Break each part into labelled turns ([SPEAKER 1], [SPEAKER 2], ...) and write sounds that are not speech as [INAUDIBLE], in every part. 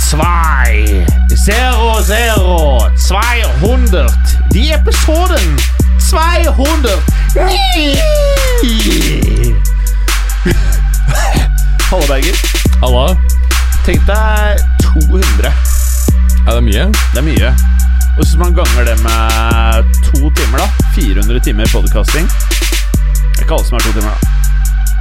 [SPEAKER 1] Zwei, zero, zero, 200. Die Episoden 200. Hallo, Berger.
[SPEAKER 2] Halla.
[SPEAKER 1] Tenk deg 200.
[SPEAKER 2] Er det mye?
[SPEAKER 1] Det er mye. Og hvis man ganger det med to timer, da 400 timer podcasting Det er ikke alle som er to timer, da.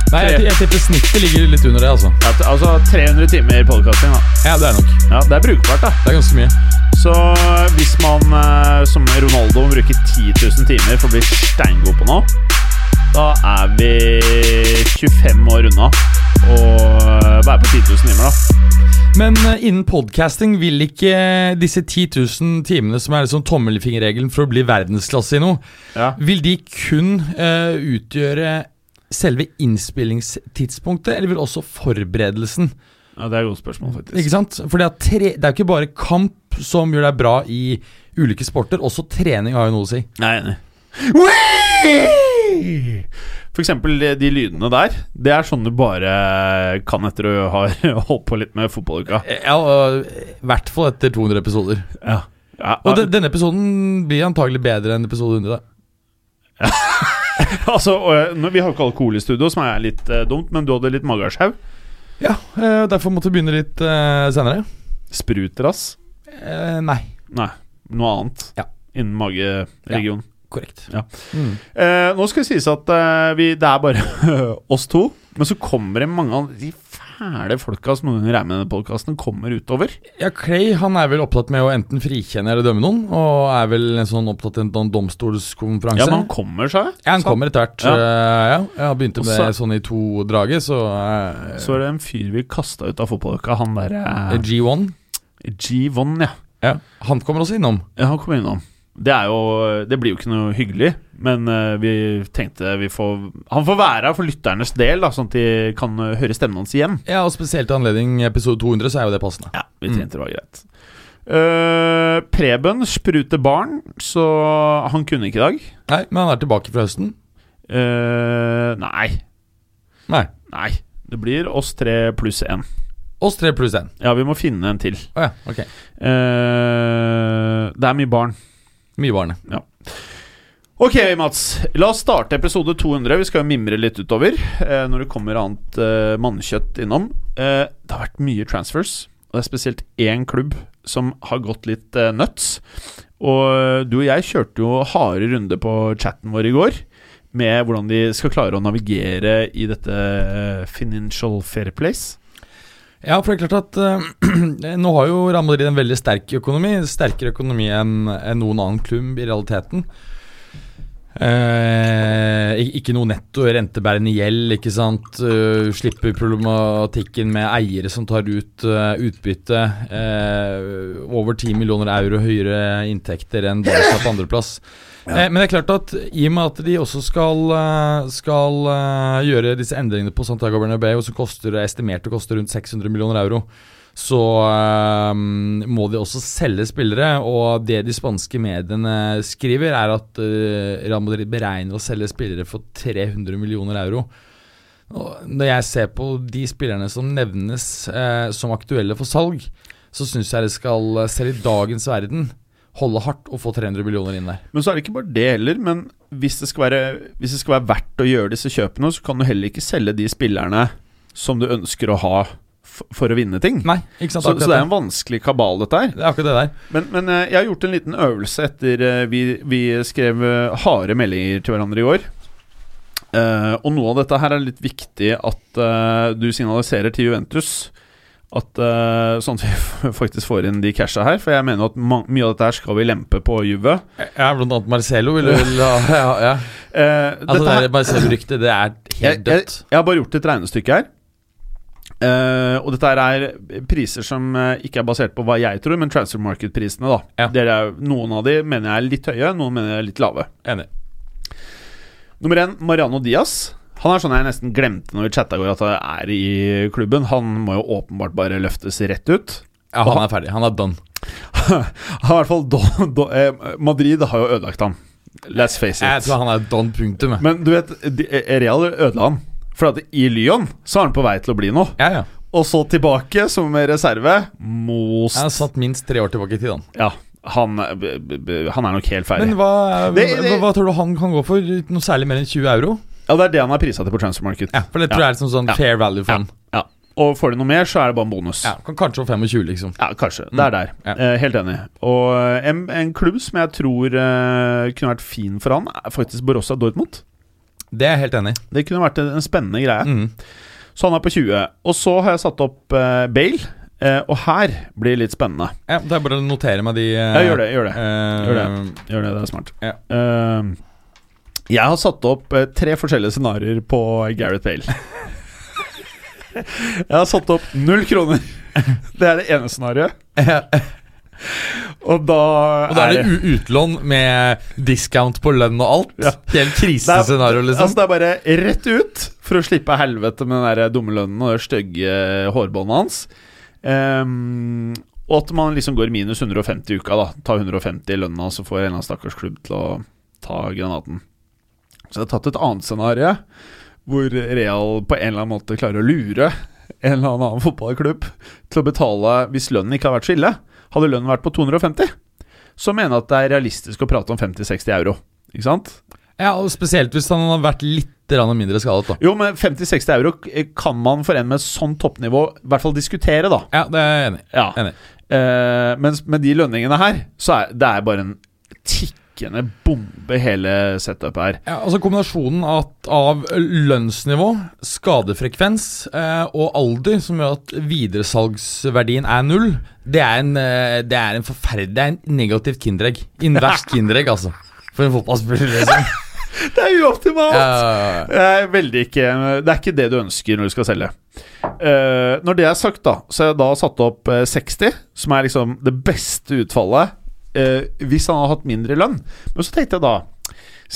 [SPEAKER 2] Nei, jeg, jeg tipper snittet ligger litt under det, altså.
[SPEAKER 1] Ja, t- Altså 300 timer podcasting, da.
[SPEAKER 2] Ja, det er nok.
[SPEAKER 1] Ja, Det er brukbart, da.
[SPEAKER 2] Det er ganske mye.
[SPEAKER 1] Så hvis man eh, som Ronaldo bruker 10 000 timer for å bli steingod på noe, da er vi 25 år unna å eh, være på 10 000 timer, da.
[SPEAKER 2] Men eh, innen podcasting vil ikke eh, disse 10 000 timene som er liksom tommelfingerregelen for å bli verdensklasse i noe,
[SPEAKER 1] Ja.
[SPEAKER 2] vil de kun eh, utgjøre selve innspillingstidspunktet, eller vil også forberedelsen?
[SPEAKER 1] Det er et godt spørsmål,
[SPEAKER 2] Ikke sant? For det er, tre, det er ikke bare kamp som gjør deg bra i ulike sporter, også trening har jo noe å si.
[SPEAKER 1] Jeg er enig. For eksempel de, de lydene der. Det er sånn du bare eh, kan etter å ha [LAUGHS] holdt på litt med fotballuka.
[SPEAKER 2] Ja, og, eh, I hvert fall etter 200 episoder.
[SPEAKER 1] Ja. Ja,
[SPEAKER 2] Og de, denne episoden blir antagelig bedre enn episode 100. da.
[SPEAKER 1] [LAUGHS] altså, og, nå- vi har jo ikke alkohol i studio, som er litt eh, dumt, men du hadde litt magesjau.
[SPEAKER 2] Ja, eh, derfor måtte vi begynne litt eh, senere.
[SPEAKER 1] Spruter, ass.
[SPEAKER 2] Eh, nei.
[SPEAKER 1] Nei, noe annet
[SPEAKER 2] Ja.
[SPEAKER 1] innen mageregionen.
[SPEAKER 2] Korrekt.
[SPEAKER 1] Ja.
[SPEAKER 2] Mm.
[SPEAKER 1] Eh, nå skal det sies at eh, vi, det er bare [LAUGHS] oss to, men så kommer det mange av de fæle folka som noen ganger er med i denne podkasten, kommer utover.
[SPEAKER 2] Ja, Clay han er vel opptatt med å enten frikjenne eller dømme noen, og er vel en sånn opptatt i en sånn domstolskonferanse.
[SPEAKER 1] Ja, men han kommer seg.
[SPEAKER 2] Ja, han kommer etter hvert.
[SPEAKER 1] Ja.
[SPEAKER 2] eh, ja. Jeg har begynt med
[SPEAKER 1] Og
[SPEAKER 2] det sånn i to draget, så eh,
[SPEAKER 1] Så er det en fyr vi kasta ut av fotballuka, han derre
[SPEAKER 2] eh, G1
[SPEAKER 1] G1, ja.
[SPEAKER 2] ja. Han kommer også innom.
[SPEAKER 1] ja. Han kom innom. Det, er jo, det blir jo ikke noe hyggelig, men eh, vi tenkte vi får Han får være her for lytternes del, da, sånn at de kan eh, høre stemmen hans igjen.
[SPEAKER 2] Ja, og Spesielt i anledning episode 200, så er jo det passende.
[SPEAKER 1] Ja, vi tenkte det var greit. Eh, Preben spruter barn, så han kunne ikke i dag.
[SPEAKER 2] Nei, Men han er tilbake fra høsten.
[SPEAKER 1] Eh, nei.
[SPEAKER 2] Nei.
[SPEAKER 1] Nei. Det blir oss tre pluss én.
[SPEAKER 2] Oss tre pluss én.
[SPEAKER 1] Ja, vi må finne en til.
[SPEAKER 2] Å ja, ok.
[SPEAKER 1] Eh, det er mye barn.
[SPEAKER 2] Mye barne.
[SPEAKER 1] Ok, Mats. La oss starte episode 200. Vi skal jo mimre litt utover eh, når det kommer annet eh, mannkjøtt innom. Eh, det har vært mye transfers, og det er spesielt én klubb som har gått litt eh, nuts. Og eh, du og jeg kjørte jo harde runder på chatten vår i går med hvordan de skal klare å navigere i dette eh, financial fair place.
[SPEAKER 2] Ja, for det er klart at eh, [CLEARS THROAT] nå har jo Real Madrid en veldig sterk økonomi. Sterkere økonomi enn enn noen annen klubb i realiteten. Eh, ik- ikke noe netto rentebærende gjeld, ikke sant. Eh, slipper problematikken med eiere som tar ut eh, utbytte. eh, over 10 millioner euro høyere inntekter enn Barca på andreplass. Eh, men det er klart at i og med at de også skal, eh, skal eh, gjøre disse endringene på Santiago Bernabeu, som koster, er estimert å koste rundt 600 millioner euro, så eh, må de også selge spillere. Og det de spanske mediene skriver, er at eh, Real Madrid beregner å selge spillere for 300 millioner euro. Og når jeg ser på de spillerne som nevnes eh, som aktuelle for salg, så syns jeg det skal, eh, selv i dagens verden, holde hardt og få 300 millioner inn der.
[SPEAKER 1] Men så er det ikke bare det heller. Men hvis det skal være, hvis det skal være verdt å gjøre disse kjøpene, så kan du heller ikke selge de spillerne som du ønsker å ha f- for å vinne ting.
[SPEAKER 2] Nei, ikke sant?
[SPEAKER 1] Så, så
[SPEAKER 2] akkurat
[SPEAKER 1] det er en vanskelig kabal, dette her.
[SPEAKER 2] Det er akkurat det der.
[SPEAKER 1] Men, men eh, jeg har gjort en liten øvelse etter eh, vi, vi skrev eh, harde meldinger til hverandre i går. Eh, og noe av dette her er litt viktig at eh, du signaliserer til Juventus. At eh, Sånn at vi [LAUGHS] faktisk får inn de casha her. For jeg mener at ma mye av dette her skal vi lempe på Juve.
[SPEAKER 2] Ja, blant annet Marcello vil vil ha ja, ja.
[SPEAKER 1] Eh,
[SPEAKER 2] Altså,
[SPEAKER 1] dette
[SPEAKER 2] det
[SPEAKER 1] her-
[SPEAKER 2] er Marcello-ryktet, det er helt
[SPEAKER 1] jeg,
[SPEAKER 2] dødt.
[SPEAKER 1] jeg har bare gjort et regnestykke her. Eh, og dette her er priser som eh, ikke er basert på hva jeg tror, men transfer market-prisene. da
[SPEAKER 2] Ja.
[SPEAKER 1] Det er, Noen av de mener jeg er litt høye, noen mener jeg er litt lave.
[SPEAKER 2] Enig.
[SPEAKER 1] Nummer én, Mariano Diaz. Han er sånn jeg nesten glemte når vi chatta i går at han er i klubben. Han må jo åpenbart bare løftes rett ut. [LAUGHS]
[SPEAKER 2] Ja, han er ferdig. Han er done.
[SPEAKER 1] Han er i hvert fall do, do, eh, Madrid har jo ødelagt ham. Let's face
[SPEAKER 2] Jeg
[SPEAKER 1] it.
[SPEAKER 2] tror han er done, punktum. jeg.
[SPEAKER 1] Men du vet, de, eh, Real ødela ham. For at i Lyon så er han på vei til å bli noe.
[SPEAKER 2] Ja, ja.
[SPEAKER 1] Og så tilbake som reserve. Most
[SPEAKER 2] Han er satt minst tre år tilbake i tid, han.
[SPEAKER 1] Ja, han, b- b- b- han er nok helt ferdig.
[SPEAKER 2] Men hva,
[SPEAKER 1] Det- det-
[SPEAKER 2] hva, hva tror du han kan gå for? Noe særlig mer enn 20 euro?
[SPEAKER 1] ja, det er det han er prisa til på transfer market.
[SPEAKER 2] Ja, For det tror jeg er liksom
[SPEAKER 1] Ja.
[SPEAKER 2] sånn fair value for
[SPEAKER 1] Ja.
[SPEAKER 2] han.
[SPEAKER 1] Ja. Og får du noe mer, så er det bare en bonus.
[SPEAKER 2] Ja, kan Kanskje få 25, liksom.
[SPEAKER 1] Ja, kanskje. Det er der.
[SPEAKER 2] Ja.
[SPEAKER 1] Eh, helt enig. Og eh, en, en klubb som jeg tror eh, kunne vært fin for han, er faktisk Borussia Dortmund.
[SPEAKER 2] Det er jeg helt enig i.
[SPEAKER 1] Det kunne vært en, en spennende greie.
[SPEAKER 2] Mm.
[SPEAKER 1] Så han er på 20. Og så har jeg satt opp eh, Bale, eh, og her blir det litt spennende.
[SPEAKER 2] Ja, det er bare å notere meg de eh,
[SPEAKER 1] Ja, gjør det, gjør det.
[SPEAKER 2] gjør
[SPEAKER 1] Gjør Gjør det, det er smart.
[SPEAKER 2] Ja.
[SPEAKER 1] Eh, jeg har satt opp eh, tre forskjellige scenarioer på Gareth Bale. jeg har satt opp null kroner. [LAUGHS] Det er det ene scenarioet. Og da,
[SPEAKER 2] Og da er det u- utlån med discount på lønn og alt.
[SPEAKER 1] Ja.
[SPEAKER 2] Helt krisescenario, liksom.
[SPEAKER 1] Altså Det er bare rett ut for å slippe helvete med den der dumme lønnen og det stygge eh, hårbåndet hans. Ehm, og at man liksom går minus 150 i uka, da. Ta 150 i lønna, så får en eller annen stakkars klubb til å ta granaten. Så jeg har tatt et annet scenario, hvor Real på en eller annen måte klarer å lure en eller annen fotballklubb til å betale hvis lønnen ikke hadde vært så ille. Hadde lønnen vært på 250, så mener jeg at det er realistisk å prate om 50-60 euro. Ikke sant?
[SPEAKER 2] Ja, og Spesielt hvis han har vært litt grann mindre skadet, da.
[SPEAKER 1] Jo, men 50-60 euro k- kan man for en med sånn toppnivå i hvert fall diskutere, da.
[SPEAKER 2] Ja, det er jeg enig i.
[SPEAKER 1] Ja.
[SPEAKER 2] Enig.
[SPEAKER 1] Eh, mens med de lønningene her, så er det er bare en tikkende bombe, hele setupet her.
[SPEAKER 2] Ja, altså Kombinasjonen at, av lønnsnivå, skadefrekvens eh, og alder, som gjør at videresalgsverdien er null, det er en, eh, det er en forferdelig Det er en negativt kinderegg. Invers [LAUGHS] kinderegg, altså. For en fotballspiller. [LAUGHS] Liksom.
[SPEAKER 1] Det er uoptimalt!
[SPEAKER 2] Eh,
[SPEAKER 1] Det er veldig ikke Det er ikke det du ønsker når du skal selge. Eh, når det er sagt, da, så har jeg da satt opp eh, 60, som er liksom det beste utfallet eh, hvis han har hatt mindre lønn. Men så tenkte jeg da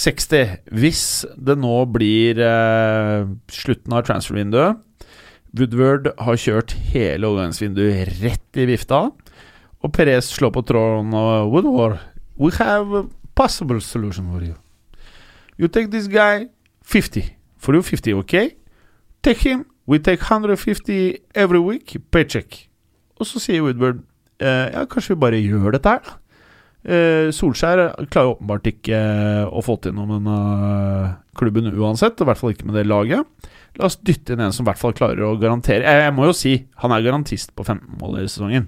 [SPEAKER 1] 60. Hvis det nå blir eh, slutten av transfervinduet Woodward har kjørt hele overgangsvinduet rett i vifta. Og Perez slår på tråden og Woodward, we have a possible solution for you. You take this guy 50. For you 50, okay? Take him. We take 150 every week, paycheck. Og så sier Woodward eh, ja, kanskje vi bare gjør dette her, da. Eh, Solskjær klarer åpenbart ikke eh, å få til noe med denne klubben uansett, og i hvert fall ikke med det laget. La oss dytte inn en som i hvert fall klarer å garantere Jeg, jeg må jo si, han er garantist på 15 mål i sesongen.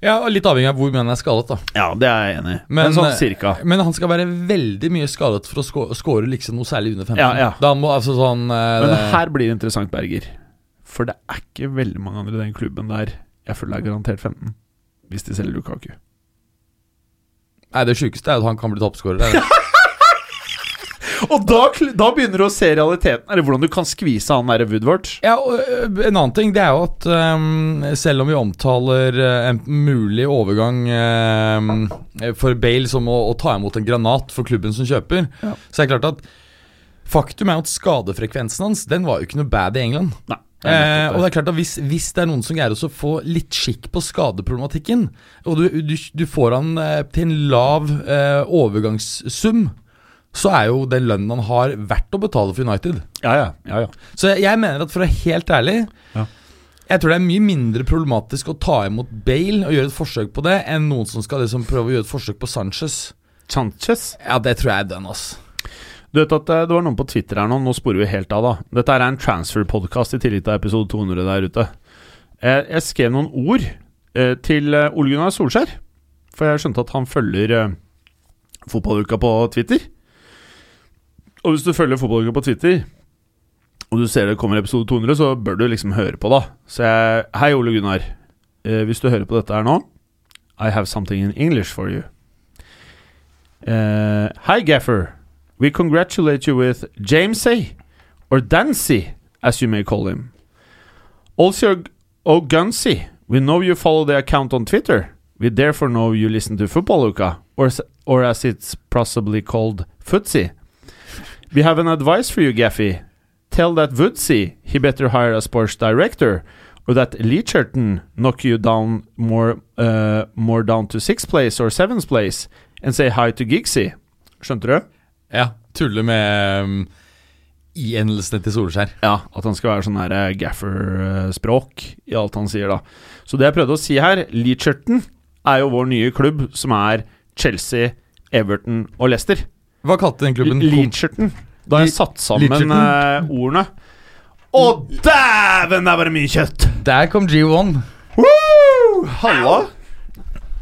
[SPEAKER 2] ja, og Litt avhengig av hvor mye han er skadet, da.
[SPEAKER 1] Ja, det er jeg enig i.
[SPEAKER 2] Men,
[SPEAKER 1] Men sånn
[SPEAKER 2] eh,
[SPEAKER 1] cirka.
[SPEAKER 2] Men han skal være veldig mye skadet for å sko- score liksom noe særlig under 15.
[SPEAKER 1] Ja, ja.
[SPEAKER 2] Da må altså sånn eh,
[SPEAKER 1] Men
[SPEAKER 2] det,
[SPEAKER 1] her blir det interessant, Berger. For det er ikke veldig mange andre i den klubben der jeg føler er garantert 15, hvis de selger Lukaku.
[SPEAKER 2] Nei, det sjukeste er at han kan bli toppskårer. det er det.
[SPEAKER 1] Og da, kl- da begynner du å se realiteten, eller hvordan du kan skvise han derre Woodward.
[SPEAKER 2] ja, og eh, En annen ting det er jo at eh, selv om vi omtaler eh, en mulig overgang eh, for Bale som å, å ta imot en granat for klubben som kjøper,
[SPEAKER 1] Ja.
[SPEAKER 2] så er det klart at faktum er at skadefrekvensen hans Den var jo ikke noe bad i England.
[SPEAKER 1] Nei. det er
[SPEAKER 2] Eh,
[SPEAKER 1] nettopp
[SPEAKER 2] og det
[SPEAKER 1] det.
[SPEAKER 2] er klart at hvis, hvis det er noen som greier også å få litt skikk på skadeproblematikken, og du, du, du får han eh, til en lav eh, overgangssum, så er jo den lønnen han har, verdt å betale for United.
[SPEAKER 1] Ja, ja, ja, ja.
[SPEAKER 2] Så jeg, jeg mener at for å være helt ærlig
[SPEAKER 1] Ja.
[SPEAKER 2] Jeg tror det er mye mindre problematisk å ta imot Bale og gjøre et forsøk på det, enn noen som skal liksom prøve å gjøre et forsøk på Sanchez.
[SPEAKER 1] Sanchez.
[SPEAKER 2] Ja, det tror jeg er den, ass.
[SPEAKER 1] Du vet at eh, det var noen på Twitter her nå, nå sporer vi helt av, da. Dette her er en transfer-podkast i tillegg til episode 200 der ute. Jeg, jeg skrev noen ord eh, til eh, Ole Gunnar Solskjær, for jeg skjønte at han følger eh, fotballuka på Twitter. Og hvis du følger fotballuka på Twitter, og du ser det kommer episode 200, så bør du liksom høre på, da. Så jeg Hei, Ole Gunnar. Eh, hvis du hører på dette her nå I have something in English for you. Eh, Hi, Gaffer. We congratulate you with Jamesay, or Dancy, as you may call him. Also, Ogunsi, we know you follow the account on Twitter. We therefore know you listen to Football Uka, or, s- or as it's possibly called, Footsie. We have an advice for you, Gaffy. Tell that Woodsy he better hire a sports director, or that Leacherton knock you down more, uh, more down to sixth place or seventh place, and say hi to Gigsy. Skjønte du?
[SPEAKER 2] Ja, tulle med um, i-endelsene til Solskjær.
[SPEAKER 1] Ja, at han skal være sånn her eh, gaffer-språk i alt han sier, da. Så det jeg prøvde å si her, Leacherton er jo vår nye klubb, som er Chelsea, Everton og Leicester.
[SPEAKER 2] Hva kalte den klubben?
[SPEAKER 1] Leacherton. Da har jeg
[SPEAKER 2] Le-
[SPEAKER 1] satt sammen
[SPEAKER 2] Leacherton?
[SPEAKER 1] eh, ordene. Å, dæven, det er bare mye kjøtt!
[SPEAKER 2] Der kom G1.
[SPEAKER 1] Woo! Halla.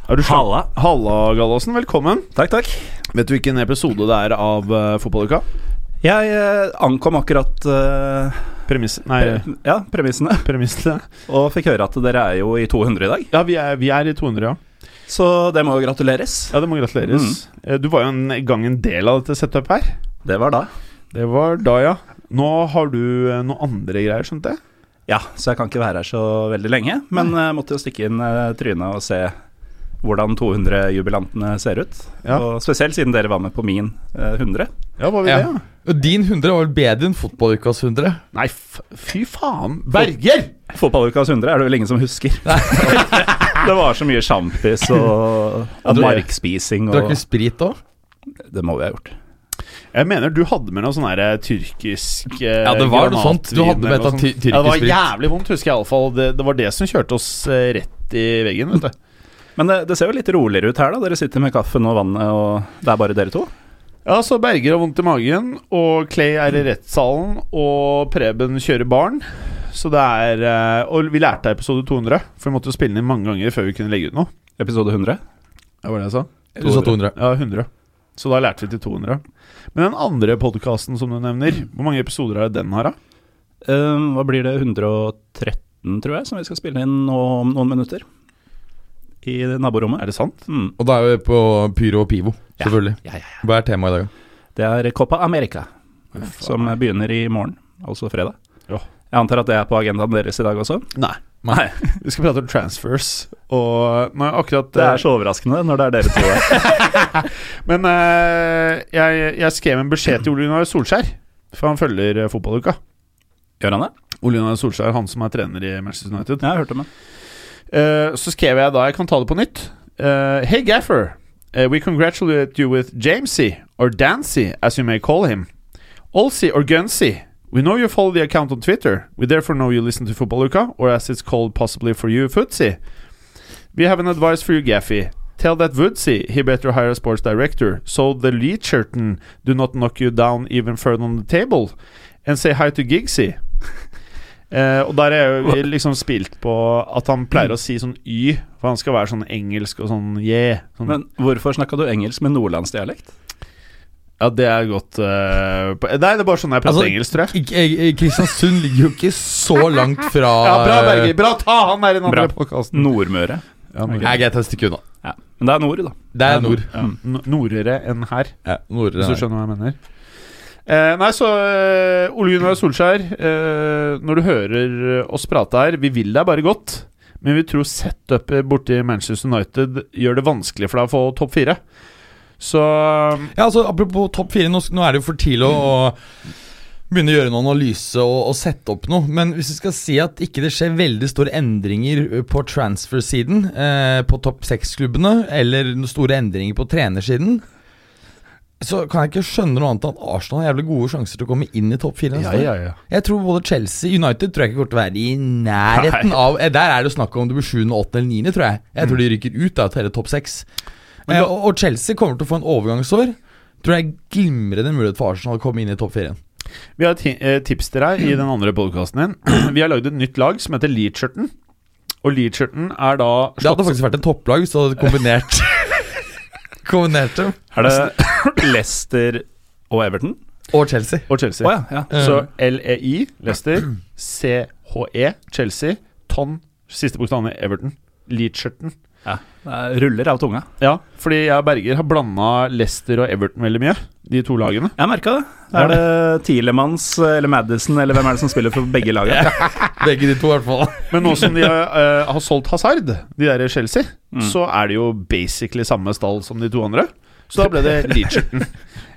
[SPEAKER 1] Er du slem?
[SPEAKER 3] Halla.
[SPEAKER 1] Halla, Gallosen. Velkommen.
[SPEAKER 3] Takk, takk.
[SPEAKER 1] Vet du hvilken episode det er av uh, Fotballuka?
[SPEAKER 3] Jeg eh, ankom akkurat eh,
[SPEAKER 1] Premiss... Nei,
[SPEAKER 3] ja, premissene
[SPEAKER 1] premissene.
[SPEAKER 3] og fikk høre at dere er jo i 200 i dag.
[SPEAKER 1] Ja, vi er, vi er i 200, ja.
[SPEAKER 3] Så det må jo gratuleres.
[SPEAKER 1] Ja, det må gratuleres.
[SPEAKER 2] Mm.
[SPEAKER 1] Eh, Du var jo en gang en del av dette setupet her.
[SPEAKER 3] Det var da.
[SPEAKER 1] Det var da, ja. Nå har du eh, noen andre greier, skjønte jeg?
[SPEAKER 3] Ja, så jeg kan ikke være her så veldig lenge, men eh, måtte jo stikke inn eh, trynet og se hvordan 200-jubilantene ser ut.
[SPEAKER 1] Ja.
[SPEAKER 3] Og spesielt siden dere var med på min eh, 100.
[SPEAKER 1] Ja, var vi
[SPEAKER 2] Ja.
[SPEAKER 1] det, ja?
[SPEAKER 2] Og din 100 var vel bedre enn fotballukas 100?
[SPEAKER 1] Nei, f fy faen. Berger!
[SPEAKER 3] Fotballukas 100 er det vel ingen som husker. [LAUGHS] det var så mye sjampis og, og
[SPEAKER 2] du-
[SPEAKER 3] markspising og
[SPEAKER 2] Drakk vi sprit òg?
[SPEAKER 3] Det må vi ha gjort.
[SPEAKER 1] Jeg mener du hadde med noe sånn her eh, tyrkisk eh,
[SPEAKER 2] Ja, det var noe
[SPEAKER 1] granatvin
[SPEAKER 2] sånt. Du hadde med
[SPEAKER 1] eller noe
[SPEAKER 2] et av ty-
[SPEAKER 1] sånt. Ja, det var
[SPEAKER 2] tyrkisk
[SPEAKER 1] jævlig vondt, husker jeg iallfall. Det, det var det som kjørte oss eh, rett i veggen, vet du.
[SPEAKER 3] Men det, det ser jo litt roligere ut her, da. Dere sitter med kaffen og vannet, og det er bare dere to.
[SPEAKER 1] Ja, så Berger har vondt i magen, og Clay er i rettssalen, og Preben kjører barn. Så det er eh, Og vi lærte av episode 200, for vi måtte jo spille den inn mange ganger før vi kunne legge ut noe.
[SPEAKER 3] Episode 100.
[SPEAKER 1] Ja, var det jeg sa?
[SPEAKER 2] Du sa 200.
[SPEAKER 1] Ja, 100. Så da lærte vi til 200. Men den andre podkasten som du nevner, hvor mange episoder er det den har, da?
[SPEAKER 3] Um, hva blir det? 113, tror jeg, som vi skal spille inn nå om noen minutter. I naborommet.
[SPEAKER 1] Er det sant?
[SPEAKER 3] Mm.
[SPEAKER 2] Og da er vi på Pyro og Pivo, selvfølgelig. Hva er temaet i dag? da?
[SPEAKER 3] Det er Copa America, som begynner i morgen, altså fredag.
[SPEAKER 1] Ja.
[SPEAKER 3] Jeg antar at det er på agendaen deres i dag også?
[SPEAKER 1] Nei. [LAUGHS]
[SPEAKER 3] Nei.
[SPEAKER 1] Vi skal prate om transfers, og Nei, akkurat
[SPEAKER 3] Det er så overraskende når det er dere to her.
[SPEAKER 1] Men eh, jeg, jeg skrev en beskjed til Ole Gunnar Solskjær, for han følger eh, fotballuka.
[SPEAKER 3] [LAUGHS] Gjør han det?
[SPEAKER 1] Ole Gunnar Solskjær, han som er trener i Manchester United.
[SPEAKER 3] Jeg har hørt om det.
[SPEAKER 1] Eh, så skrev jeg da, jeg kan ta det på nytt. Eh, hey Gaffer, eh, we congratulate you with Jamesy, or Dancy as you may call him. Olsey or Gunsey, we know you follow the account on Twitter. We therefore know you listen to Footballuka, or as it's called possibly for you, Footsy. We have an advice for you, Gaffy. Tell that Woodsy he better hire a sports director, so the Leacherton do not knock you down even further on the table, and say hi to Gigsy. Eh, og der er jo vi liksom spilt på at han pleier å si sånn Y, for han skal være sånn engelsk og sånn yeah. Sånn,
[SPEAKER 3] Men hvorfor snakka du engelsk med nordlandsdialekt?
[SPEAKER 1] ja, det er godt eh, på- Nei, det er bare sånn jeg prater
[SPEAKER 2] Altså,
[SPEAKER 1] engelsk, tror jeg.
[SPEAKER 2] Ik- eh, eh, Kristiansund ligger jo ikke så langt fra eh,
[SPEAKER 1] Ja, bra, Berger. Bra, ta han der i den
[SPEAKER 3] Bra.
[SPEAKER 1] andre
[SPEAKER 3] Mm.
[SPEAKER 1] podkasten.
[SPEAKER 3] Nordmøre.
[SPEAKER 1] Ja, men-
[SPEAKER 2] Nei, greit, et stykke unna.
[SPEAKER 3] Ja. Men det er nord, da. Mm.
[SPEAKER 2] Det er nord.
[SPEAKER 1] Ja, n- nordere enn her,
[SPEAKER 2] Ja, nordre
[SPEAKER 1] hvis du
[SPEAKER 2] der.
[SPEAKER 1] skjønner hva jeg mener. Eh, nei, så eh, Ole Gunnar Solskjær, eh, når du hører oss prate her Vi vil deg bare godt, men vi tror setupet borti Manchester United gjør det vanskelig for deg å få topp fire. Så
[SPEAKER 2] Ja, altså Apropos topp fire, nå, nå er det jo for tidlig å, å begynne å gjøre noen analyse og, og sette opp noe. Men hvis vi skal si at ikke det skjer veldig store endringer ø, på transfer-siden, eh, på topp seks-klubbene, eller noen store endringer på trenersiden, så kan jeg ikke skjønne noe annet enn at Arsenal har jævlig gode sjanser til å komme inn i topp fire. neste år.
[SPEAKER 1] ja.
[SPEAKER 2] Jeg tror både Chelsea United tror jeg ikke kommer til å være i nærheten av eh, Der er det jo snakk om det blir 7., 8. eller 9., tror jeg. Jeg tror de rykker ut av hele topp 6.
[SPEAKER 1] Men da-
[SPEAKER 2] og, og Chelsea kommer til å få en overgangsår. Tror jeg glimrende mulighet for Arsenal å komme inn i topp 4.
[SPEAKER 1] Vi har et ti- eh, tips til deg i den andre podkasten din. [CLEARS THROAT] Vi har lagd et nytt lag som heter Leacherton. Og Leacherton er da
[SPEAKER 2] Det hadde faktisk vært et topplag hvis du hadde [LAUGHS] kombinert Kombinert dem.
[SPEAKER 3] Er det Leicester og Everton?
[SPEAKER 2] Og Chelsea.
[SPEAKER 1] og Chelsea.
[SPEAKER 3] Å ja. ja. Eh.
[SPEAKER 1] Så LEI, Leicester. E, CHE, Chelsea. Ton, siste bokstaven i Everton. Leacherton.
[SPEAKER 3] Ja, Det ruller av tunga.
[SPEAKER 1] Ja, fordi jeg og Berger har blanda Leicester og Everton veldig mye. De to lagene.
[SPEAKER 3] Jeg merka det. Er det Tielemanns eller Madison eller hvem er det som spiller for begge [LAUGHS] lagene?
[SPEAKER 2] Begge de to, i hvert fall.
[SPEAKER 1] Men nå som de har, eh, har solgt Hazard, de der i Chelsea, så er det jo basically samme stall som de to andre. Så da ble det Leacherton.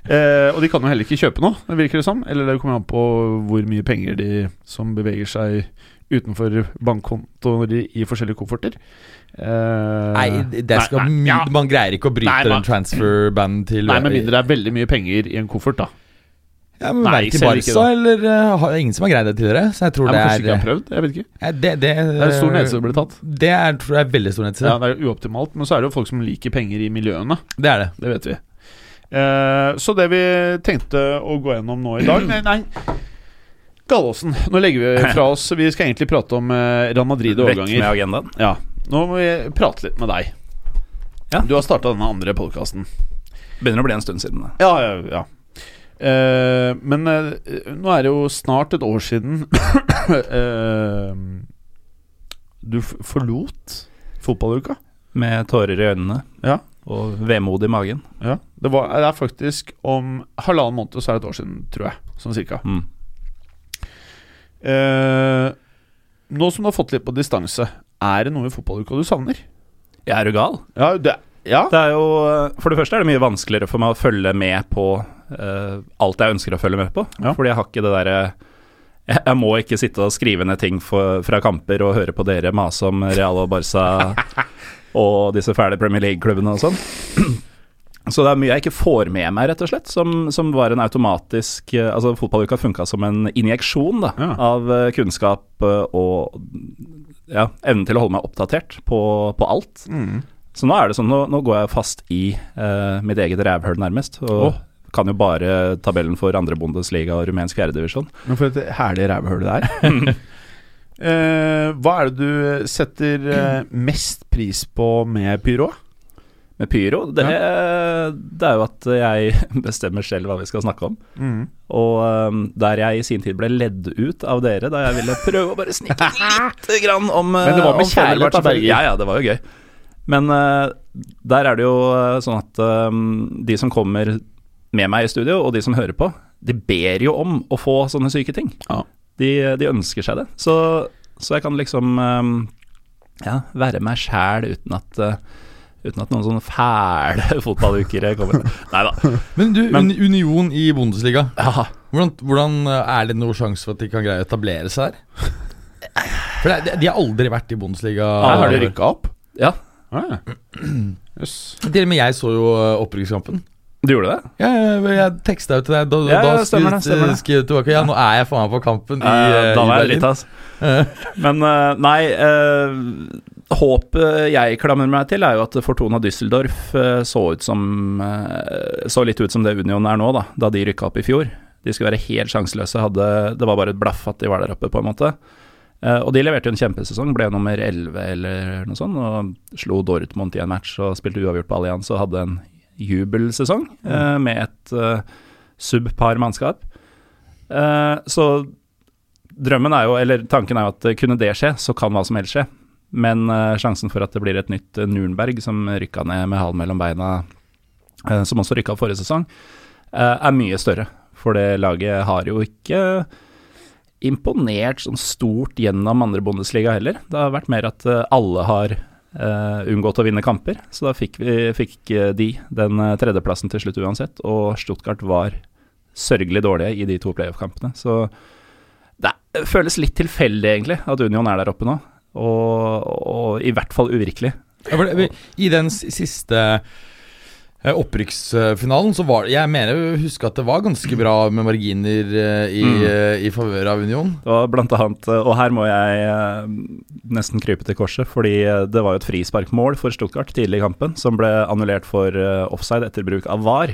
[SPEAKER 1] Eh, og de kan jo heller ikke kjøpe noe, det virker det som. Eller det kommer an på hvor mye penger de som beveger seg utenfor bankkontoer i, i forskjellige kofferter. Eh,
[SPEAKER 2] Nei, det skal
[SPEAKER 1] nei,
[SPEAKER 2] my-
[SPEAKER 1] ja.
[SPEAKER 2] Man greier ikke å bryte
[SPEAKER 1] Nei, man-
[SPEAKER 2] den transfer-banden til
[SPEAKER 1] Nei, med mindre det er veldig mye penger i en koffert, da.
[SPEAKER 2] ja, men
[SPEAKER 1] Nei,
[SPEAKER 2] Verken
[SPEAKER 1] selv ikke
[SPEAKER 2] Barca eller eh, har- Ingen som har greid det tidligere, så jeg tror
[SPEAKER 1] Nei, men kanskje
[SPEAKER 2] det
[SPEAKER 1] ikke har
[SPEAKER 2] er eh,
[SPEAKER 1] prøvd? Jeg vet ikke.
[SPEAKER 2] Ja, Det, det,
[SPEAKER 1] Det er en stor nedtur som ble tatt.
[SPEAKER 2] Det er, tror jeg er veldig stor nedtur.
[SPEAKER 1] Ja, det er jo uoptimalt, men så er det jo folk som liker penger i miljøene.
[SPEAKER 2] Det er det.
[SPEAKER 1] Det vet vi. Eh, så det vi tenkte å gå gjennom nå i
[SPEAKER 3] [CLEARS THROAT]
[SPEAKER 1] dag Nei, nei. Gallosen. Nå legger vi fra oss Vi skal egentlig prate om eh, Real Madrid og
[SPEAKER 3] Vekk med
[SPEAKER 1] overganger.
[SPEAKER 3] agendaen.
[SPEAKER 1] Ja, nå må vi prate litt med deg.
[SPEAKER 3] Ja.
[SPEAKER 1] Du har starta denne andre podkasten.
[SPEAKER 3] Begynner å bli en stund siden. da.
[SPEAKER 1] Ja, ja, ja. Eh, men eh, nå er det jo snart et år siden [COUGHS] eh, du f forlot fotballuka.
[SPEAKER 3] Med tårer i øynene
[SPEAKER 1] Ja.
[SPEAKER 3] og vemod i magen.
[SPEAKER 1] Ja, det, var, det er faktisk om halvannen måned så er det et år siden, tror jeg. Sånn cirka.
[SPEAKER 3] Mm.
[SPEAKER 1] Eh, nå som du har fått litt på distanse, er det noe i fotballuka du savner?
[SPEAKER 3] Jeg er jo gal.
[SPEAKER 1] Ja, det, ja.
[SPEAKER 3] Det er jo, for det første er det mye vanskeligere for meg å følge med på eh, alt jeg ønsker å følge med på.
[SPEAKER 1] Ja.
[SPEAKER 3] Fordi jeg har ikke det derre jeg, jeg må ikke sitte og skrive ned ting for, fra kamper og høre på dere mase om Real og
[SPEAKER 1] [LAUGHS]
[SPEAKER 3] Barca og disse fæle Premier League-klubbene og sånn. Så det er mye jeg ikke får med meg, rett og slett, som, som var en automatisk eh, Altså, fotballuka funka som en injeksjon da,
[SPEAKER 1] Ja.
[SPEAKER 3] av eh, kunnskap eh, og ja, evnen til å holde meg oppdatert på, på alt.
[SPEAKER 1] Mm.
[SPEAKER 3] Så nå er det sånn, nå, nå går jeg fast i eh, mitt eget rævhøl nærmest, og
[SPEAKER 1] Åh.
[SPEAKER 3] kan jo bare tabellen for andre Bundesliga og rumensk fjerdedivisjon.
[SPEAKER 1] Men for et herlig rævhull det er. [LAUGHS] Eh, hva er det du setter eh, mest pris på med pyro?
[SPEAKER 3] Med pyro, det, det er jo at jeg [LAUGHS] bestemmer selv hva vi skal snakke om.
[SPEAKER 1] Mm.
[SPEAKER 3] Og eh, der jeg i sin tid ble ledd ut av dere, da jeg ville prøve å bare snike lite [LAUGHS] grann om eh,
[SPEAKER 1] Men det var med
[SPEAKER 3] om Fenerbahçe,
[SPEAKER 1] kjærlighet til Berger.
[SPEAKER 3] Ja, ja, det var jo gøy. Men eh, der er det jo eh, sånn at eh, de som kommer med meg i studio, og de som hører på, de ber jo om å få sånne syke ting.
[SPEAKER 1] Ja.
[SPEAKER 3] De, eh, de ønsker seg det. Så, så jeg kan liksom eh, ja, være meg sjæl uten at eh, Uten at noen sånne fæle [LAUGHS] fotballukere kommer. Nei da.
[SPEAKER 2] Men du,
[SPEAKER 3] Men-
[SPEAKER 2] Uni- Union i Bundesliga,
[SPEAKER 3] Ja,
[SPEAKER 2] hvordan, hvordan eh, er det noen sjanse for at de kan greie å etablere seg der? For det, er- de har aldri vært i Bundesliga.
[SPEAKER 3] Nei,
[SPEAKER 1] har de rykka opp?
[SPEAKER 3] ja,
[SPEAKER 1] Ah, ja. Jøss.
[SPEAKER 2] Til og med jeg så jo eh, opprykkskampen.
[SPEAKER 3] du gjorde det?
[SPEAKER 2] Ja, jeg jeg teksta jo til deg. Da,
[SPEAKER 3] Ja, ja,
[SPEAKER 2] da
[SPEAKER 3] stemmer det, stemmer det.
[SPEAKER 2] skrev du tilbake Ja, nå er jeg faen meg på kampen i, eh,
[SPEAKER 3] Eh,
[SPEAKER 2] i
[SPEAKER 3] da var jeg
[SPEAKER 2] Berlin.
[SPEAKER 3] litt, altså. Men eh, nei, eh, håpet jeg klamrer meg til, er jo at Fortuna Düsseldorf eh, så, ut som, eh, så litt ut som det Union er nå, da, da de rykka opp i fjor. De skulle være helt sjanseløse, hadde, det var bare et blaff at de var der oppe, på en måte. Eh, og de leverte jo en kjempesesong, ble nummer 11 eller noe sånt, og slo Dortmund i en match og spilte uavgjort på Allianz og hadde en jubelsesong
[SPEAKER 2] Mm.
[SPEAKER 3] eh, med et eh, subpar mannskap. Eh, så drømmen er jo, eller tanken er jo at eh, kunne det skje, så kan hva som helst skje. Men eh, sjansen for at det blir et nytt eh, Nürnberg som rykka ned med halen mellom beina, eh, som også rykka forrige sesong, eh, er mye større. For det laget har jo ikke imponert sånn stort gjennom andre Bundesliga heller. Det har vært mer at eh, alle har eh, unngått å vinne kamper, så da fikk, vi, fikk eh, de den eh, tredjeplassen til slutt uansett. Og Stuttgart var sørgelig dårlige i de to playoff-kampene. Så det er- føles litt tilfeldig, egentlig, at Union er der oppe nå. Og, og i hvert fall uvirkelig.
[SPEAKER 2] [LAUGHS] Ja, for det, I den s- siste eh, opprykksfinalen så var det Jeg mener å huske at det var ganske bra med marginer eh, i,
[SPEAKER 3] Mm.
[SPEAKER 2] eh, i favør av Union.
[SPEAKER 3] Det var blant annet, og her må jeg eh, nesten krype til korset, fordi eh, det var jo et frisparkmål for Stuttgart tidlig i kampen, som ble annullert for eh, offside etter bruk av VAR.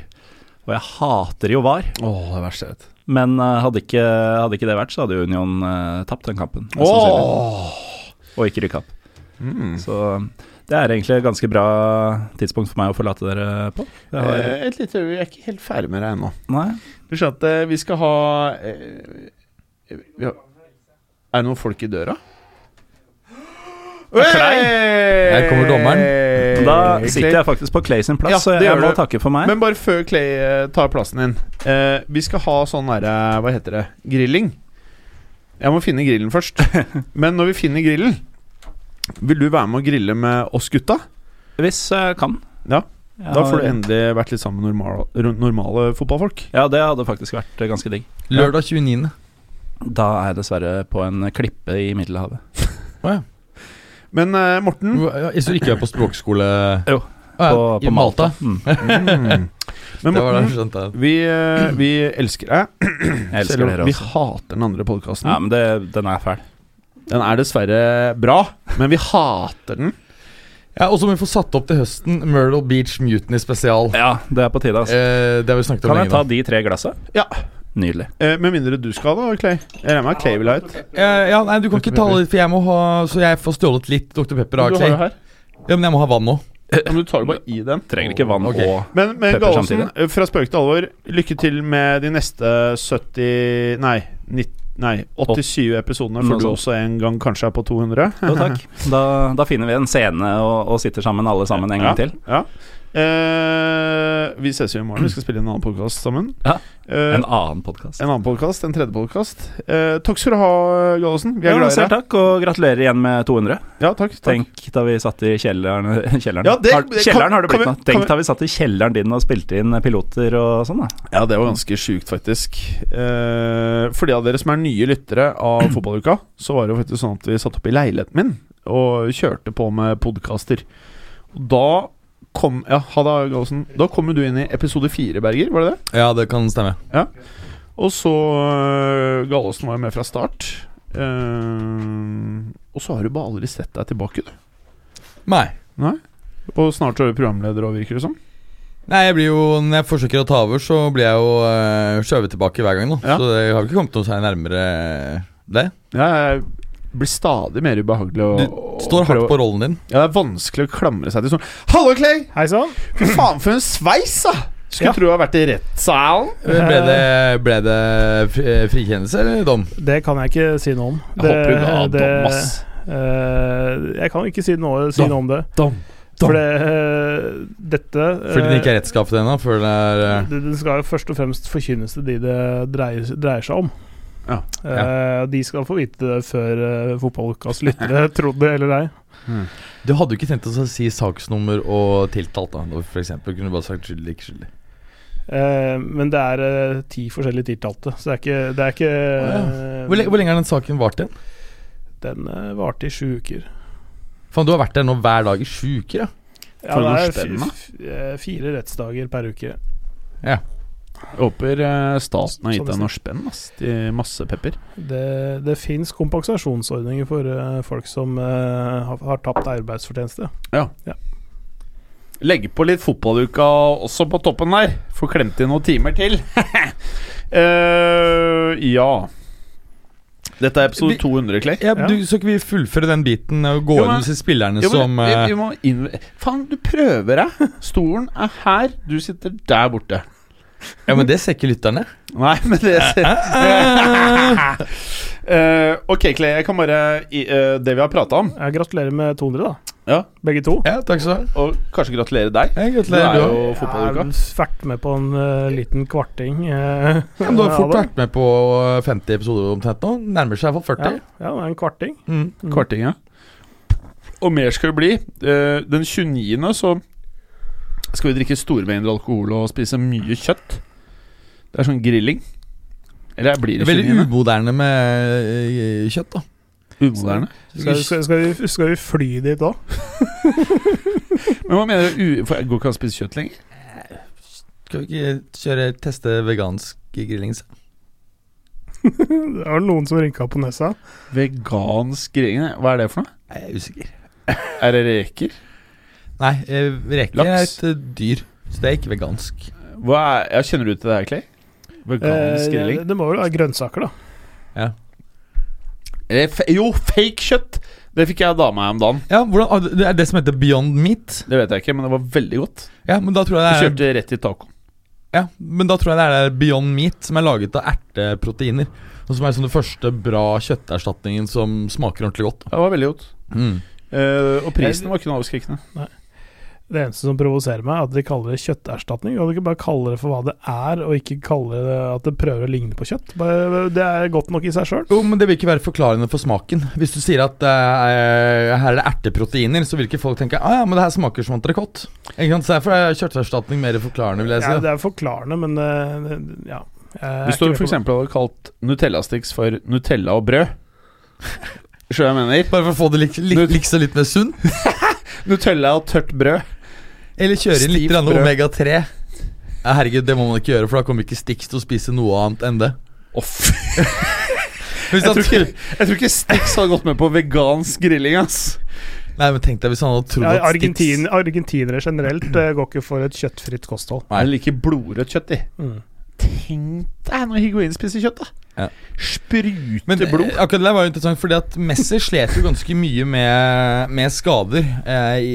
[SPEAKER 3] Og jeg hater jo VAR,
[SPEAKER 1] Åh, det verste jeg vet.
[SPEAKER 3] men eh, hadde ikke, hadde ikke det vært, så hadde jo Union eh, tapt den kampen. mest sannsynlig,
[SPEAKER 1] Åh.
[SPEAKER 3] Og ikke rykka opp.
[SPEAKER 1] Mm.
[SPEAKER 3] Så eh, det er egentlig et ganske bra eh, tidspunkt for meg å forlate dere på. Det har,
[SPEAKER 1] Eh, et lite øyeblikk, jeg er ikke helt ferdig med deg ennå.
[SPEAKER 3] nei.
[SPEAKER 1] Du skjønner at eh, vi skal ha eh, vi har, Er det noen folk i døra?
[SPEAKER 3] Klei.
[SPEAKER 2] Her kommer dommeren.
[SPEAKER 3] Men da sitter jeg faktisk på Clay sin plass,
[SPEAKER 1] Ja,
[SPEAKER 3] så
[SPEAKER 1] det
[SPEAKER 3] jeg
[SPEAKER 1] gjør
[SPEAKER 3] må
[SPEAKER 1] du.
[SPEAKER 3] takke for meg.
[SPEAKER 1] Men bare før Clay eh, tar plassen din eh, Vi skal ha sånn her, eh, Hva heter det? Grilling Jeg må finne grillen først Men når vi finner grillen Vil du være med å grille med oss gutta?
[SPEAKER 3] Hvis jeg kan.
[SPEAKER 1] Ja,
[SPEAKER 3] Jeg
[SPEAKER 1] Da
[SPEAKER 3] har-
[SPEAKER 1] får du endelig vært litt sammen med normale, normale fotballfolk
[SPEAKER 3] Ja, det hadde faktisk vært eh, ganske digg.
[SPEAKER 2] Lørdag 29.
[SPEAKER 3] Da er jeg dessverre på en klippe i Middelhavet.
[SPEAKER 1] Men eh, Morten
[SPEAKER 2] Hvor- ja, Jeg så ikke jeg er på språkskole
[SPEAKER 3] Jo,
[SPEAKER 2] Ah, ja,
[SPEAKER 3] På,
[SPEAKER 2] I
[SPEAKER 3] på
[SPEAKER 2] Malta.
[SPEAKER 3] Mm,
[SPEAKER 1] mm, [LAUGHS] Men
[SPEAKER 2] Det var det
[SPEAKER 1] Morten
[SPEAKER 2] jeg skjønte.
[SPEAKER 1] vi, eh, vi elsker deg [LAUGHS]
[SPEAKER 3] jeg elsker
[SPEAKER 1] Selv om
[SPEAKER 3] dere
[SPEAKER 1] vi
[SPEAKER 3] også.
[SPEAKER 1] hater den andre podcasten
[SPEAKER 3] Ja, men det, den er fæl.
[SPEAKER 1] Den er dessverre bra Men vi hater den
[SPEAKER 2] Ja, Og så må vi få satt opp til høsten Myrtle Beach Mutiny spesial.
[SPEAKER 3] Ja, det er på tide, altså.
[SPEAKER 2] Eh, det har vi snakket om
[SPEAKER 3] Kan jeg
[SPEAKER 2] lenge.
[SPEAKER 3] ta
[SPEAKER 2] nå.
[SPEAKER 3] de tre glassa?
[SPEAKER 1] Ja.
[SPEAKER 3] Nydelig.
[SPEAKER 1] eh, Med mindre du skal da, Clay Jeg regner med at Clay vil ha ut
[SPEAKER 2] Eh, ja, nei, Du kan
[SPEAKER 1] Dr.
[SPEAKER 2] ikke ta litt, for jeg må ha Så jeg får stjålet litt Dr. Pepper av
[SPEAKER 1] Du har jo
[SPEAKER 2] Clay.
[SPEAKER 1] her
[SPEAKER 2] Ja, men jeg må ha vann nå.
[SPEAKER 1] Ja, Men du tar jo bare i den.
[SPEAKER 3] Trenger ikke vann
[SPEAKER 2] Ok.
[SPEAKER 3] og
[SPEAKER 1] Men, men
[SPEAKER 3] Pepper
[SPEAKER 1] Gallosen, eh,
[SPEAKER 3] samtidig.
[SPEAKER 1] fra spøk til alvor, lykke til med de neste 70 Nei, 90, nei 87 episodene,
[SPEAKER 3] Noe
[SPEAKER 1] for du
[SPEAKER 3] sånt.
[SPEAKER 1] også en gang kanskje er på 200.
[SPEAKER 3] Jo, takk. Da, da finner vi en scene og, og sitter sammen alle sammen en gang til.
[SPEAKER 1] Ja. Eh, vi ses jo i morgen. Vi skal spille inn en annen podkast sammen.
[SPEAKER 3] Ja.
[SPEAKER 1] Eh,
[SPEAKER 3] En
[SPEAKER 1] en,
[SPEAKER 3] annen podkast.
[SPEAKER 1] annen podkast, en tredje podkast. Eh, takk skal du ha, Gallosen. Vi
[SPEAKER 3] Ja,
[SPEAKER 1] er glad i
[SPEAKER 3] selv
[SPEAKER 1] deg.
[SPEAKER 3] takk, og gratulerer igjen med 200.
[SPEAKER 1] Ja, takk, takk.
[SPEAKER 3] Tenk da vi satt i kjelleren [LAUGHS] Kjelleren,
[SPEAKER 1] Ja, det-
[SPEAKER 3] har,
[SPEAKER 1] det-
[SPEAKER 3] kjelleren
[SPEAKER 1] kan-
[SPEAKER 3] har det blitt
[SPEAKER 1] kan
[SPEAKER 3] nå.
[SPEAKER 1] vi- kan
[SPEAKER 3] Tenk
[SPEAKER 1] vi-
[SPEAKER 3] da vi satt i kjelleren din og spilte inn piloter og sånn, da.
[SPEAKER 1] Ja, det var ganske sjukt, faktisk. Eh, for de av dere som er nye lyttere
[SPEAKER 2] [CLEARS THROAT]
[SPEAKER 1] av Fotballuka, så var det jo faktisk sånn at vi satt opp i leiligheten min og kjørte på med podkaster. Og da kom Ja, ha det, Gallosen. Da kom jo du inn i episode fire, Berger, var det det?
[SPEAKER 2] Ja, det kan stemme.
[SPEAKER 1] Og så uh, Gallosen var jo med fra start. Eh, og så har du bare aldri sett deg tilbake, du.
[SPEAKER 2] Nei.
[SPEAKER 1] Og snart er du programleder òg, virker det som.
[SPEAKER 2] Nei, jeg blir jo, Når jeg forsøker å ta over, så blir jeg jo eh, skjøvet tilbake hver gang. nå
[SPEAKER 1] Ja.
[SPEAKER 2] Så jeg har ikke kommet noe særlig nærmere det.
[SPEAKER 1] Jeg blir stadig mer ubehagelig å å
[SPEAKER 2] Du står
[SPEAKER 1] prøve
[SPEAKER 2] hardt
[SPEAKER 1] å-
[SPEAKER 2] på rollen din.
[SPEAKER 1] Ja, det er vanskelig å klamre seg til sånn Hallo, Clay!
[SPEAKER 4] Hei sann.
[SPEAKER 1] Fy faen, for en sveis, da! Skulle
[SPEAKER 4] Ja.
[SPEAKER 1] tro jeg har vært i rettssalen.
[SPEAKER 2] Ble [LAUGHS] det, ble det fri- eh, frikjennelse eller dom?
[SPEAKER 4] Det kan jeg ikke si noe om.
[SPEAKER 1] Jeg håper hun har dom, ass.
[SPEAKER 4] eh, jeg kan ikke si noe, si
[SPEAKER 2] Dom.
[SPEAKER 4] noe om det. For det, eh, dette eh,
[SPEAKER 2] Fordi den ikke er rettskaffet ennå? Før den er eh,
[SPEAKER 4] det, det skal jo først og fremst forkynnes til de det dreier, dreier seg om.
[SPEAKER 1] Ja.
[SPEAKER 4] Eh, de skal få vite det før eh, fotballukas lyttere
[SPEAKER 2] [LAUGHS]
[SPEAKER 4] trodde det eller ei.
[SPEAKER 1] Hmm.
[SPEAKER 2] Du hadde jo ikke tenkt å si saksnummer og tiltalt, da. da For eksempel kunne du bare sagt skyldig, ikke skyldig.
[SPEAKER 4] Eh, men det er eh, ti forskjellige tiltalte, så det er ikke, det er ikke eh,
[SPEAKER 2] Hvor, le- hvor lenge har den saken vart igjen?
[SPEAKER 4] Den eh, varte i sju uker.
[SPEAKER 2] Faen, du har vært der nå hver dag i sju uker, ja.
[SPEAKER 4] Ja,
[SPEAKER 1] For
[SPEAKER 4] det
[SPEAKER 1] noen
[SPEAKER 4] er
[SPEAKER 1] spenn,
[SPEAKER 4] fi-
[SPEAKER 1] da.
[SPEAKER 4] f- eh, fire rettsdager per uke.
[SPEAKER 1] Jeg håper eh, staten har gitt
[SPEAKER 4] Sånn
[SPEAKER 1] deg
[SPEAKER 4] nesten.
[SPEAKER 1] noe spenn ass, til masse pepper.
[SPEAKER 4] Det, det fins kompensasjonsordninger for eh, folk som eh, har, har tapt arbeidsfortjeneste.
[SPEAKER 1] Legg på litt fotballuka også på toppen der. Får klemt inn noen timer til. [LAUGHS] Eh, ja Dette er episode
[SPEAKER 2] Vi-
[SPEAKER 1] 200, Clay.
[SPEAKER 2] ja,
[SPEAKER 4] Ja.
[SPEAKER 2] Du, Skal ikke vi fullføre den biten og gå
[SPEAKER 1] Jo, men-
[SPEAKER 2] gjennom disse spillerne
[SPEAKER 1] Jo,
[SPEAKER 2] som
[SPEAKER 1] men,
[SPEAKER 2] eh,
[SPEAKER 1] vi, vi må innv- Faen, du prøver deg! Stolen er her, du sitter der borte.
[SPEAKER 2] Ja, men det ser ikke lytterne.
[SPEAKER 1] Nei, men det [LAUGHS] Eh, Ok, Clay, jeg kan bare i, eh, Det vi har prata om,
[SPEAKER 4] Jeg gratulerer med 200, da.
[SPEAKER 1] Ja.
[SPEAKER 4] Begge to.
[SPEAKER 2] Ja, takk skal du ha.
[SPEAKER 1] og kanskje gratulere deg.
[SPEAKER 2] Ja,
[SPEAKER 1] Du er
[SPEAKER 2] Gratulerer, du òg.
[SPEAKER 1] jo
[SPEAKER 4] Jeg
[SPEAKER 1] fotballuka.
[SPEAKER 4] har vært med på en eh, liten kvarting. eh,
[SPEAKER 2] Ja, men du har
[SPEAKER 4] av
[SPEAKER 2] fort
[SPEAKER 4] det.
[SPEAKER 2] vært med på 50 episoder omtrent nå. Nærmer seg i hvert fall 40.
[SPEAKER 4] Ja, ja, det er en kvarting.
[SPEAKER 2] Mm.
[SPEAKER 4] Mm.
[SPEAKER 1] Kvarting, ja. Og mer skal det bli. Eh, Den 29. så skal vi drikke store mengder alkohol og spise mye kjøtt. Det er sånn grilling. Eller blir
[SPEAKER 2] Det
[SPEAKER 1] det
[SPEAKER 2] er Veldig
[SPEAKER 1] 29.?
[SPEAKER 2] umoderne med eh, kjøtt, da.
[SPEAKER 1] Umoderne.
[SPEAKER 4] Skal, skal, skal, vi, skal vi fly dit òg?
[SPEAKER 1] Men hva mener du? u- For jeg går ikke an å spise kjøtt lenger?
[SPEAKER 2] Skal vi ikke kjøre teste vegansk grilling? så?
[SPEAKER 4] Det var noen som rynka på nesa.
[SPEAKER 1] Vegansk grilling, nei, hva er det for noe?
[SPEAKER 2] Nei, Jeg er usikker.
[SPEAKER 1] Er det reker?
[SPEAKER 2] Nei, eh, reker er
[SPEAKER 1] Laks.
[SPEAKER 2] et eh, dyr, så det er ikke vegansk.
[SPEAKER 1] Hva er, ja, kjenner du til det her, Clay? Vegansk
[SPEAKER 4] Eh,
[SPEAKER 1] grilling?
[SPEAKER 4] det må vel være grønnsaker, da.
[SPEAKER 1] Eh, fe- Jo, fake kjøtt! Det fikk jeg av dama her om dagen.
[SPEAKER 2] Ja, hvordan, ah, Det er det som heter Beyond Meat.
[SPEAKER 1] Det vet jeg ikke, men det var veldig godt.
[SPEAKER 2] Ja, men da tror
[SPEAKER 1] Vi
[SPEAKER 2] jeg det er,
[SPEAKER 1] kjørte rett i taco.
[SPEAKER 2] ja, men da tror jeg det er Beyond Meat som er laget av erteproteiner. Og som er sånn den første bra kjøtterstatningen som smaker ordentlig godt. da.
[SPEAKER 1] Det var veldig godt.
[SPEAKER 2] Mm.
[SPEAKER 1] Eh, og prisen var ikke noe avskrekkende.
[SPEAKER 4] Det eneste som provoserer meg, er at de kaller det kjøtterstatning. Kan du ikke bare kalle det for hva det er, og ikke kalle det at det prøver å ligne på kjøtt? Bare, det er godt nok i seg sjøl.
[SPEAKER 2] Jo, men Det vil ikke være forklarende for smaken. Hvis du sier at eh, her er det erteproteiner, så vil ikke folk tenke ah, ja, men det her smaker som entrecôte. Ikke sant? Så Derfor er kjøtterstatning mer forklarende, vil jeg si.
[SPEAKER 4] Ja,
[SPEAKER 2] da.
[SPEAKER 4] det er forklarende, men eh, ja. Jeg er
[SPEAKER 1] Hvis du
[SPEAKER 4] ikke med på
[SPEAKER 1] f.eks. hadde kalt Nutella-sticks for Nutella og brød [LAUGHS] Skjønner du hva jeg mener?
[SPEAKER 2] Bare for å få det lik, lik, liksom litt mer sunn.
[SPEAKER 1] Nutella og tørt brød.
[SPEAKER 2] Eller kjøre inn litt
[SPEAKER 1] Stivt
[SPEAKER 2] grann
[SPEAKER 1] brød.
[SPEAKER 2] omega-3. Ja, herregud, det må man ikke gjøre, for da kommer ikke Stix til å spise noe annet enn det.
[SPEAKER 1] Off. Jeg
[SPEAKER 2] Hvis han,
[SPEAKER 1] tror ikke, jeg tror ikke Stix hadde gått med på vegansk grilling, ass.
[SPEAKER 2] nei, men tenk deg hvis han hadde trodd
[SPEAKER 4] Ja,
[SPEAKER 2] at
[SPEAKER 4] Argentin, argentinere generelt eh, går ikke for et kjøttfritt kosthold.
[SPEAKER 2] Nei.
[SPEAKER 1] Jeg liker blodrødt kjøtt, de.
[SPEAKER 4] Mm.
[SPEAKER 1] Tenk deg når Higuain spiser kjøtt, da.
[SPEAKER 2] Ja.
[SPEAKER 1] Sprute
[SPEAKER 2] Men eh,
[SPEAKER 1] blod.
[SPEAKER 2] akkurat det der var jo interessant, fordi at Messi slet jo ganske mye med, med skader eh, i,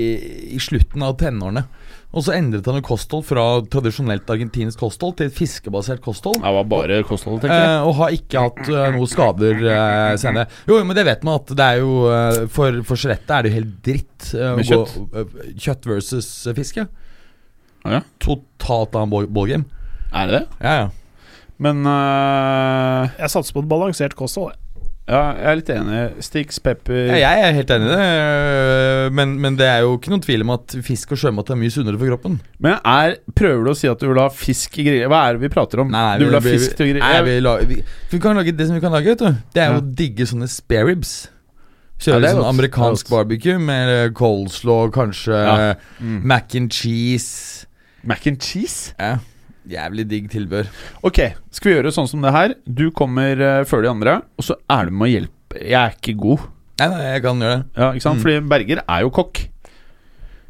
[SPEAKER 2] i slutten av tenårene. Og så endret han jo kosthold fra tradisjonelt argentinsk kosthold til et fiskebasert kosthold.
[SPEAKER 1] Det var bare kostholdet,
[SPEAKER 2] Eh, og har ikke hatt eh, noen skader eh, senere. Jo, jo, men det vet man at det er jo eh, For, for skjelettet er det jo helt dritt. Eh, å
[SPEAKER 1] Med
[SPEAKER 2] gå- eh, kjøtt versus eh, fiske.
[SPEAKER 1] Ah, Ja.
[SPEAKER 2] Totalt annen ball- ballgame.
[SPEAKER 1] Er det det?
[SPEAKER 2] Ja, ja.
[SPEAKER 1] Eh, Men eh,
[SPEAKER 4] Jeg satser på et balansert kosthold. jeg.
[SPEAKER 1] ja, jeg er litt enig. Stix, pepper
[SPEAKER 2] Ja, jeg er helt enig i det, øh, men, men det er jo ikke noen tvil om at fisk og sjømat er mye sunnere for kroppen.
[SPEAKER 1] Men er, prøver du å si at du vil ha fisk i grilling? Hva er det vi prater om? du vil ha fisk til å grille?
[SPEAKER 2] Nei, vi, la, vi, vi kan lage det som vi kan lage, vet du. Det er jo å digge sånne spareribs.
[SPEAKER 1] Ja,
[SPEAKER 2] Kjøre
[SPEAKER 1] det er
[SPEAKER 2] sånn
[SPEAKER 1] godt. Det
[SPEAKER 2] amerikansk
[SPEAKER 1] er
[SPEAKER 2] barbecue med eh, coleslaw, kanskje
[SPEAKER 1] Ja. Mm.
[SPEAKER 2] eh, mac and cheese.
[SPEAKER 1] Mac and cheese?
[SPEAKER 2] Ja. Jævlig digg tilbør.
[SPEAKER 1] Ok, skal vi gjøre sånn som det her? Du kommer eh, før de andre, og så er du med å hjelpe. Jeg er ikke god.
[SPEAKER 2] Nei, nei, jeg kan gjøre det.
[SPEAKER 1] Ja, ikke sant?
[SPEAKER 2] Mm.
[SPEAKER 1] Fordi Berger er jo kokk.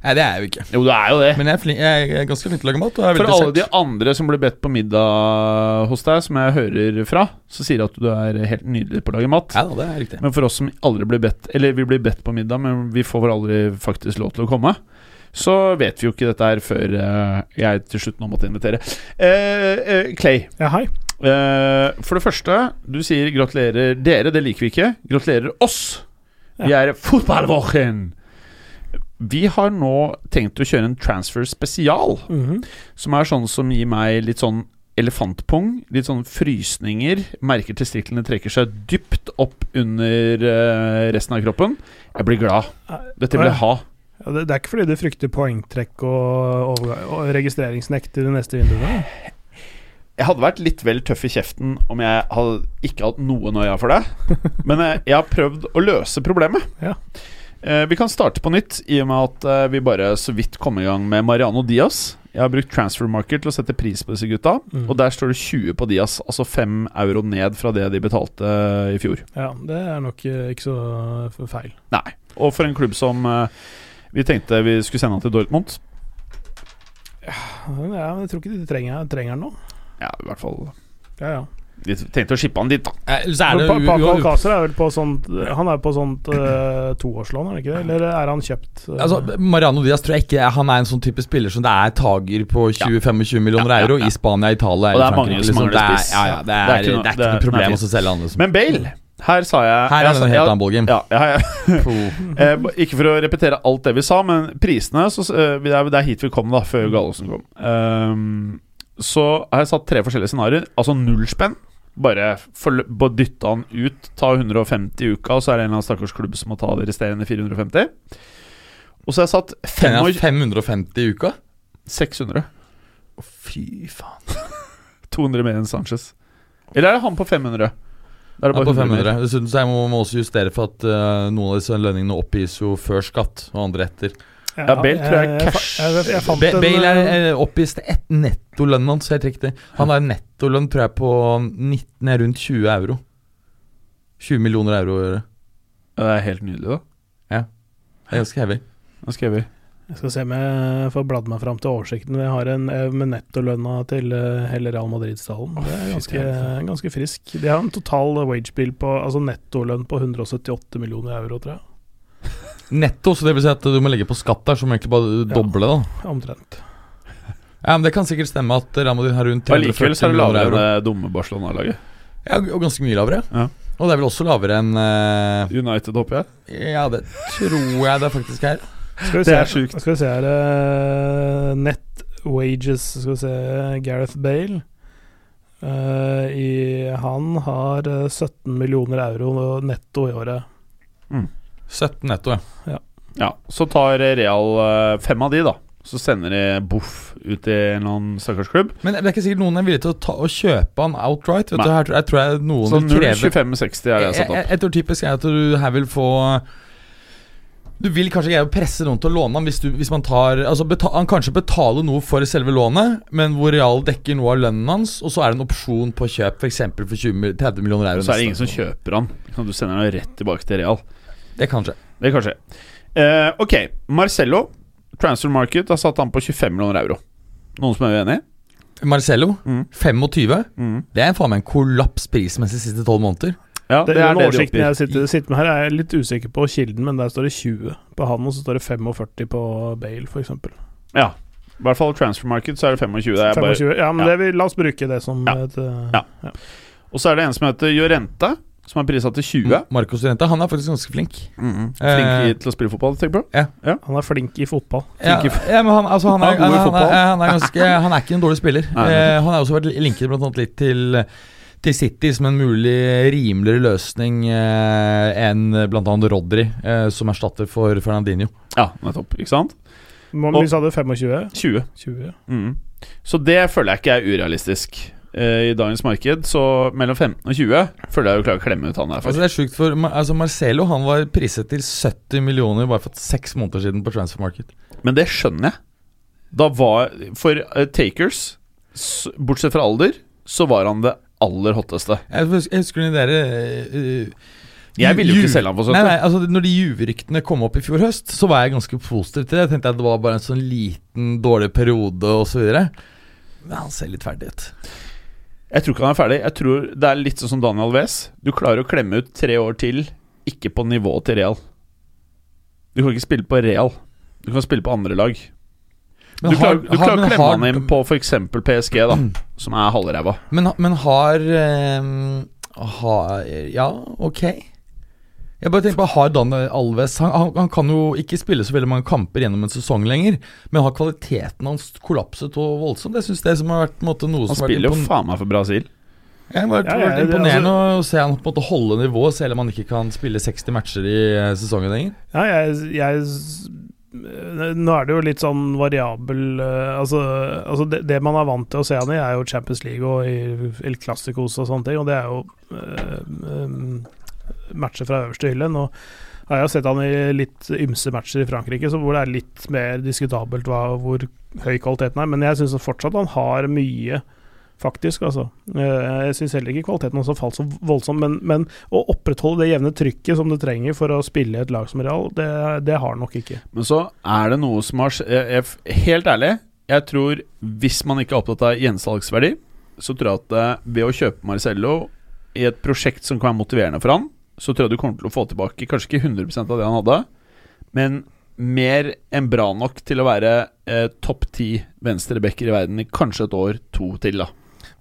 [SPEAKER 2] Nei, det er jeg jo ikke.
[SPEAKER 1] Jo, du er jo det.
[SPEAKER 2] Men jeg er, flink, jeg er ganske flink til å lage mat. Og jeg er
[SPEAKER 1] For
[SPEAKER 2] veldig
[SPEAKER 1] alle de
[SPEAKER 2] interessert.
[SPEAKER 1] andre som ble bedt på middag hos deg, som jeg hører fra, så sier de at du er helt nydelig på å lage mat.
[SPEAKER 2] Ja da, det er riktig.
[SPEAKER 1] Men for oss som aldri blir bedt Eller vi blir bedt på middag, men vi får vel aldri faktisk lov til å komme. Så vet vi jo ikke dette her før eh, jeg til slutt nå måtte invitere. Eh, eh, Clay,
[SPEAKER 4] Ja, hei.
[SPEAKER 1] eh, for det første Du sier 'gratulerer dere', det liker vi ikke. Gratulerer oss! Vi er fotballvåken! Vi har nå tenkt å kjøre en transfer spesial.
[SPEAKER 4] Mhm.
[SPEAKER 1] Som er sånn som gir meg litt sånn elefantpung, litt sånn frysninger. Merker testiklene trekker seg dypt opp under eh, resten av kroppen. Jeg blir glad. Dette vil jeg ha.
[SPEAKER 4] ja, det, det er ikke fordi du frykter poengtrekk og, overga- og registreringsnekt i de neste vinduene?
[SPEAKER 1] Jeg hadde vært litt vel tøff i kjeften om jeg hadde ikke hatt noe nøya for [LAUGHS] det. Men eh, jeg har prøvd å løse problemet.
[SPEAKER 4] Ja.
[SPEAKER 1] Eh, vi kan starte på nytt, i og med at eh, vi bare så vidt kom i gang med Mariano Diaz. Jeg har brukt transfer market til å sette pris på disse gutta.
[SPEAKER 4] Mm.
[SPEAKER 1] Og der står det 20 på Diaz, altså 5 euro ned fra det de betalte eh, i fjor.
[SPEAKER 4] Ja, det er nok eh, ikke så f- feil.
[SPEAKER 1] Nei. Og for en klubb som eh, vi tenkte vi skulle sende han til Dortmund
[SPEAKER 4] Ja, men jeg tror ikke de trenger, trenger den nå.
[SPEAKER 1] Ja, i hvert fall
[SPEAKER 4] Ja, ja.
[SPEAKER 1] Vi tenkte å shippe han dit, da.
[SPEAKER 2] Eh, så er
[SPEAKER 4] Men
[SPEAKER 2] det
[SPEAKER 4] Pa- Paco
[SPEAKER 2] jo-
[SPEAKER 4] Alcácer er vel på sånt Han er på sånt eh, toårslån, er det ikke det? Eller er han kjøpt? eh,
[SPEAKER 2] Altså, Mariano Diaz tror jeg ikke Han er en sånn type spiller som det er tager på 20-25 millioner
[SPEAKER 1] Ja, ja,
[SPEAKER 2] euro
[SPEAKER 1] ja.
[SPEAKER 2] i Spania, Italia
[SPEAKER 1] Og det er
[SPEAKER 2] eller
[SPEAKER 1] mange
[SPEAKER 2] Frankrike, liksom.
[SPEAKER 1] som mangler
[SPEAKER 2] Det er-
[SPEAKER 1] spiss.
[SPEAKER 2] Ja, ja, det, er, det er ikke noe,
[SPEAKER 1] det er-
[SPEAKER 2] problem
[SPEAKER 1] nei,
[SPEAKER 2] å selge han. Liksom.
[SPEAKER 1] Men Bale Her sa jeg
[SPEAKER 2] Her er det
[SPEAKER 1] jeg,
[SPEAKER 2] en
[SPEAKER 1] sa-
[SPEAKER 2] helt annen ballgame.
[SPEAKER 1] ja, ja, ja,
[SPEAKER 2] Puh.
[SPEAKER 1] Eh, b- Ikke for å repetere alt det vi sa, men prisene så, eh, Det er det er hit vi kom, da, før Gallosen kom. Ehm, så har jeg satt tre forskjellige scenarioer. Altså null spenn. Bare forl- bare dytte han ut. Ta 150 i uka, og så er det en eller annen stakkars klubb som må ta de resterende 450. Og så har jeg satt
[SPEAKER 2] Tjener han
[SPEAKER 1] 25
[SPEAKER 2] 550 i uka?
[SPEAKER 1] 600.
[SPEAKER 2] Å, fy faen.
[SPEAKER 1] [LAUGHS] 200 mer enn Sanchez. Eller er det han på 500? Da
[SPEAKER 2] Han er på
[SPEAKER 1] 100 mer.
[SPEAKER 2] 500. Dessuten så jeg må må også justere for at eh, noen av disse lønningene oppgis jo før skatt, og andre etter.
[SPEAKER 1] Ja, Bale tror jeg
[SPEAKER 4] fa-
[SPEAKER 1] cash-
[SPEAKER 4] Eh, Jeg, jeg, fant
[SPEAKER 2] Ba-
[SPEAKER 4] en,
[SPEAKER 2] Bale er
[SPEAKER 4] eh,
[SPEAKER 2] eh, oppgis til ett nettolønn hans, helt riktig. Han har en nettolønn, tror jeg, på 19, nei, rundt 20 euro. 20 millioner euro å gjøre.
[SPEAKER 1] Ja, Det er helt nydelig, da.
[SPEAKER 2] Det er ganske heavy.
[SPEAKER 1] Da skal vi
[SPEAKER 4] jeg skal se om jeg får bladd meg fram til oversikten. Jeg har en eh, med nettolønna til eh, hele Real Madrid-stallen. Det er ganske, ganske frisk. De har en total wage-bill på Altså nettolønn på 178 millioner euro, tror jeg.
[SPEAKER 2] Netto, så det vil si at du må legge på skatt der, som egentlig bare doble, da.
[SPEAKER 4] Omtrent.
[SPEAKER 2] Ja, men Det kan sikkert stemme at Real Madrid har rundt
[SPEAKER 1] Allikevel
[SPEAKER 2] 340
[SPEAKER 1] så er det
[SPEAKER 2] millioner
[SPEAKER 1] lavere enn
[SPEAKER 2] euro.
[SPEAKER 1] det dumme Barcelona-laget.
[SPEAKER 2] Ja, og ganske mye lavere.
[SPEAKER 1] Ja.
[SPEAKER 2] Og det er vel også lavere enn eh,
[SPEAKER 1] United, håper jeg.
[SPEAKER 2] Ja, det tror jeg det faktisk er.
[SPEAKER 4] Skal vi se,
[SPEAKER 1] Det er sjukt.
[SPEAKER 4] Skal vi se her eh, Net wages Skal vi se Gareth Bale. Eh, i, han har eh, 17 millioner euro netto i året.
[SPEAKER 2] 17 netto, ja.
[SPEAKER 1] Ja, Så tar Real eh, fem av de, da. Så sender de boff ut i en eller annen stakkars klubb.
[SPEAKER 2] Men det er ikke sikkert noen er villig til å, ta, å kjøpe han outright. Vet du,
[SPEAKER 1] Nei.
[SPEAKER 2] her, tror- jeg tror jeg noen
[SPEAKER 1] Så
[SPEAKER 2] vil
[SPEAKER 1] 0,2560 er
[SPEAKER 2] kreve
[SPEAKER 1] det jeg har
[SPEAKER 2] jeg,
[SPEAKER 1] satt
[SPEAKER 2] jeg,
[SPEAKER 1] opp.
[SPEAKER 2] jeg tror typisk er at du her vil få Du vil kanskje greie å presse noen til å låne ham hvis, du, hvis man tar altså beta, Han kanskje betaler noe for selve lånet, men hvor Real dekker noe av lønnen hans, og så er det en opsjon på kjøp, f.eks. for, 20 mil- 30 millioner euro.
[SPEAKER 1] Så er det ingen
[SPEAKER 2] neste
[SPEAKER 1] som
[SPEAKER 2] år.
[SPEAKER 1] kjøper han. Ikke sant, Du sender han rett tilbake til Real.
[SPEAKER 2] Det kan skje.
[SPEAKER 1] Det kan skje. Eh, ok, Marcello. Transfer Market har satt han på 25 millioner euro. Noen som er uenig?
[SPEAKER 2] Marcello,
[SPEAKER 1] Mm.
[SPEAKER 2] 25.
[SPEAKER 1] Mm.
[SPEAKER 2] Det er faen meg en kollaps prismessig de siste tolv måneder.
[SPEAKER 1] Ja,
[SPEAKER 4] Det, den
[SPEAKER 1] de
[SPEAKER 4] oversikten
[SPEAKER 1] oppgir.
[SPEAKER 4] jeg sitter, sitter med her, er jeg litt usikker på kilden, men der står det 20 på han, og så står det 45 på Bale, f.eks.
[SPEAKER 1] Ja. I hvert fall Transfer Market, så er det 25. Det er bare,
[SPEAKER 4] 25. Ja, men
[SPEAKER 1] ja.
[SPEAKER 4] det vil, la oss bruke det som
[SPEAKER 1] Ja.
[SPEAKER 4] et eh,
[SPEAKER 1] Ja. og så er det en som heter Jorente, som er prisa til 20.
[SPEAKER 2] Marcos Rente, Mm, han er faktisk ganske flink.
[SPEAKER 4] Mm,
[SPEAKER 1] Flink
[SPEAKER 2] Eh.
[SPEAKER 1] i- til å spille fotball, tenker du på?
[SPEAKER 4] Han er flink i fotball.
[SPEAKER 2] Ja,
[SPEAKER 1] Flink
[SPEAKER 2] ja, men han, altså, han, er,
[SPEAKER 1] Han er god
[SPEAKER 2] han,
[SPEAKER 1] i
[SPEAKER 2] er, han,
[SPEAKER 1] fotball.
[SPEAKER 2] er, han, er ganske,
[SPEAKER 1] [LAUGHS]
[SPEAKER 2] han er ikke en dårlig spiller.
[SPEAKER 1] Nei, nei.
[SPEAKER 2] Eh, han har også vært linket blant annet litt til, til City som en mulig rimeligere løsning eh, enn bl.a. Rodri, eh, som erstatter for Fernandinho.
[SPEAKER 1] Ja, nettopp. Ikke sant?
[SPEAKER 4] Men
[SPEAKER 1] Og-
[SPEAKER 4] Vi sa det 25.
[SPEAKER 1] 20.
[SPEAKER 4] 20.
[SPEAKER 1] Mm. Så det føler jeg ikke er urealistisk. Eh, I dagens marked så mellom 15 og 20 føler jeg jo klarer å klemme ut han der.
[SPEAKER 2] Altså,
[SPEAKER 1] For.
[SPEAKER 2] det er sjukt for Mar- altså, Marcelo han var priset til 70 millioner bare for seks måneder siden på Transfer Market.
[SPEAKER 1] Men det skjønner jeg. Da var For eh, takers, s- bortsett fra alder, så var han det aller hotteste.
[SPEAKER 2] Jeg hus- jeg husker når dere eh,
[SPEAKER 1] Jeg ville jo
[SPEAKER 2] Ju-
[SPEAKER 1] ikke selge han for
[SPEAKER 2] Nei,
[SPEAKER 1] 70.
[SPEAKER 2] nei, altså Når de juveryktene kom opp i fjor høst, så var jeg ganske positiv til det. Jeg tenkte at det var bare en sånn liten dårlig periode osv. Men han ser litt ferdig ut.
[SPEAKER 1] Jeg tror ikke han er ferdig. Jeg tror Det er litt sånn som Daniel Wes. Du klarer å klemme ut tre år til, ikke på nivået til Real. Du kan ikke spille på Real. Du kan spille på andre lag. Du
[SPEAKER 2] Men har-
[SPEAKER 1] klarer, du
[SPEAKER 2] har-
[SPEAKER 1] klarer å
[SPEAKER 2] men
[SPEAKER 1] klemme
[SPEAKER 2] har- Mm.
[SPEAKER 1] han inn på f.eks. PSG, da, som er halvræva.
[SPEAKER 2] Men, men har ehm, Har Ja, ok. Jeg bare tenker på, Har Dan Alves han, han, han kan jo ikke spille så veldig mange kamper gjennom en sesong lenger, men har kvaliteten hans kollapset og voldsomt? Jeg syns det som har vært på en måte, noe
[SPEAKER 1] Han
[SPEAKER 2] som har vært
[SPEAKER 1] spiller jo
[SPEAKER 2] impon-
[SPEAKER 1] faen meg for Brasil.
[SPEAKER 2] Jeg har vært,
[SPEAKER 4] Ja, ja,
[SPEAKER 2] vært
[SPEAKER 4] det- altså-
[SPEAKER 2] imponerende å se han på en måte holde nivået, selv om han ikke kan spille 60 matcher i eh, sesongen lenger.
[SPEAKER 4] Ja, jeg, jeg s- eh, Nå er det jo litt sånn variabel eh, Altså, altså det, det man er vant til å se han i, er jo Champions League og i El Clasicos og sånne ting, og det er jo eh, em, matcher fra øverste hylle. Nå har jeg jo sett han i litt ymse matcher i Frankrike, så hvor det er litt mer diskutabelt hva, hvor høy kvaliteten er, men jeg syns fortsatt han har mye. Faktisk, altså. Eh, Jeg syns heller ikke kvaliteten hans har falt så voldsomt, men, men å opprettholde det jevne trykket som du trenger for å spille i et lag som Real, det, det har han nok ikke.
[SPEAKER 1] Men så er det noe som har skj- jeg, jeg, f- Helt ærlig, jeg tror hvis man ikke er opptatt av gjensalgsverdi, så tror jeg at eh, ved å kjøpe Marcello i et prosjekt som kan være motiverende for han, så tror jeg du kommer til å få tilbake kanskje ikke 100 av det han hadde, men mer enn bra nok til å være eh, topp ti venstrebacker i verden i kanskje et år, to til, da.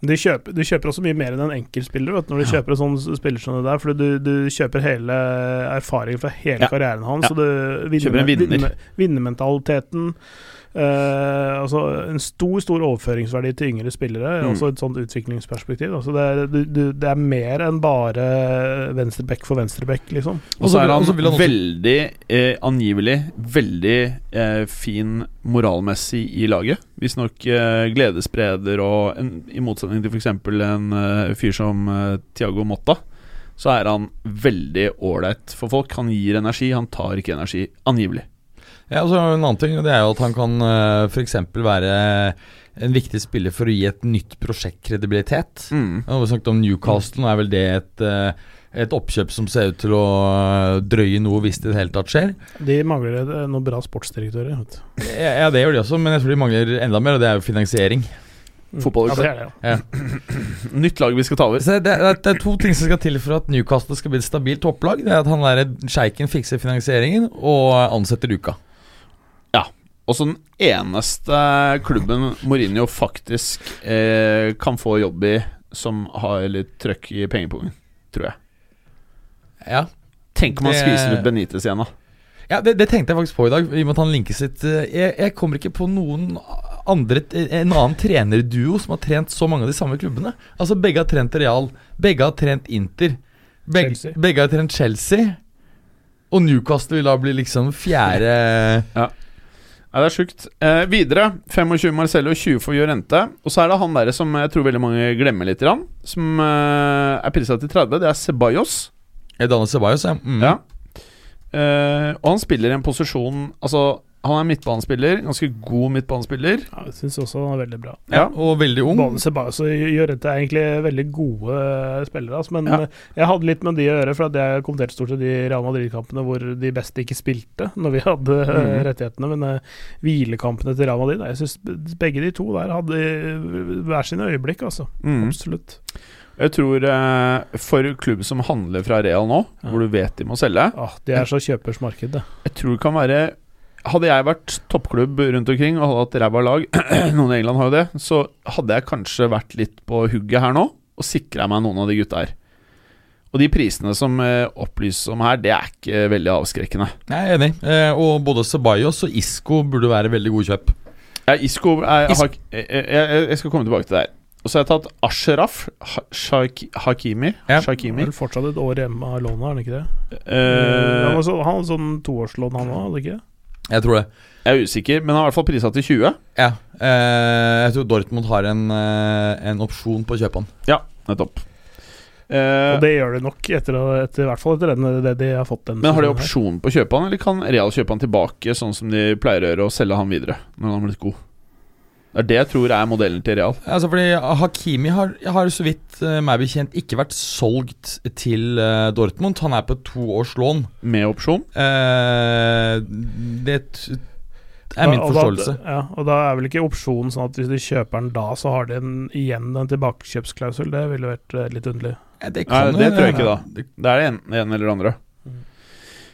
[SPEAKER 4] Du kjøper, du kjøper også mye mer enn en enkeltspiller vet, du, når du kjøper en sånn s- spiller som det der, for du, du kjøper hele erfaringen fra hele
[SPEAKER 1] Ja.
[SPEAKER 4] karrieren hans.
[SPEAKER 1] Ja.
[SPEAKER 4] Så du
[SPEAKER 1] Kjøper en vinner.
[SPEAKER 4] vinne- Vinnermentaliteten. eh, altså en stor stor overføringsverdi til yngre spillere,
[SPEAKER 1] Mm.
[SPEAKER 4] også et sånt utviklingsperspektiv. Altså det, er, du, du, det er mer enn bare venstreback for venstreback, liksom.
[SPEAKER 1] Og så er
[SPEAKER 2] vil-
[SPEAKER 1] han
[SPEAKER 2] så vil han også-
[SPEAKER 1] veldig eh, angivelig veldig eh, fin moralmessig i laget. Visstnok eh, gledesspreder og en, I motsetning til f.eks. en eh, fyr som eh, Tiago Motta, så er han veldig ålreit for folk. Han gir energi, han tar ikke energi. Angivelig.
[SPEAKER 2] Ja, og så En annen ting og det er jo at han kan eh, for eksempel være en viktig spiller for å gi et nytt prosjekt kredibilitet.
[SPEAKER 1] Mm.
[SPEAKER 2] Nå har vi snakket om Newcastle, nå er vel det et, eh, et oppkjøp som ser ut til å eh, drøye noe hvis det i det hele tatt skjer.
[SPEAKER 4] De mangler eh, noen bra sportsdirektører. Vet. du.
[SPEAKER 2] Ja, ja, det gjør de også, men jeg tror de mangler enda mer, og det er jo finansiering.
[SPEAKER 1] Fotball-
[SPEAKER 4] Mm. ja, det er det, ja.
[SPEAKER 1] Nytt lag vi skal ta over.
[SPEAKER 2] Så det, er, det er to ting som skal til for at Newcastle skal bli et stabilt topplag. Det er at han der sjeiken fikser finansieringen og ansetter Uka.
[SPEAKER 1] Og så den eneste klubben Mourinho faktisk eh, kan få jobb i som har litt trøkk i pengepungen, tror jeg.
[SPEAKER 2] Ja.
[SPEAKER 1] Tenk om han
[SPEAKER 2] Det-
[SPEAKER 1] skviser ut Benitez igjen, da.
[SPEAKER 2] Ja, det, det tenkte jeg faktisk på i dag, i og med at han linkes litt. Eh, Jeg, jeg kommer ikke på noen andre, eh, en annen trenerduo som har trent så mange av de samme klubbene. Altså Begge har trent Real, begge har trent Inter, begge,
[SPEAKER 4] Chelsea.
[SPEAKER 2] begge har trent Chelsea. Og Newcastle vil da bli liksom fjerde
[SPEAKER 1] Nei, det er sjukt. Eh, videre 25 Marcello, 20 for Jorente. Og så er det han der som jeg tror veldig mange glemmer litt, grann, som eh, er prisa til 30. Det er Ceballos.
[SPEAKER 2] eh, Daniel Ceballos. Ja. Mm.
[SPEAKER 1] Ja. Eh, og han spiller i en posisjon Altså, han er midtbanespiller. Ganske god midtbanespiller.
[SPEAKER 4] Ja, jeg syns også han er veldig bra.
[SPEAKER 1] Ja.
[SPEAKER 2] Og veldig ung.
[SPEAKER 4] Både Sebajos og Jorente er egentlig veldig gode spillere, altså, men
[SPEAKER 1] Ja.
[SPEAKER 4] eh, jeg hadde litt med de å gjøre, for at jeg kommenterte stort sett de Real Madrid-kampene hvor de beste ikke spilte når vi hadde
[SPEAKER 1] Mm.
[SPEAKER 4] eh, rettighetene, men eh, hvilekampene til Real Madrid Jeg syns begge de to der hadde eh, hver sine øyeblikk, altså.
[SPEAKER 1] Mm.
[SPEAKER 4] Absolutt.
[SPEAKER 1] Jeg tror eh, for klubb som handler fra Real nå,
[SPEAKER 4] Ja.
[SPEAKER 1] hvor du vet de må selge
[SPEAKER 4] Ah, de er så kjøpers marked, det.
[SPEAKER 1] Jeg tror det kan være Hadde jeg vært toppklubb rundt omkring og hadde hatt ræva lag [CLEARS THROAT] Noen i England har jo det. Så hadde jeg kanskje vært litt på hugget her nå og sikra meg noen av de gutta her. Og de prisene som eh, opplyses om her, det er ikke veldig avskrekkende.
[SPEAKER 2] Jeg er enig. Eh, og både Ceballos og Isco burde være veldig gode kjøp.
[SPEAKER 1] Ja, Isco er,
[SPEAKER 2] Is-
[SPEAKER 1] har, jeg, jeg, jeg skal komme tilbake til det her. Og så har jeg tatt Ashraf ha, Shaik, Hakimi.
[SPEAKER 2] Ja.
[SPEAKER 1] Shakimi.
[SPEAKER 4] Han er fortsatt et år hjemme av lånet, er han ikke det? han,
[SPEAKER 1] Eh,
[SPEAKER 4] var så, han hadde sånn toårslån, han òg, hadde ikke det?
[SPEAKER 2] Jeg tror det.
[SPEAKER 1] jeg er usikker, men han er i hvert fall prisa til 20.
[SPEAKER 2] Ja. Eh, jeg tror Dortmund har en, eh, en opsjon på å kjøpe han.
[SPEAKER 1] Nettopp. Eh,
[SPEAKER 4] Og det gjør de nok, etter, etter, i hvert fall etter den, det de har fått den
[SPEAKER 1] men har de
[SPEAKER 4] sesongen her.
[SPEAKER 1] opsjon på å kjøpe han, eller kan Real kjøpe han tilbake, sånn som de pleier å gjøre, og selge han videre når han har blitt god? Det er det jeg tror er modellen til Real.
[SPEAKER 2] Altså fordi Hakimi har, har så vidt eh, meg bekjent ikke vært solgt til eh, Dortmund. Han er på et toårslån.
[SPEAKER 1] Med opsjon.
[SPEAKER 2] Eh, det t er min
[SPEAKER 4] Ja, og da-
[SPEAKER 2] forståelse.
[SPEAKER 4] Ja, og da er vel ikke opsjonen sånn at hvis de kjøper den da, så har de en, igjen en tilbakekjøpsklausul. Det ville vært eh, litt underlig.
[SPEAKER 2] Ja, det,
[SPEAKER 1] Nei,
[SPEAKER 2] jo
[SPEAKER 1] det
[SPEAKER 2] hende.
[SPEAKER 1] tror jeg ikke, da. Det er det ene en eller det andre.
[SPEAKER 4] Mm.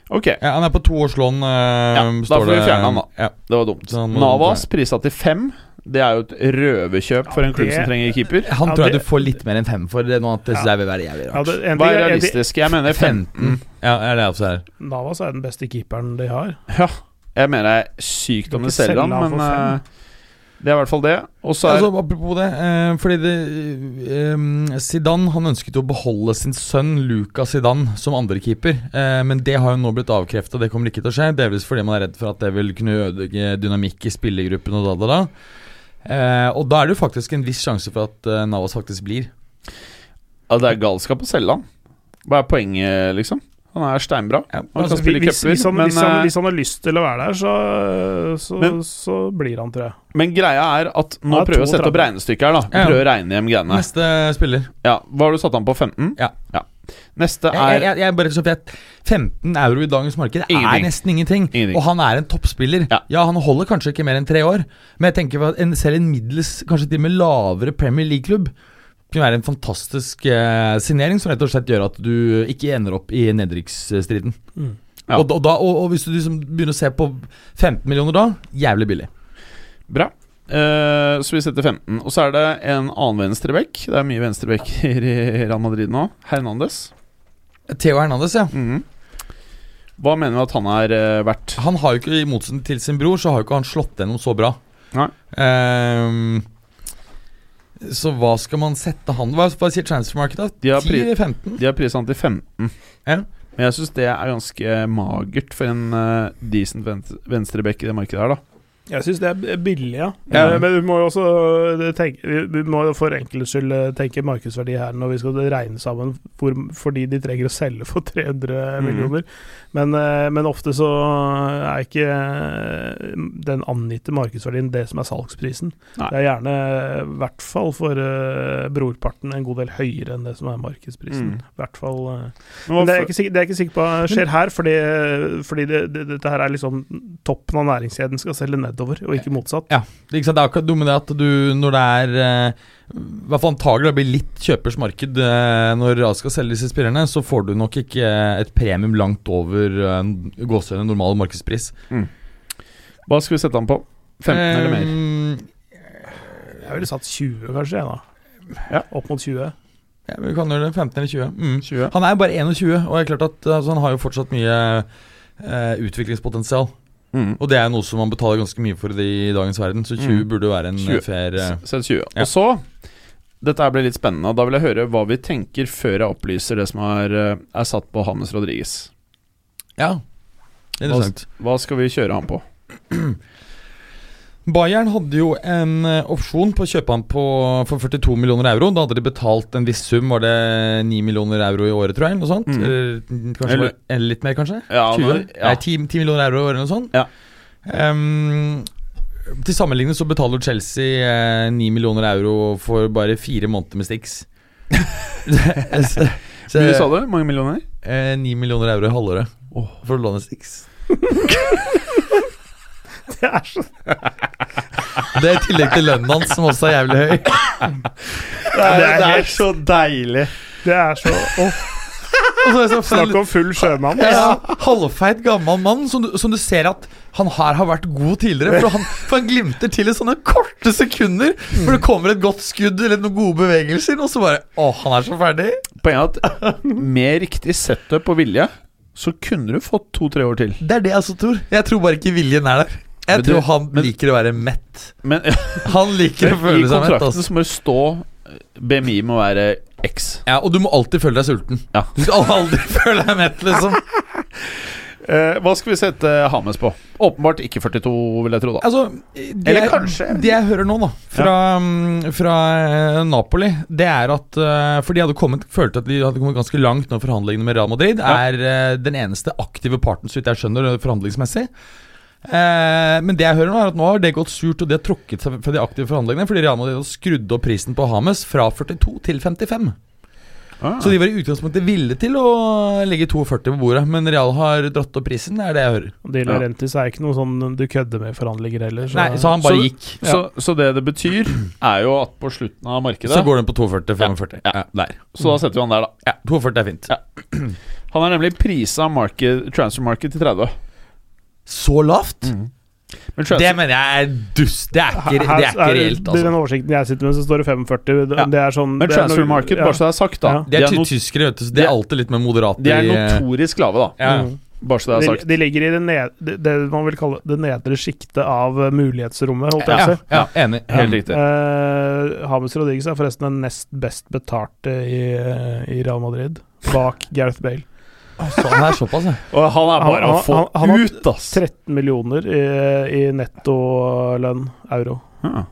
[SPEAKER 1] Ok,
[SPEAKER 2] Ja, han er på toårslån, eh,
[SPEAKER 1] Ja, da
[SPEAKER 2] står
[SPEAKER 1] får vi
[SPEAKER 2] det.
[SPEAKER 1] fjerne han, da.
[SPEAKER 2] Ja.
[SPEAKER 1] det var dumt.
[SPEAKER 2] Så han må-
[SPEAKER 1] Navas prisa til fem. Det er jo et røverkjøp for en klubb
[SPEAKER 4] det-
[SPEAKER 1] som trenger keeper.
[SPEAKER 2] Han
[SPEAKER 4] Ja,
[SPEAKER 2] tror jeg
[SPEAKER 4] det-
[SPEAKER 2] du får litt mer enn fem for det nå. At det
[SPEAKER 4] Ja.
[SPEAKER 2] synes jeg vil være jævlig
[SPEAKER 4] Ja,
[SPEAKER 2] rart.
[SPEAKER 4] det, en
[SPEAKER 1] Hva
[SPEAKER 4] ting
[SPEAKER 1] er
[SPEAKER 4] er, en ting-
[SPEAKER 1] realistisk? Jeg mener 15.
[SPEAKER 2] Ja, er det også
[SPEAKER 1] Mm.
[SPEAKER 2] her.
[SPEAKER 4] Navas er den beste keeperen de har.
[SPEAKER 1] Ja, jeg mener det er sykt om de
[SPEAKER 4] Du kan
[SPEAKER 1] selger
[SPEAKER 4] selge
[SPEAKER 1] han,
[SPEAKER 4] han for
[SPEAKER 1] men eh, det er i hvert fall det. Og så er
[SPEAKER 2] altså, apropos det, eh, fordi det eh, Zidane han ønsket jo å beholde sin sønn Lucas Zidane som andrekeeper, eh, men det har jo nå blitt avkrefta. Det kommer ikke til å skje, delvis fordi man er redd for at det vil kunne ødelegge dynamikk i spillergruppen. Og da, da, da. Eh, og da er det jo faktisk en viss sjanse for at eh, Navas faktisk blir.
[SPEAKER 1] ja, det er galskap å selge han. Hva er poenget, liksom? Han er steinbra.
[SPEAKER 2] Ja,
[SPEAKER 1] Han
[SPEAKER 4] Altså,
[SPEAKER 1] kan spille
[SPEAKER 4] hvis,
[SPEAKER 1] cuper,
[SPEAKER 4] hvis, han,
[SPEAKER 1] men,
[SPEAKER 4] hvis, han,
[SPEAKER 1] eh,
[SPEAKER 4] hvis han har lyst til å være der, så, så,
[SPEAKER 1] Men-
[SPEAKER 4] så blir han, tror jeg.
[SPEAKER 1] Men greia er at nå
[SPEAKER 4] Han er
[SPEAKER 1] prøver vi å sette opp
[SPEAKER 4] 32.
[SPEAKER 1] regnestykket her, da.
[SPEAKER 2] Ja.
[SPEAKER 1] Prøve å regne hjem greiene.
[SPEAKER 2] Neste spiller.
[SPEAKER 1] Ja, Hva har du satt han på? 15?
[SPEAKER 2] Ja.
[SPEAKER 1] Neste
[SPEAKER 2] Jeg,
[SPEAKER 1] er
[SPEAKER 2] jeg, jeg bare så vet, 15 euro i dagens marked er
[SPEAKER 1] Ingenting.
[SPEAKER 2] nesten ingenting.
[SPEAKER 1] Ingenting.
[SPEAKER 2] Og han er en toppspiller.
[SPEAKER 1] Ja.
[SPEAKER 2] han holder kanskje ikke mer enn tre år, men jeg tenker at en, selv en middels, kanskje til og med lavere Premier League-klubb kunne være en fantastisk eh, signering som rett og slett gjør at du ikke ender opp i nedrykksstriden.
[SPEAKER 4] Mm.
[SPEAKER 1] Ja.
[SPEAKER 2] Og, da- og, da- og, og hvis du liksom begynner å se på 15 millioner da, jævlig billig.
[SPEAKER 1] bra. Eh, så vi setter 15. Og så er det en annen venstreback. Det er mye venstrebacker i Real Madrid nå. Hernandez.
[SPEAKER 2] Theo Hernandez, ja.
[SPEAKER 1] Mhm. Hva mener du at han er eh, verdt?
[SPEAKER 2] Han har jo ikke, I motsetning til sin bror, så har jo ikke han slått gjennom så bra.
[SPEAKER 1] Nei.
[SPEAKER 2] Ehm, så hva skal man sette han Hva, hva sier transfermarkedet?
[SPEAKER 1] De har
[SPEAKER 2] 10
[SPEAKER 1] pri-
[SPEAKER 2] eller 15?
[SPEAKER 1] De har prisa han til 15.
[SPEAKER 2] Ja.
[SPEAKER 1] Men jeg syns det er ganske eh, magert for en eh, decent ven venstreback i det markedet her, da.
[SPEAKER 4] Jeg syns det er billig, ja.
[SPEAKER 2] Ja.
[SPEAKER 4] Eh, Men vi må jo også eh, tenke Vi vi må jo for enkelhets skyld eh, tenke markedsverdi her når vi skal regne sammen for, fordi de trenger å selge for 300
[SPEAKER 1] Mhm.
[SPEAKER 4] millioner. Men, eh, men ofte så er ikke eh, den angitte markedsverdien det som er salgsprisen.
[SPEAKER 1] Nei.
[SPEAKER 4] Det er gjerne, eh, i hvert fall for eh, brorparten, en god del høyere enn det som er markedsprisen.
[SPEAKER 1] Mm.
[SPEAKER 4] I hvert fall eh,
[SPEAKER 1] Men
[SPEAKER 4] men det er
[SPEAKER 1] hva-
[SPEAKER 4] jeg ikke sikker, det er jeg ikke sikker på skjer her, fordi, fordi det, det, dette her er liksom toppen av næringskjeden skal selge nedover, og ikke motsatt.
[SPEAKER 2] Det, er ikke sant? det er akkurat noe med det at du, når det er eh, I hvert fall antagelig det blir litt kjøpers marked eh, når Real skal selge disse spillerne, så får du nok ikke eh, et premium langt over eh, gåsehøyne normal markedspris.
[SPEAKER 1] Hva skal vi sette han på? 15 eller mer?
[SPEAKER 2] Ehm,
[SPEAKER 4] Jeg ville satt 20, kanskje, jeg, da.
[SPEAKER 1] Ja.
[SPEAKER 4] Opp mot 20.
[SPEAKER 2] ja, vi kan gjøre det. 15 eller 20. Mm.
[SPEAKER 1] 20?
[SPEAKER 2] Han er jo bare 21, og det er klart at altså, han har jo fortsatt mye eh, utviklingspotensial.
[SPEAKER 1] Mhm.
[SPEAKER 2] Og det er noe som man betaler ganske mye for i dagens verden, så 20
[SPEAKER 1] Mm.
[SPEAKER 2] burde jo være en
[SPEAKER 1] 20.
[SPEAKER 2] eh, fair eh,
[SPEAKER 1] Sett 20.
[SPEAKER 2] Ja.
[SPEAKER 1] Og så Dette her ble litt spennende. Da vil jeg høre hva vi tenker før jeg opplyser det som er, eh, er satt på Hames Rodriguez.
[SPEAKER 2] Ja, interessant.
[SPEAKER 1] Hva skal vi kjøre han på?
[SPEAKER 2] Bayern hadde jo en eh, opsjon på å kjøpe han på, for 42 millioner euro. Da hadde de betalt en viss sum, var det 9 millioner euro i året, tror jeg? Noe sånt?
[SPEAKER 1] Mm.
[SPEAKER 2] Eller, mm, kanskje
[SPEAKER 1] Eller-
[SPEAKER 2] var- eller litt mer, kanskje?
[SPEAKER 1] Ja,
[SPEAKER 2] 20?
[SPEAKER 1] nå- ja.
[SPEAKER 2] Nei, 10, 10 millioner euro i året, eller noe sånt.
[SPEAKER 1] Ja.
[SPEAKER 2] Ehm, til sammenligning så betaler Chelsea eh, 9 millioner euro for bare fire måneder med
[SPEAKER 1] [LAUGHS]
[SPEAKER 2] Stix. så,
[SPEAKER 1] Hvor mye sa du? Mange millioner?
[SPEAKER 2] Eh, 9 millioner euro i halvåret for å låne [LAUGHS] Stix.
[SPEAKER 4] Det er så
[SPEAKER 2] Det er i tillegg til lønnen hans, som også er jævlig høy.
[SPEAKER 4] Det er, det er,
[SPEAKER 1] så deilig.
[SPEAKER 4] det er så Åh,
[SPEAKER 2] [LAUGHS] Og så er det så
[SPEAKER 4] Snakk om full sjømann.
[SPEAKER 2] Ja, halvfeit gammel mann som du, som du ser at han her har vært god tidligere. For han, for han glimter til i sånne korte sekunder. For det kommer et godt skudd eller noen gode bevegelser, og så bare Å, han er så ferdig.
[SPEAKER 1] Poenget er [LAUGHS] at med riktig setup og vilje, så kunne du fått to-tre år til.
[SPEAKER 2] Det er det jeg også tror. Jeg tror bare ikke viljen er der. Jeg
[SPEAKER 1] Men du-
[SPEAKER 2] tror han
[SPEAKER 1] men-
[SPEAKER 2] liker å være mett.
[SPEAKER 1] Men
[SPEAKER 2] Han liker
[SPEAKER 1] [LAUGHS]
[SPEAKER 2] å
[SPEAKER 1] i
[SPEAKER 2] føle seg mett.
[SPEAKER 1] kontrakten
[SPEAKER 2] Altså.
[SPEAKER 1] så må det stå eh, BMI må være X.
[SPEAKER 2] Ja, Og du må alltid føle deg sulten.
[SPEAKER 1] Ja.
[SPEAKER 2] Du skal aldri [LAUGHS] føle deg mett, liksom.
[SPEAKER 1] Eh, hva skal vi sette Hames på? Åpenbart ikke 42, vil jeg tro, da.
[SPEAKER 2] Altså, det
[SPEAKER 1] Eller
[SPEAKER 2] jeg-
[SPEAKER 1] kanskje-
[SPEAKER 2] Det jeg hører nå, da, fra, mm, fra eh, Napoli, det er at eh, For de hadde kommet, følte at de hadde kommet ganske langt når forhandlingene med Real Madrid er eh, den eneste aktive parten, så vidt jeg skjønner, eh, forhandlingsmessig. Eh, men det jeg hører nå, er at nå har det gått surt, og de har trukket seg fra de aktive forhandlingene fordi Real Madrid har skrudd opp prisen på Hames fra 42 til 55.
[SPEAKER 1] Ah.
[SPEAKER 2] Så de var i utgangspunktet ville til å legge 42 på bordet, men Real har dratt opp prisen, det er det jeg hører.
[SPEAKER 4] De Laurentis er ikke noe sånn du kødder med i forhandlinger heller. Så,
[SPEAKER 2] Nei, så han bare
[SPEAKER 1] Så-
[SPEAKER 2] gikk.
[SPEAKER 1] så, så det det betyr, er jo at på slutten av markedet
[SPEAKER 2] Så
[SPEAKER 1] Så,
[SPEAKER 2] går den på 240-45. Ja, der.
[SPEAKER 1] da setter vi han der, da.
[SPEAKER 2] Ja, 240 er fint.
[SPEAKER 1] Ja. Han er nemlig prisa market, transfer market til 30.
[SPEAKER 2] Så lavt?
[SPEAKER 1] Men
[SPEAKER 2] Mm. Det
[SPEAKER 1] transfer,
[SPEAKER 2] mener jeg er dust. Det er ikke, det er ikke reelt,
[SPEAKER 4] Den
[SPEAKER 2] altså.
[SPEAKER 4] oversikten jeg sitter med, så står det 45. Det,
[SPEAKER 1] Ja.
[SPEAKER 4] det er sånn
[SPEAKER 1] men
[SPEAKER 4] det er
[SPEAKER 1] transfer
[SPEAKER 4] noe-
[SPEAKER 1] market,
[SPEAKER 4] ja.
[SPEAKER 1] bare så det er sagt, da.
[SPEAKER 4] Ja.
[SPEAKER 2] Det er
[SPEAKER 1] de,
[SPEAKER 2] ty-
[SPEAKER 1] er no,
[SPEAKER 2] tyskere, vet du. så De er
[SPEAKER 1] de-
[SPEAKER 2] alltid litt mer moderate.
[SPEAKER 1] de er
[SPEAKER 2] i, eh,
[SPEAKER 1] notorisk lave, da.
[SPEAKER 2] ja.
[SPEAKER 4] Mm.
[SPEAKER 1] Bare så det er
[SPEAKER 4] De,
[SPEAKER 1] sagt.
[SPEAKER 4] de ligger i det, ned, det, det man vil kalle det nedre sjiktet av eh, mulighetsrommet, holdt jeg
[SPEAKER 2] Ja,
[SPEAKER 4] på å si.
[SPEAKER 2] ja, enig.
[SPEAKER 1] Helt
[SPEAKER 2] Ja.
[SPEAKER 1] riktig.
[SPEAKER 4] Eh, James Rodriguez er forresten den nest best betalte i, eh, i Real Madrid,
[SPEAKER 1] [LAUGHS]
[SPEAKER 4] bak Gareth Bale.
[SPEAKER 2] Så han er såpass, ja.
[SPEAKER 1] Og han er
[SPEAKER 4] Han-
[SPEAKER 1] bare å
[SPEAKER 4] han-
[SPEAKER 1] få
[SPEAKER 4] han- han har
[SPEAKER 1] ut, ass!
[SPEAKER 4] 13 millioner i, i nettolønn euro.
[SPEAKER 1] Ja.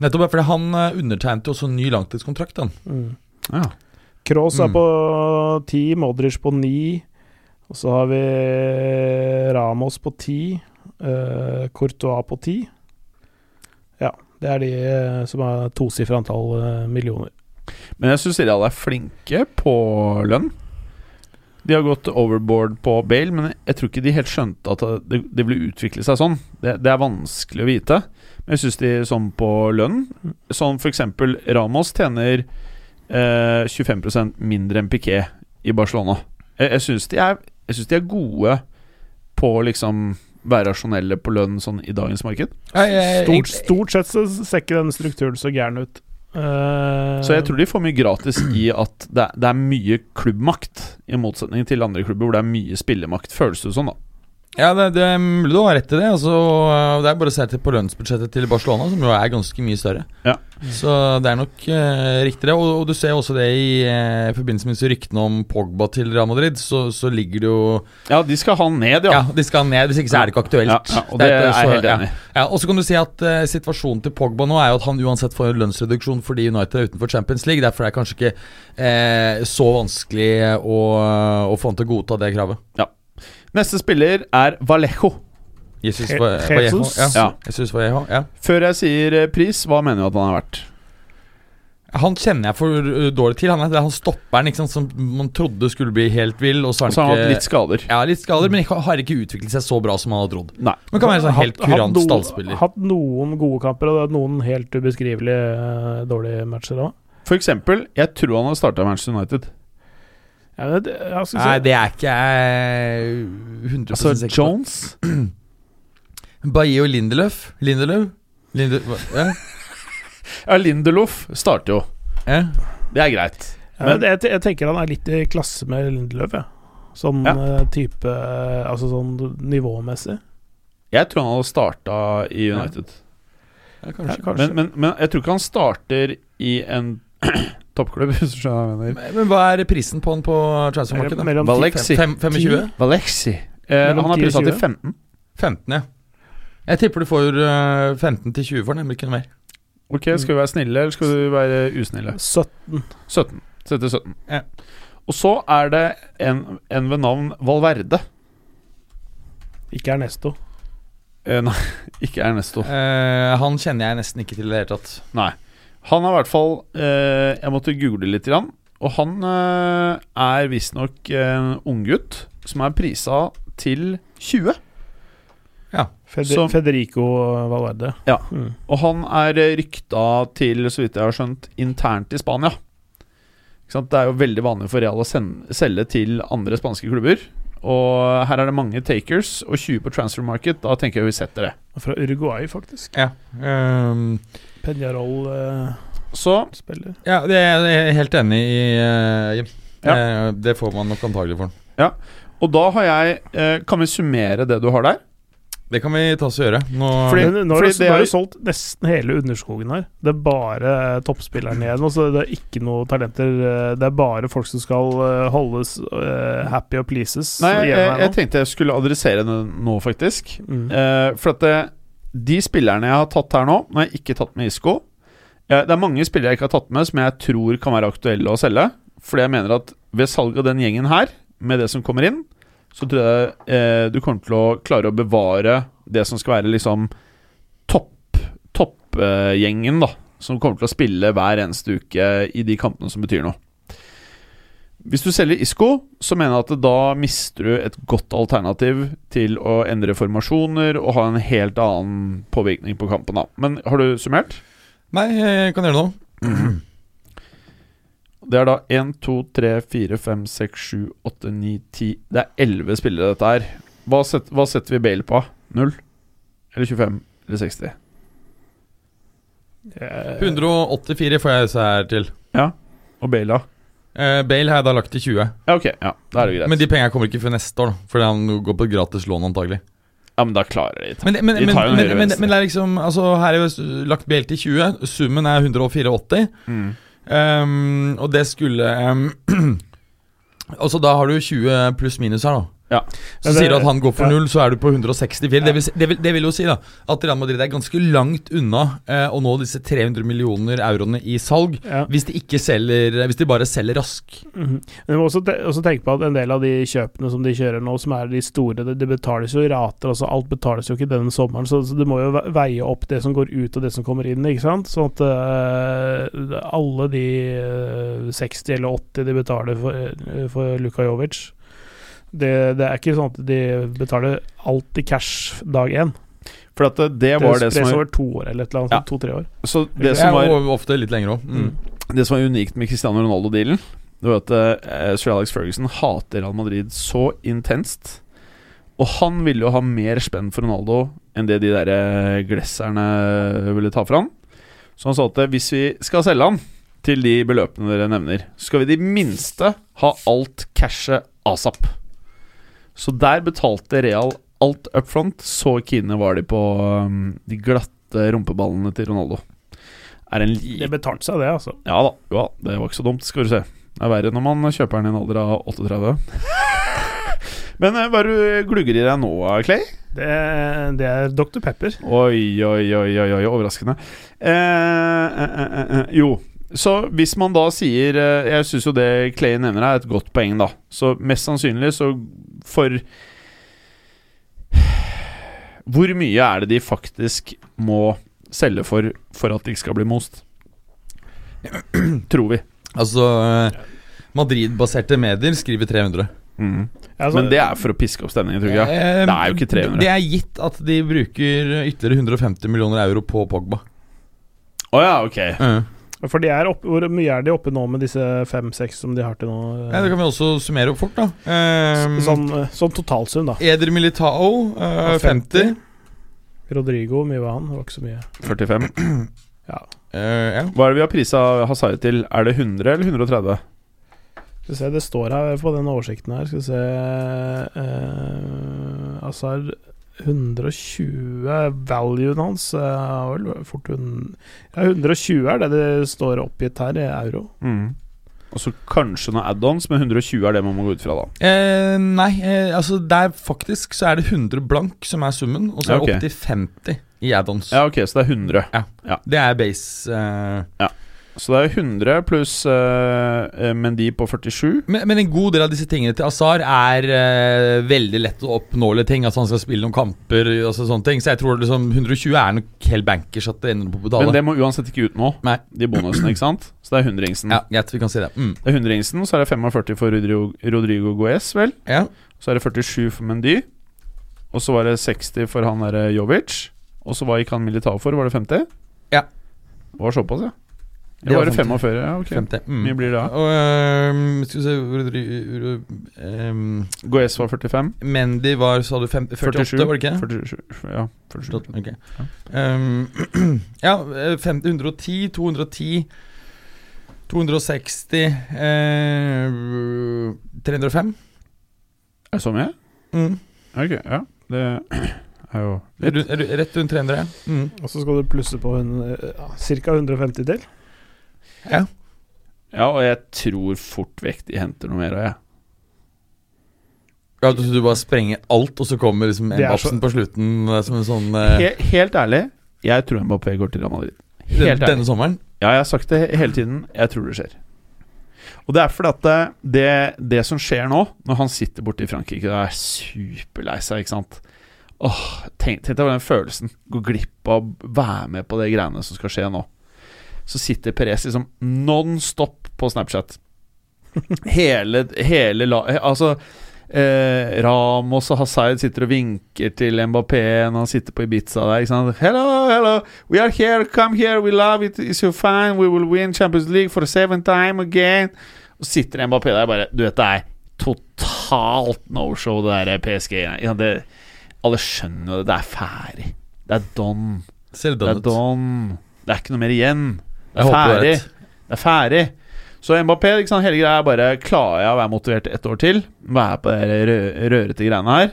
[SPEAKER 2] Nettopp ja, fordi han eh, undertegnet jo også en ny langtidskontrakt, han.
[SPEAKER 4] Mm.
[SPEAKER 1] Ja.
[SPEAKER 4] Kroos er
[SPEAKER 2] Mm.
[SPEAKER 4] på 10, Modric på 9. Og så har vi Ramos på 10, eh, Courtois på 10. Ja, det er de eh, som har tosifra antall eh, millioner.
[SPEAKER 1] Men jeg syns Real er flinke på lønn. De har gått overboard på Bale, men jeg tror ikke de helt skjønte at det, det ville utvikle seg sånn. Det, det er vanskelig å vite. Men jeg syns de sånn på lønn Sånn f.eks. Ramos tjener eh, 25 mindre enn Piquet i Barcelona. Jeg, jeg syns de, er- jeg synes de er gode på liksom være rasjonelle på lønn sånn i dagens marked.
[SPEAKER 2] Eh,
[SPEAKER 4] Stort, stort sett så ser ikke den strukturen så gæren ut. Eh,
[SPEAKER 1] Så jeg tror de får mye gratis i at det er, det er mye klubbmakt, i motsetning til andre klubber hvor det er mye spillemakt, føles det som, da.
[SPEAKER 2] Ja, det, det er mulig du har rett i det. Altså, eh, det er bare å se til på lønnsbudsjettet til Barcelona, som jo er ganske mye større.
[SPEAKER 1] Ja.
[SPEAKER 2] Så det er nok eh, riktig, det. Og, og du ser jo også det i eh, forbindelse med disse ryktene om Pogba til Real Madrid, så, så ligger det jo
[SPEAKER 1] Ja, de skal ha han ned,
[SPEAKER 2] Ja,
[SPEAKER 1] ja.
[SPEAKER 2] de skal ned, hvis ikke så er det ikke aktuelt.
[SPEAKER 1] Ja, ja, og det er jeg
[SPEAKER 2] så-
[SPEAKER 1] helt enig i.
[SPEAKER 2] Ja. Ja, og så kan du si at eh, situasjonen til Pogba nå er jo at han uansett får en lønnsreduksjon fordi United er utenfor Champions League. Derfor er det kanskje ikke eh, så vanskelig å, å få han til å godta det kravet.
[SPEAKER 1] Neste spiller er Vallejo.
[SPEAKER 2] Jesus,
[SPEAKER 4] Je-
[SPEAKER 2] Val- Vallejo,
[SPEAKER 4] Jesus?
[SPEAKER 2] ja.
[SPEAKER 1] Ja.
[SPEAKER 2] Jesus Vallejo, ja.
[SPEAKER 1] Før jeg sier eh, pris, hva mener du at han er verdt?
[SPEAKER 2] Han kjenner jeg for uh, dårlig til. Han er det er han stopperen ikke sant, som man trodde skulle bli helt vill, og
[SPEAKER 1] Og
[SPEAKER 2] så har
[SPEAKER 1] så har Altså, han
[SPEAKER 2] han ikke
[SPEAKER 1] hatt litt skader.
[SPEAKER 2] ja, litt skader, men ikke, har ikke utviklet seg så bra som han hadde trodd.
[SPEAKER 1] Nei.
[SPEAKER 2] Men kan være en sånn helt
[SPEAKER 4] Hatt- hatt
[SPEAKER 2] kurant
[SPEAKER 4] noen-
[SPEAKER 2] stallspiller.
[SPEAKER 4] Hatt noen gode kamper og noen helt ubeskrivelig eh, dårlige matcher òg.
[SPEAKER 1] For eksempel, jeg tror han har starta Manchester United.
[SPEAKER 4] Ja, men det- jeg skal si-
[SPEAKER 2] Nei, det er ikke jeg 100
[SPEAKER 1] Altså
[SPEAKER 2] sikker på.
[SPEAKER 1] Jones
[SPEAKER 2] Bailly og Lindeløf Lindeløf? Linde, hva- ja,
[SPEAKER 1] Ja, Lindelof starter jo.
[SPEAKER 2] ja.
[SPEAKER 1] Det er greit.
[SPEAKER 4] ja, men jeg, jeg tenker han er litt i klasse med Lindeløf, jeg. Sånn
[SPEAKER 1] Ja.
[SPEAKER 4] eh, type eh, Altså sånn nivåmessig.
[SPEAKER 1] Jeg tror han hadde starta i United.
[SPEAKER 2] Ja,
[SPEAKER 4] Ja,
[SPEAKER 2] kanskje.
[SPEAKER 4] kanskje.
[SPEAKER 1] Men, men, men jeg tror ikke han starter i en [CLEARS THROAT] toppklubb, hvis du skjønner hva jeg mener.
[SPEAKER 2] Men, men hva er prisen på han på transfermarkedet?
[SPEAKER 4] Mellom ti-
[SPEAKER 1] Valeksi.
[SPEAKER 2] Fem- 25?
[SPEAKER 1] Valexi. Eh,
[SPEAKER 4] Mellom
[SPEAKER 1] han har
[SPEAKER 4] 10 og
[SPEAKER 1] prisa til
[SPEAKER 4] 20.
[SPEAKER 1] 15.
[SPEAKER 2] 15, ja. Jeg tipper du får eh, 15 til 20 for den, men ikke noe mer.
[SPEAKER 1] Ok, Skal vi være snille, eller skal vi være usnille?
[SPEAKER 4] 17.
[SPEAKER 1] 17. Sette 17.
[SPEAKER 2] Ja.
[SPEAKER 1] Og så er det en, en ved navn Valverde.
[SPEAKER 4] Ikke Ernesto.
[SPEAKER 1] Eh, nei, [LAUGHS] ikke Ernesto.
[SPEAKER 2] Eh, han kjenner jeg nesten ikke til i det hele tatt.
[SPEAKER 1] Nei. Han er i hvert fall eh, Jeg måtte google litt, grann, og han eh, er visstnok en unggutt som er prisa til 20.
[SPEAKER 4] Fede
[SPEAKER 1] Som-
[SPEAKER 4] Federico Valverde.
[SPEAKER 1] Ja.
[SPEAKER 4] Mm.
[SPEAKER 1] Og han er eh, rykta til, så vidt jeg har skjønt, internt i Spania. Ikke sant? Det er jo veldig vanlig for Real å sende, selge til andre spanske klubber. Og her er det mange takers, og 20 på transfer market. Da tenker jeg vi setter det.
[SPEAKER 4] Fra Uruguay, faktisk. eh,
[SPEAKER 2] Ja, ehm,
[SPEAKER 4] Peñarol-spiller.
[SPEAKER 1] Så
[SPEAKER 2] ja det er jeg helt enig i, eh, Jim.
[SPEAKER 1] Ja.
[SPEAKER 2] Eh, det får man nok antagelig for den.
[SPEAKER 1] Og da har jeg eh, Kan vi summere det du har der?
[SPEAKER 2] Det kan vi ta oss og gjøre. Nå,
[SPEAKER 1] Fordi-
[SPEAKER 4] Men nå har
[SPEAKER 1] fordi
[SPEAKER 4] du
[SPEAKER 1] det
[SPEAKER 4] nå har
[SPEAKER 1] er-
[SPEAKER 4] du solgt nesten hele underskogen her. Det er bare eh, toppspillerne igjen. Altså, det er ikke noe talenter. eh, Det er bare folk som skal eh, holdes eh, happy og pleases.
[SPEAKER 1] Nei,
[SPEAKER 4] igjen
[SPEAKER 1] jeg,
[SPEAKER 4] her
[SPEAKER 1] jeg
[SPEAKER 4] nå.
[SPEAKER 1] tenkte jeg skulle adressere det nå, faktisk.
[SPEAKER 4] Mm.
[SPEAKER 1] Eh, for at det, de spillerne jeg har tatt her nå Nå har jeg ikke tatt med Isco. Eh, det er mange spillere jeg ikke har tatt med som jeg tror kan være aktuelle å selge. Fordi jeg mener at ved salg av den gjengen her, med det som kommer inn, så tror jeg eh, du kommer til å klare å bevare det som skal være liksom topp toppgjengen, da. Som kommer til å spille hver eneste uke i de kampene som betyr noe. Hvis du selger Isco, så mener jeg at da mister du et godt alternativ til å endre formasjoner og ha en helt annen påvirkning på kampen. da Men har du summert?
[SPEAKER 2] Nei, jeg kan gjøre det nå.
[SPEAKER 1] Det er da 1, 2, 3, 4, 5, 6, 7, 8, 9, 10 Det er 11 spillere dette her. Hva, set, hva setter vi Bale på? 0? Eller 25? Eller 60?
[SPEAKER 2] 184 får jeg disse her til.
[SPEAKER 1] Og Bale, da?
[SPEAKER 2] Eh, Bale har jeg da lagt til 20.
[SPEAKER 1] Ja, ok. Ja, Da er det greit.
[SPEAKER 2] Men de pengene kommer ikke før neste år, da, fordi han går på gratis lån antagelig.
[SPEAKER 1] ja, men da klarer de det.
[SPEAKER 2] Men, men,
[SPEAKER 1] De
[SPEAKER 2] men,
[SPEAKER 1] tar jo
[SPEAKER 2] men,
[SPEAKER 1] høyre
[SPEAKER 2] men, men,
[SPEAKER 1] venstre.
[SPEAKER 2] det er liksom altså, Her er jo lagt BL til 20. Summen er 184.
[SPEAKER 1] Mm.
[SPEAKER 2] ehm, og det skulle um, [CLEARS THROAT] Altså Da har du 20 pluss minus her, da.
[SPEAKER 1] Ja.
[SPEAKER 2] Så
[SPEAKER 4] Men det-
[SPEAKER 2] sier du at han går for
[SPEAKER 4] ja.
[SPEAKER 2] null, så er du på 164. Det, vil, si- det, vil, det vil jo si da at Real Madrid er ganske langt unna eh, å nå disse 300 millioner euroene i salg.
[SPEAKER 4] Ja.
[SPEAKER 2] Hvis de ikke selger Hvis de bare selger rask.
[SPEAKER 4] Mhm. Men vi må også, te også tenke på at en del av de kjøpene som de kjører nå, som er de store, det, det betales jo i rater. Altså alt betales jo ikke denne sommeren, så, så du må jo ve- veie opp det som går ut og det som kommer inn. ikke sant? Sånn at øh, alle de øh, 60 eller 80 de betaler for, øh, for Luka Jovic det, det er ikke sånn at de betaler alt i cash dag én.
[SPEAKER 1] For at eh, det, det
[SPEAKER 4] Det
[SPEAKER 1] var det,
[SPEAKER 4] spres
[SPEAKER 1] som var,
[SPEAKER 4] over to år eller et eller annet.
[SPEAKER 1] Ja.
[SPEAKER 4] sånn To-tre år.
[SPEAKER 1] Så det
[SPEAKER 2] Ja,
[SPEAKER 1] som var
[SPEAKER 2] og ofte litt lenger òg. Mm.
[SPEAKER 1] Det som var unikt med Cristiano Ronaldo-dealen, det var at eh, Sir Alex Ferguson hater Real Madrid så intenst. Og han ville jo ha mer spenn for Ronaldo enn det de der eh, glesserne ville ta fra han. Så han sa at eh, hvis vi skal selge han til de beløpene dere nevner, så skal vi i det minste ha alt cashet asap. Så der betalte Real alt up front. Så keene var de på um, de glatte rumpeballene til Ronaldo. Er en liten
[SPEAKER 4] Det betalte seg, det, altså.
[SPEAKER 1] ja da, jo da, det var ikke så dumt, skal du se. Det er verre når man kjøper den i en alder av [LAUGHS] 38. Men eh, hva er det du glugger i deg nå, eh, Clay?
[SPEAKER 4] Det, det er Dr. Pepper.
[SPEAKER 1] Oi, oi, oi, oi, oi overraskende. Eh, eh, eh, eh, jo, så hvis man da sier eh, Jeg syns jo det Clay nevner, er et godt poeng, da. Så mest sannsynlig så for Hvor mye er det de faktisk må selge for for at de ikke skal bli [CLEARS THROAT] most? Tror vi.
[SPEAKER 2] Altså eh, Madrid-baserte medier skriver 300.
[SPEAKER 1] Mm.
[SPEAKER 4] Ja, så-
[SPEAKER 1] Men det er for å piske opp stemningen, tror jeg.
[SPEAKER 2] Eh,
[SPEAKER 1] Det er jo ikke 300.
[SPEAKER 2] Det er gitt at de bruker ytterligere 150 millioner euro på Pogba.
[SPEAKER 1] Å ja, ok.
[SPEAKER 4] For de er opp, hvor mye er de oppe nå med disse fem-seks som de har til nå?
[SPEAKER 2] Ja, det kan vi også summere opp fort, da. Eh,
[SPEAKER 4] S- sånn, eh, sånn totalsum, da.
[SPEAKER 2] Eder Militao, eh,
[SPEAKER 4] Ja, 50.
[SPEAKER 2] 50.
[SPEAKER 4] Rodrigo, hvor mye var han? Det var ikke så mye.
[SPEAKER 1] 45.
[SPEAKER 4] Ja.
[SPEAKER 2] Eh, ja.
[SPEAKER 1] Hva er det vi har prisa Hazard til? Er det 100 eller 130?
[SPEAKER 4] Skal vi se, det står her på den oversikten her Skal vi se eh, Azar 120 Valuen hans eh, er vel fort hun, ja, 120 er det det står oppgitt her i euro.
[SPEAKER 1] Mm. Og så kanskje noen add-ons, men 120 er det man må gå ut fra, da.
[SPEAKER 2] Eh, nei, eh, altså der faktisk så er det 100 blank som er summen, og så
[SPEAKER 1] Ja, ok.
[SPEAKER 2] er det opp til 50 i add-ons.
[SPEAKER 1] Ja, ok, så det er 100.
[SPEAKER 2] Det er base. Eh,
[SPEAKER 1] Så det er 100 pluss eh, eh, Mendy på 47.
[SPEAKER 2] men, men en god del av disse tingene til Azar er eh, veldig lett å oppnåle ting. Altså Han skal spille noen kamper altså sånne ting. Så jeg tror liksom 120 er nok helt bankers at det ender på å
[SPEAKER 1] Men
[SPEAKER 2] betale.
[SPEAKER 1] det må uansett ikke ut nå,
[SPEAKER 2] Nei.
[SPEAKER 1] de bonusene, ikke
[SPEAKER 2] [CLEARS THROAT]
[SPEAKER 1] sant? Så det er 100-ringsen.
[SPEAKER 2] Ja, greit, vi kan si det. Mm.
[SPEAKER 1] Det er 100-ringsen, så er det 45 for Rodrigo, Rodrigo Guez, vel?
[SPEAKER 2] Ja.
[SPEAKER 1] Så er det 47 for Mendy. Og så var det 60 for han derre Jovic. Og så hva gikk han Militao for? Var det 50?
[SPEAKER 2] Ja.
[SPEAKER 1] Det var såpass, ja.
[SPEAKER 2] Det
[SPEAKER 1] Eller
[SPEAKER 2] var
[SPEAKER 1] var det
[SPEAKER 2] 50.
[SPEAKER 1] 45? Ja, ok.
[SPEAKER 2] Femte.
[SPEAKER 1] Hvor
[SPEAKER 2] Mm.
[SPEAKER 1] mye blir det da?
[SPEAKER 2] Og ehm, skal vi se Rodri- Ro- ehm,
[SPEAKER 1] Guez var 45.
[SPEAKER 2] Mendy var, sa du, fem, 48,
[SPEAKER 1] 47,
[SPEAKER 2] var det ikke?
[SPEAKER 1] 47, ja, 47.
[SPEAKER 2] Ok. Um, [CLEARS THROAT] ja, eh, 50, 110, 210 260 eh, 305
[SPEAKER 1] Er det så mye?
[SPEAKER 2] mm.
[SPEAKER 1] Ok, ja. Det [CLEARS THROAT] er jo litt.
[SPEAKER 2] Rund- ru- Rett rundt 300 mm.
[SPEAKER 4] Og så skal du plusse på en, ja, ca. 150 til.
[SPEAKER 2] Ja,
[SPEAKER 1] Ja, og jeg tror fort vekk de henter noe mer av, jeg.
[SPEAKER 2] ja du, du bare sprenger alt Og så kommer liksom
[SPEAKER 4] Det er
[SPEAKER 2] Mbappsen på slutten eh, Som en sånn eh,
[SPEAKER 1] He helt ærlig, jeg tror Mbappé går til Real Madrid. Helt
[SPEAKER 2] Denne
[SPEAKER 1] ærlig.
[SPEAKER 2] sommeren
[SPEAKER 1] Ja, jeg har sagt det he- hele tiden. Jeg tror det skjer. Og det er fordi at det, det, det som skjer nå, når han sitter borte i Frankrike og er superlei seg, ikke sant Åh, Tenk, tenk deg den følelsen. Gå glipp av å være med på de greiene som skal skje nå. Så sitter Perez liksom non stop på Snapchat. Hele, hele la... Altså eh, Ramos og Hazard sitter og vinker til Mbappé når han sitter på Ibiza der. Ikke sant? Hello, hello, we are here, come here, we love it, it's so fine, we will win Champions League for the seventh time again. Og sitter Mbappé der bare Du vet, det er totalt no-show, det der PSG. Ja, det, alle skjønner jo det. Det er ferdig. Det er done.
[SPEAKER 2] Ser
[SPEAKER 1] Det
[SPEAKER 2] det
[SPEAKER 1] er
[SPEAKER 2] done ut
[SPEAKER 1] done. Det er ikke noe mer igjen. Det
[SPEAKER 2] Jeg
[SPEAKER 1] er
[SPEAKER 2] håper du
[SPEAKER 1] ferdig.
[SPEAKER 2] har rett.
[SPEAKER 1] Det er ferdig. Så Mbappé, ikke sant, hele greia er bare Klarer jeg å være motivert ett år til? Være på de rø rørete greiene her?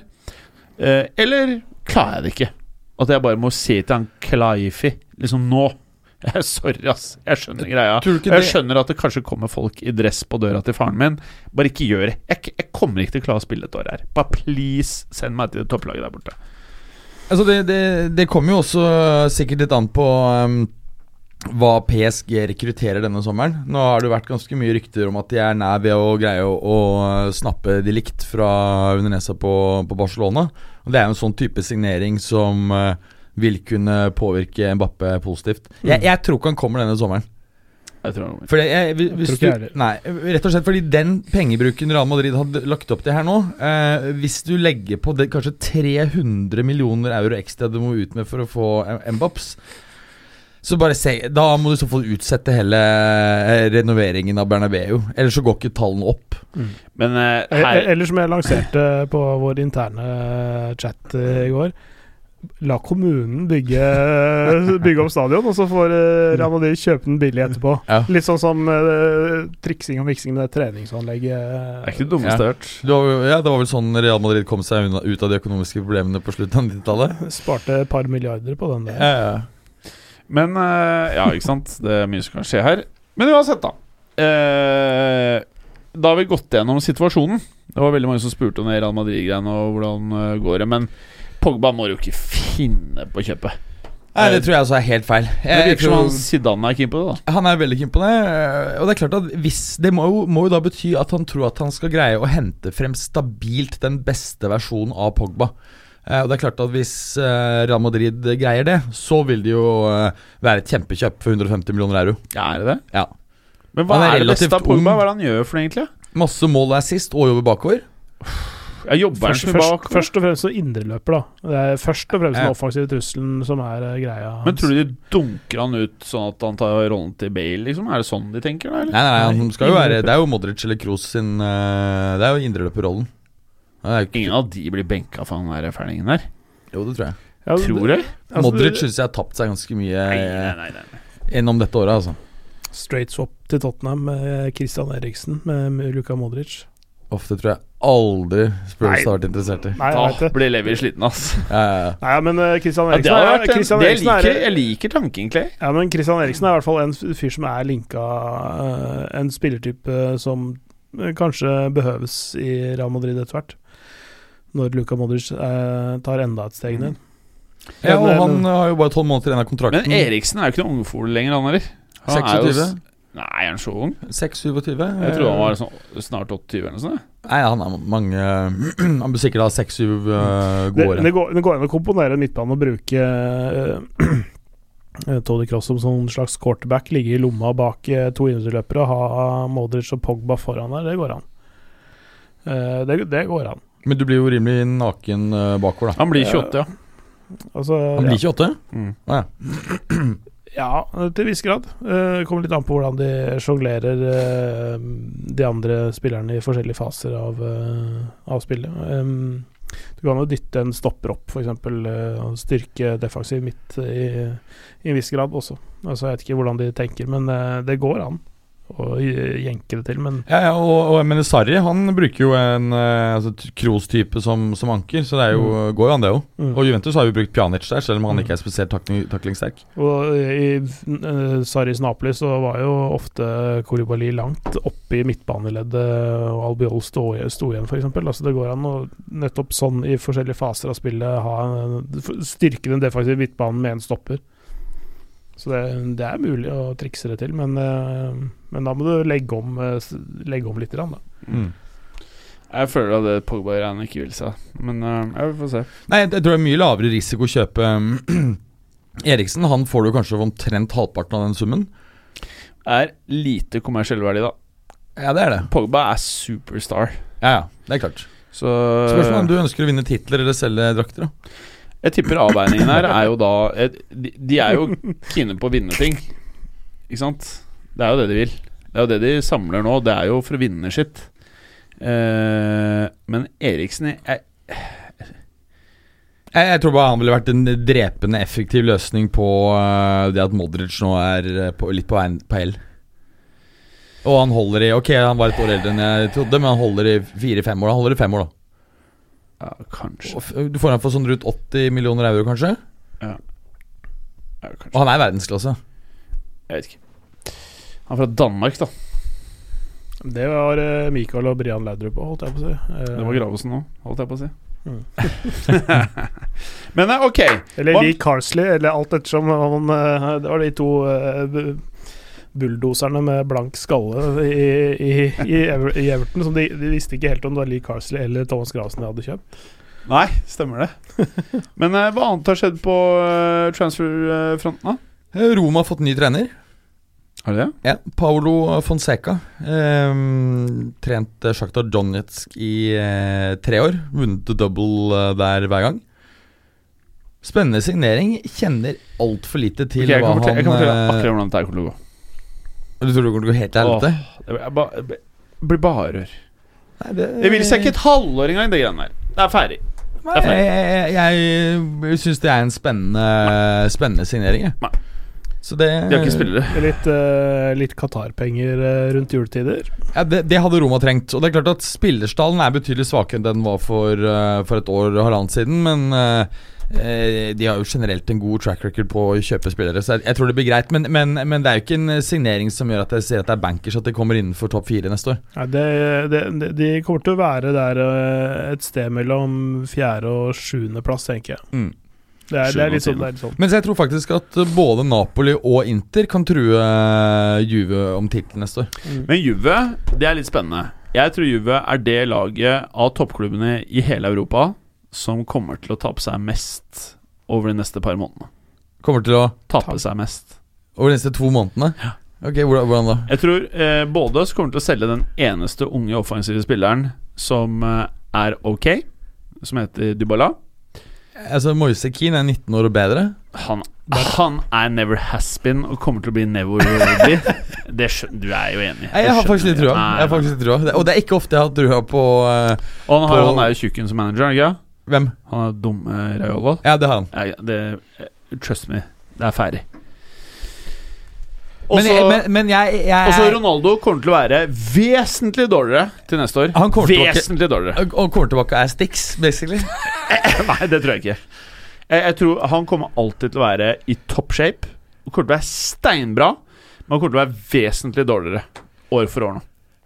[SPEAKER 1] Eh, eller klarer jeg det ikke? At jeg bare må si til han Klaifi liksom nå [LAUGHS] Jeg er Sorry, ass. Jeg skjønner greia.
[SPEAKER 2] Tror du ikke
[SPEAKER 1] Og jeg
[SPEAKER 2] det-
[SPEAKER 1] skjønner at det kanskje kommer folk i dress på døra til faren min. Bare ikke gjør det. Jeg, jeg kommer ikke til å klare å spille et år her. Bare please, send meg til det topplaget der borte.
[SPEAKER 2] Altså det, det, det kommer jo også eh, sikkert litt an på ehm, hva PSG rekrutterer denne sommeren. Nå har det vært ganske mye rykter om at de er nær ved å greie å, å snappe de likt fra Unenesa på, på Barcelona. Og Det er jo en sånn type signering som eh, vil kunne påvirke Mbappé positivt. Jeg,
[SPEAKER 1] Mm.
[SPEAKER 2] jeg tror ikke han kommer denne sommeren.
[SPEAKER 1] Jeg tror han-
[SPEAKER 2] For det, jeg, hvis
[SPEAKER 4] tror ikke
[SPEAKER 2] du,
[SPEAKER 4] jeg heller.
[SPEAKER 2] nei, rett og slett fordi den pengebruken Real Madrid hadde lagt opp til her nå eh, Hvis du legger på det, kanskje 300 millioner euro ekstra du må ut med for å få M- Mbaps så bare se, Da må du i så fall utsette hele eh, renoveringen av Bernabeu. Ellers så går ikke tallene opp.
[SPEAKER 1] Men eh, her,
[SPEAKER 4] Eller som jeg lanserte på vår interne eh, chat i går. La kommunen bygge, eh, bygge opp stadion, og så får eh, Real Madrid kjøpe den billig etterpå.
[SPEAKER 2] Ja.
[SPEAKER 4] Litt sånn som eh, triksing og miksing med det treningsanlegget.
[SPEAKER 1] Det er ikke det dummeste jeg har hørt.
[SPEAKER 2] Det var, jo- ja, det var vel sånn Real Madrid kom seg unna, ut av de økonomiske problemene på slutten av 90-tallet.
[SPEAKER 4] eh, Sparte et par milliarder på den der.
[SPEAKER 2] Ja, ja.
[SPEAKER 1] Men eh, Ja, ikke sant. Det er mye som kan skje her. Men uansett, da. Eh, da har vi gått gjennom situasjonen. Det var veldig mange som spurte om det Real Madrid-greiene og hvordan eh, går det. Men Pogba må jo ikke finne på å kjøpe.
[SPEAKER 2] Nei, det tror jeg også er helt feil.
[SPEAKER 1] Det
[SPEAKER 2] Jeg- jeg
[SPEAKER 1] virker som
[SPEAKER 2] tror-
[SPEAKER 1] han Zidane er keen på det. da
[SPEAKER 2] Han er veldig keen på det. eh, Og det er klart at hvis Det må jo, må jo da bety at han tror at han skal greie å hente frem stabilt den beste versjonen av Pogba. Eh, Og det er klart at Hvis eh, Real Madrid greier det, så vil det jo eh, være et kjempekjøp for 150 millioner euro.
[SPEAKER 1] Ja, er det det?
[SPEAKER 2] Ja.
[SPEAKER 1] Men hva
[SPEAKER 2] Han er
[SPEAKER 1] er, det beste
[SPEAKER 2] relativt
[SPEAKER 1] av Pogba?
[SPEAKER 2] ung.
[SPEAKER 1] Hva er det han gjør for det, egentlig?
[SPEAKER 2] Masse mål er sist, og jobber bakover.
[SPEAKER 1] Ja, jobber han
[SPEAKER 4] Først,
[SPEAKER 1] som
[SPEAKER 4] først,
[SPEAKER 1] bak?
[SPEAKER 4] først og fremst som indreløper, da. Det er først og fremst
[SPEAKER 2] Ja.
[SPEAKER 4] den offensive trusselen som er eh, greia.
[SPEAKER 1] Men tror du de dunker han ut sånn at han tar rollen til Bale, liksom? Er det sånn de tenker, da? Eller?
[SPEAKER 2] Nei, nei, han skal jo være Det er jo Modric eller Kroos sin eh, Det er jo indreløperrollen. Det er jo ikke
[SPEAKER 1] Ingen av de blir benka for han der fælingen der.
[SPEAKER 2] Jo, det tror jeg.
[SPEAKER 4] Ja, det-
[SPEAKER 1] Tror du?
[SPEAKER 4] altså,
[SPEAKER 2] Modric
[SPEAKER 4] det-
[SPEAKER 2] syns jeg har tapt seg ganske mye
[SPEAKER 1] Nei, nei,
[SPEAKER 2] eh,
[SPEAKER 1] nei, nei.
[SPEAKER 2] gjennom dette året, altså.
[SPEAKER 4] Straight swap til Tottenham med Christian Eriksen, med Luka Modric.
[SPEAKER 2] Ofte tror jeg aldri
[SPEAKER 4] Nei.
[SPEAKER 2] Spurs har vært interessert i.
[SPEAKER 4] Nei, jeg
[SPEAKER 1] Åh,
[SPEAKER 4] vet det.
[SPEAKER 1] ble Levi sliten, ass.
[SPEAKER 2] Ja, ja, ja.
[SPEAKER 4] Nei, men eh, Christian
[SPEAKER 1] Ja, det
[SPEAKER 4] Eriksen,
[SPEAKER 1] har
[SPEAKER 4] er-
[SPEAKER 1] vært en,
[SPEAKER 4] Christian
[SPEAKER 1] det
[SPEAKER 4] Eriksen
[SPEAKER 1] liker,
[SPEAKER 4] er,
[SPEAKER 1] jeg liker tanken, Clay.
[SPEAKER 4] ja, men Christian Eriksen er i hvert fall en fyr som er linka eh, En spillertype som eh, kanskje behøves i Real Madrid etter hvert. Når Luka Modric eh, tar enda et steg ned.
[SPEAKER 2] ja og
[SPEAKER 4] Men,
[SPEAKER 2] han eh, har jo bare tolv måneder igjen av kontrakten.
[SPEAKER 1] Men Eriksen er jo ikke noen ungfole lenger, han heller. Han er jo
[SPEAKER 2] 26?
[SPEAKER 1] s- Nei, er han så ung?
[SPEAKER 2] 26?
[SPEAKER 1] Jeg trodde han var sånn, snart 28 eller noe sånt.
[SPEAKER 2] Nei, han er mange [CLEARS THROAT] Han bør sikkert ha 6-7
[SPEAKER 4] Det,
[SPEAKER 2] eh, gode år.
[SPEAKER 4] det, går, det går an å komponere en midtbane og bruke uh, [CLEARS THROAT] Tony Cross som sånn slags quarterback, ligge i lomma bak eh, to indreløpere og ha Modric og Pogba foran der. Det går an. Eh, det, det går an.
[SPEAKER 2] Men du blir jo rimelig naken eh, bakover, da.
[SPEAKER 1] Han blir 28, ja.
[SPEAKER 4] Altså,
[SPEAKER 2] Han blir 28?
[SPEAKER 1] Mm.
[SPEAKER 4] ja, ja, til viss grad. Eh, det kommer litt an på hvordan de sjonglerer eh, de andre spillerne i forskjellige faser av, eh, av spillet. Em, du kan jo dytte en stopper opp, f.eks. Uh, styrke defensiv midt i, i en viss grad også. Altså, jeg vet ikke hvordan de tenker, men eh, det går an å j- jenke det til. Men
[SPEAKER 2] Ja, ja og, og jeg mener Sarri han bruker jo en eh, altså, t- Kroos-type som, som anker, så det er jo, går jo an, det òg.
[SPEAKER 4] mm.
[SPEAKER 2] Og Juventus har jo brukt Pjanic der, selv om han
[SPEAKER 4] Mm.
[SPEAKER 2] ikke er spesielt takling, taklingssterk.
[SPEAKER 4] Og i eh, Sarris Napoli så var jo ofte Kolibali langt oppe i midtbaneleddet, eh, og Albiol sto, sto igjen, f.eks. Altså det går an å nettopp sånn i forskjellige faser av spillet ha en- styrke den defensive midtbanen med en stopper. Så det, det er mulig å trikse det til, men, eh, men da må du legge om, eh, s- legge om litt, grann, da.
[SPEAKER 1] Mm. Jeg føler at det Pogba-greiene ikke vil seg. Men eh, jeg får se.
[SPEAKER 2] Nei, jeg, jeg tror det er mye lavere risiko å kjøpe [CLEARS THROAT] Eriksen. Han får du kanskje for omtrent halvparten av den summen.
[SPEAKER 1] Er lite kommersiell verdi, da.
[SPEAKER 2] Ja, det er det.
[SPEAKER 1] Pogba er superstar.
[SPEAKER 2] Ja, ja, det er klart. Eh.
[SPEAKER 1] Så
[SPEAKER 2] Spørsmålet er om du ønsker å vinne titler eller selge drakter. da
[SPEAKER 1] Jeg tipper avveiningen her er jo da eh, De, de er jo kine på å vinne ting. Ikke sant? Det er jo det de vil. Det er jo det de samler nå. Det er jo for å vinne sitt. Eh, men Eriksen jeg,
[SPEAKER 2] Jeg, jeg tror bare han ville vært en drepende effektiv løsning på øh, det at Modric nå er øh, på, litt på, veien- på hell. Og han holder i Ok, han var et år eldre enn jeg trodde, men han holder i fire-fem år. Han holder i fem år, da.
[SPEAKER 1] ja, Kanskje.
[SPEAKER 2] Og f- Du får han for sånn rundt 80 millioner euro, kanskje?
[SPEAKER 1] ja,
[SPEAKER 2] Og
[SPEAKER 1] kanskje.
[SPEAKER 2] han er i verdensklasse.
[SPEAKER 1] Jeg vet ikke. Han er fra Danmark, da.
[SPEAKER 4] Det var eh, Michael og Brian Laudrup òg, holdt jeg på å si. Eh,
[SPEAKER 1] Det var Gravesen nå, holdt jeg på å si.
[SPEAKER 4] Mm.
[SPEAKER 1] [LAUGHS] men eh, ok.
[SPEAKER 4] Eller
[SPEAKER 1] Hva-
[SPEAKER 4] Lee Carsley, eller alt ettersom han eh, Det var de to eh, bu- bulldoserne med blank skalle i, i, i, Ever i Everton. Som de, de visste ikke helt om det var Lee Carsley eller Thomas Grasen de hadde kjøpt.
[SPEAKER 1] Nei, stemmer det. Men eh, hva annet har skjedd på eh, transferfronten, da?
[SPEAKER 2] Eh, Roma har fått ny trener.
[SPEAKER 1] Har det?
[SPEAKER 2] Ja, Paolo Fonseca. Ehm, trent eh, Shakhtar Donetsk i eh, tre år. Vunnet the double eh, der hver gang. Spennende signering. Kjenner altfor lite til
[SPEAKER 1] Ok, jeg,
[SPEAKER 2] hva
[SPEAKER 1] kan fortelle, jeg
[SPEAKER 2] han
[SPEAKER 1] kan fortelle
[SPEAKER 2] eh,
[SPEAKER 1] akkurat hvordan dette her kommer til å gå.
[SPEAKER 2] Du tror det kommer til å gå helt til helvete?
[SPEAKER 1] Det blir ba- det blir bare rør.
[SPEAKER 2] Nei, det-
[SPEAKER 1] Det vil seg ikke et halvår engang, det greiene der. Det er ferdig.
[SPEAKER 2] Nei, Jeg, jeg, jeg, jeg syns det er en spennende, spennende signering, jeg.
[SPEAKER 1] Nei.
[SPEAKER 2] Så det,
[SPEAKER 1] De har ikke spillere.
[SPEAKER 4] Med Litt, eh, litt Qatar-penger eh, rundt juletider.
[SPEAKER 2] Ja, det, det hadde Roma trengt. Og det er klart at Spillerstallen er betydelig svakere enn den var for, eh, for et år og halvannet siden, men eh, eh, de har jo generelt en god track record på å kjøpe spillere, så jeg, jeg tror det blir greit. Men, men, men det er jo ikke en eh, signering som gjør at jeg ser at det er bankers at de kommer innenfor topp fire neste år.
[SPEAKER 4] Nei, det, det, det, de kommer til å være der eh, et sted mellom fjerde og sjuende plass, tenker jeg.
[SPEAKER 2] Mm.
[SPEAKER 4] Det er, det
[SPEAKER 1] Sjuende
[SPEAKER 4] er litt
[SPEAKER 1] og
[SPEAKER 4] sånn. Det er litt sånn.
[SPEAKER 2] Men så jeg tror faktisk at eh, både Napoli og Inter kan true eh, Juve om tittelen neste år.
[SPEAKER 1] Men Juve, det er litt spennende. Jeg tror Juve er det laget av toppklubbene i hele Europa som kommer til å tape seg mest over de neste par månedene.
[SPEAKER 2] Kommer til å
[SPEAKER 1] Tape seg mest.
[SPEAKER 2] Over de neste to månedene? Ok, hvordan, hvordan da?
[SPEAKER 1] Jeg tror eh, både så kommer de til å selge den eneste unge offensive spilleren som eh, er ok, som heter Dybala.
[SPEAKER 2] Altså, Moise Keane er 19 år og bedre.
[SPEAKER 1] Han, han er never has been og kommer til å bli never will
[SPEAKER 2] [LAUGHS]
[SPEAKER 1] be. Det skjønner, du er jo enig.
[SPEAKER 2] Nei, jeg har
[SPEAKER 1] Det
[SPEAKER 2] faktisk litt
[SPEAKER 1] skjønner
[SPEAKER 2] trua. Jeg har
[SPEAKER 1] Nei, nei.
[SPEAKER 2] faktisk litt trua. Det- Og det er ikke ofte jeg har trua på eh,
[SPEAKER 1] Og han, har,
[SPEAKER 2] på-
[SPEAKER 1] han er jo tjukken som manager, er han ikke?
[SPEAKER 2] Hvem?
[SPEAKER 1] Han er dumme Raiola. eh,
[SPEAKER 2] Ja, det har han.
[SPEAKER 1] Nei, det, trust me, det er ferdig. Og
[SPEAKER 2] Men, jeg-
[SPEAKER 1] så-
[SPEAKER 2] men, men jeg,
[SPEAKER 1] og så
[SPEAKER 2] jeg
[SPEAKER 1] Ronaldo kommer til å være vesentlig dårligere til neste år.
[SPEAKER 2] Han kommer til å-
[SPEAKER 1] vesentlig dårligere. [LAUGHS]
[SPEAKER 2] og og kommer tilbake og er Stix, basically.
[SPEAKER 1] Nei, det tror jeg ikke. Jeg, jeg tror Han kommer alltid til å være i top shape. Han kommer til å være steinbra, men han kommer til å være vesentlig dårligere år for år nå.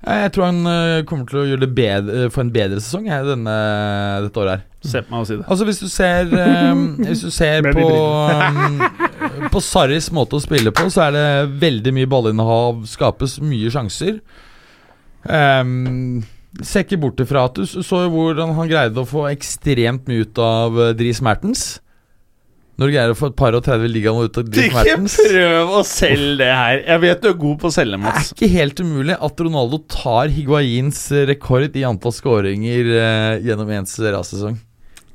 [SPEAKER 2] Jeg jeg tror han eh, kommer til å gjøre det bedre, få en bedre sesong jeg, denne, dette året her.
[SPEAKER 1] Se på meg og si det.
[SPEAKER 2] Altså Hvis du ser, eh, hvis du ser
[SPEAKER 4] Ble vi
[SPEAKER 2] på eh, På Sarris måte å spille på, så er det veldig mye ballinnehav, skapes mye sjanser. Um, ser ikke bort ifra at du s- så jo hvordan han greide å få ekstremt mye ut av eh, Dries Mertens. Når du greier å få et par og 30 ligaene ut av Dries Mertens Det
[SPEAKER 1] prøv å selge det her. Jeg vet du er god på å selge,
[SPEAKER 2] er ikke helt umulig at Ronaldo tar Higuains eh, rekord i antall skåringer eh, gjennom én sesong.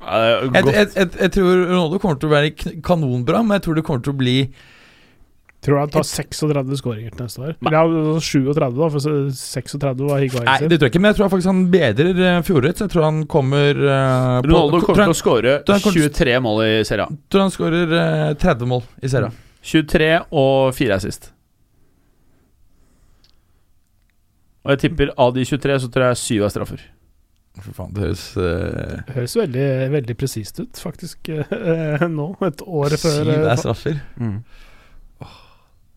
[SPEAKER 2] Jeg, jeg, jeg, jeg tror Ronaldo kommer til å være kn- kanonbra, men jeg tror det kommer til å bli
[SPEAKER 4] Tror du han tar 36 skåringer til neste år? Eller ja, 37, da, for så- 36 var
[SPEAKER 2] Nei,
[SPEAKER 4] Higuain sin.
[SPEAKER 2] det tror jeg ikke, men jeg tror faktisk han bedrer eh, fjorårets. Jeg tror han kommer eh, på-
[SPEAKER 1] Ronaldo kommer til å
[SPEAKER 2] tror,
[SPEAKER 1] skåre
[SPEAKER 2] tror han kommer til-
[SPEAKER 1] 23 mål i Serie A.
[SPEAKER 2] han, tror han skårer eh, 30 mål i serien.
[SPEAKER 1] 23 og 4 er sist. Og jeg tipper av de 23 så tror jeg 7 er straffer. Mm.
[SPEAKER 2] Fy faen, det høres eh,
[SPEAKER 4] Høres veldig, veldig presist ut, faktisk, [LAUGHS] eh, nå. Et år før.
[SPEAKER 2] Syv
[SPEAKER 4] eh,
[SPEAKER 2] er straffer.
[SPEAKER 1] Jeg
[SPEAKER 2] Da er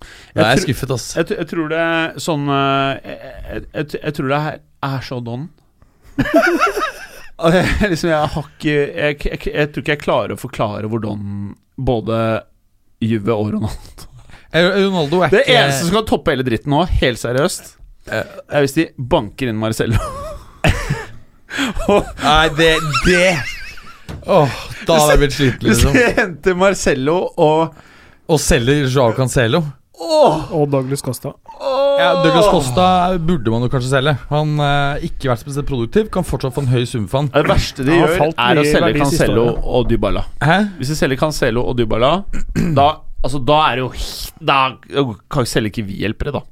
[SPEAKER 1] tror-
[SPEAKER 2] Mm. jeg skuffet, ass.
[SPEAKER 1] Jeg, tr- jeg tror det er sånn eh, Jeg, jeg, jeg tror det her er så don. Og jeg- liksom, jeg har ikke jeg, jeg, jeg tror ikke jeg klarer å forklare hvor don både Juve og Ronaldo
[SPEAKER 2] Eh, Ronaldo er
[SPEAKER 1] Det
[SPEAKER 2] ikke Eh.
[SPEAKER 1] eneste som kan toppe hele dritten nå, helt seriøst, er hvis de banker inn Marcello.
[SPEAKER 2] Nei, det, det. Åh, Da hadde jeg blitt
[SPEAKER 1] [LAUGHS]
[SPEAKER 2] sliten,
[SPEAKER 1] Hvis
[SPEAKER 2] liksom.
[SPEAKER 1] de henter Marcello og
[SPEAKER 2] Og selger Joao Cancelo.
[SPEAKER 4] Og Douglas Costa.
[SPEAKER 2] Ja, Douglas Costa burde man jo kanskje selge. Han har ikke vært spesielt produktiv, kan fortsatt få en høy sum for han.
[SPEAKER 1] Det verste de
[SPEAKER 4] Han har
[SPEAKER 1] gjør,
[SPEAKER 4] falt
[SPEAKER 1] er
[SPEAKER 4] mye
[SPEAKER 1] å
[SPEAKER 4] i
[SPEAKER 1] selge
[SPEAKER 4] verdi siste
[SPEAKER 1] Cancelo
[SPEAKER 4] året.
[SPEAKER 1] og Dybala.
[SPEAKER 2] Hæ?
[SPEAKER 1] Hvis de selger Cancelo og Dybala, da, altså, da er det jo he- Da kan selger ikke vi hjelpere, da.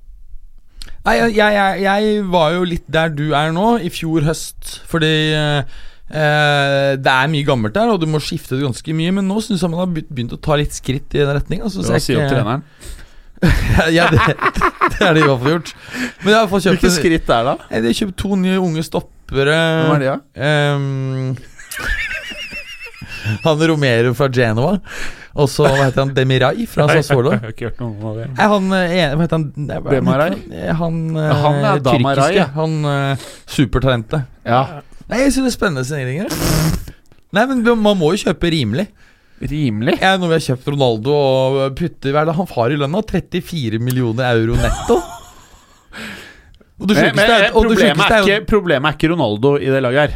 [SPEAKER 2] Nei, jeg, jeg, jeg var jo litt der du er nå, i fjor høst. Fordi eh, eh, det er mye gammelt der, og du må skifte det ganske mye. Men nå syns jeg man har begynt- begynt å ta litt skritt i den retninga. Altså, så
[SPEAKER 1] Hva
[SPEAKER 2] jeg
[SPEAKER 1] sier
[SPEAKER 2] ikke-
[SPEAKER 1] treneren?
[SPEAKER 2] [LAUGHS] ja, det, det er det i hvert fall gjort. Men jeg har fått kjøpt,
[SPEAKER 1] Hvilke skritt er det, da?
[SPEAKER 2] Nei, de har kjøpt to nye unge stoppere.
[SPEAKER 1] Hvem er de, da?
[SPEAKER 2] Ehm, [LAUGHS] han Romero fra Genova. Og så hva heter han Demirai fra Sassuolo.
[SPEAKER 1] har ikke hørt noe om det.
[SPEAKER 2] Nei, han eh, ene- Hva heter han? Nei, hva er det
[SPEAKER 1] Demarai?
[SPEAKER 2] han heter? Eh, Han, eh,
[SPEAKER 1] Ja, han er Damarai, ja.
[SPEAKER 2] tyrkiske. Han eh, supertalentet.
[SPEAKER 1] Ja.
[SPEAKER 2] Nei, jeg synes det er spennende signeringer. Nei, men man må jo kjøpe rimelig.
[SPEAKER 1] Rimelig.
[SPEAKER 2] Ja, når vi har kjøpt Ronaldo og putter Hva er det han har i lønna? 34 millioner euro netto? Og det
[SPEAKER 1] Men, men
[SPEAKER 2] sjukeste er, og det
[SPEAKER 1] problemet,
[SPEAKER 2] sjukeste
[SPEAKER 1] er
[SPEAKER 2] er jo
[SPEAKER 1] ikke, problemet er ikke Ronaldo i det laget her.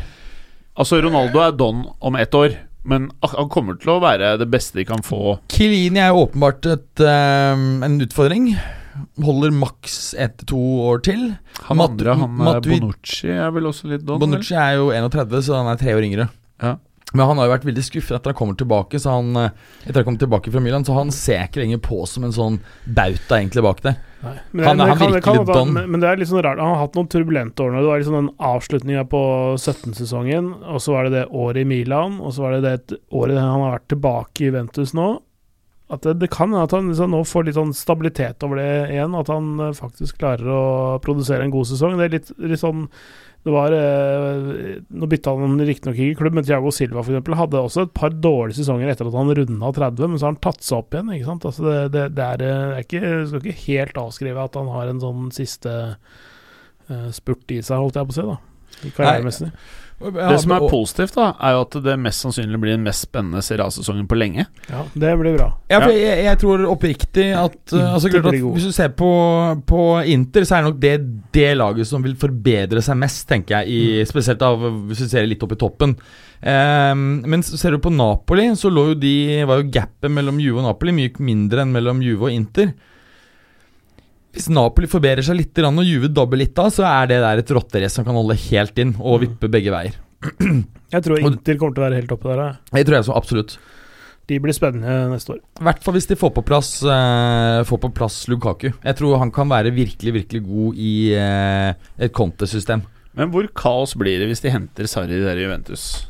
[SPEAKER 1] Altså, Ronaldo er don om ett år, men ak- han kommer til å være det beste de kan få.
[SPEAKER 2] Kilini er jo åpenbart et, eh, en utfordring. Holder maks ett til to år til.
[SPEAKER 1] Han
[SPEAKER 2] Mat-
[SPEAKER 1] andre, han eh,
[SPEAKER 2] Matuidi-
[SPEAKER 1] Bonucci, er vel også litt don?
[SPEAKER 2] Bonucci er jo 31, så han er tre år yngre.
[SPEAKER 1] Ja.
[SPEAKER 2] Men han har jo vært veldig skuffet etter han kommer tilbake Så han eh, Etter han kommer tilbake fra Milan Så han ser ikke lenger på som en sånn bauta egentlig bak der.
[SPEAKER 4] Men,
[SPEAKER 2] Han er-
[SPEAKER 4] men
[SPEAKER 2] han
[SPEAKER 4] kan-
[SPEAKER 2] virkelig
[SPEAKER 4] kan- kan-
[SPEAKER 2] don.
[SPEAKER 4] Men, men det er litt sånn rart. Han har hatt noen turbulente år nå. Det var liksom den avslutninga på 17-sesongen, og så var det det året i Milan, og så var det det året han har vært tilbake i Juventus nå. At det, det kan hende at han liksom nå får litt sånn stabilitet over det igjen, at han eh, faktisk klarer å produsere en god sesong. Det er litt, litt sånn det var, eh, Nå bytta han riktignok ikke klubb, men Thiago Silva for eksempel, hadde også et par dårlige sesonger etter at han runda 30, men så har han tatt seg opp igjen. ikke sant? Altså det, det, det er, eh, det er ikke, du skal ikke helt avskrive at han har en sånn siste eh, spurt i seg, holdt jeg på å si. da, Karrieremessig.
[SPEAKER 1] Det som er positivt, da, er jo at det mest sannsynlig blir den mest spennende Serie A-sesongen på lenge.
[SPEAKER 4] Ja, det blir bra.
[SPEAKER 2] Ja, for jeg, jeg tror oppriktig at, uh, altså,
[SPEAKER 4] Tipper
[SPEAKER 2] klart
[SPEAKER 4] de
[SPEAKER 2] at
[SPEAKER 4] gode.
[SPEAKER 2] Hvis du ser på, på Inter, så er det nok det, det laget som vil forbedre seg mest, tenker jeg. I, spesielt av, hvis du ser litt opp i toppen. Ehm, men s- ser du på Napoli, så lå jo de, var jo gapet mellom Juve og Napoli mye mindre enn mellom Juve og Inter. Hvis Napoli forbedrer seg litt grann, og Juve dabber litt av, så er det der et rotterace som kan holde helt inn og vippe begge veier.
[SPEAKER 4] Jeg tror
[SPEAKER 2] Og-
[SPEAKER 4] Inter kommer til å være helt oppe der. jeg.
[SPEAKER 2] Det tror jeg så absolutt.
[SPEAKER 4] De blir spennende neste år.
[SPEAKER 2] I hvert fall hvis de får på plass eh, Får på plass Lukaku. Jeg tror han kan være virkelig virkelig god i eh, et kontesystem.
[SPEAKER 1] Men hvor kaos blir det hvis de henter Sarri der i Juventus?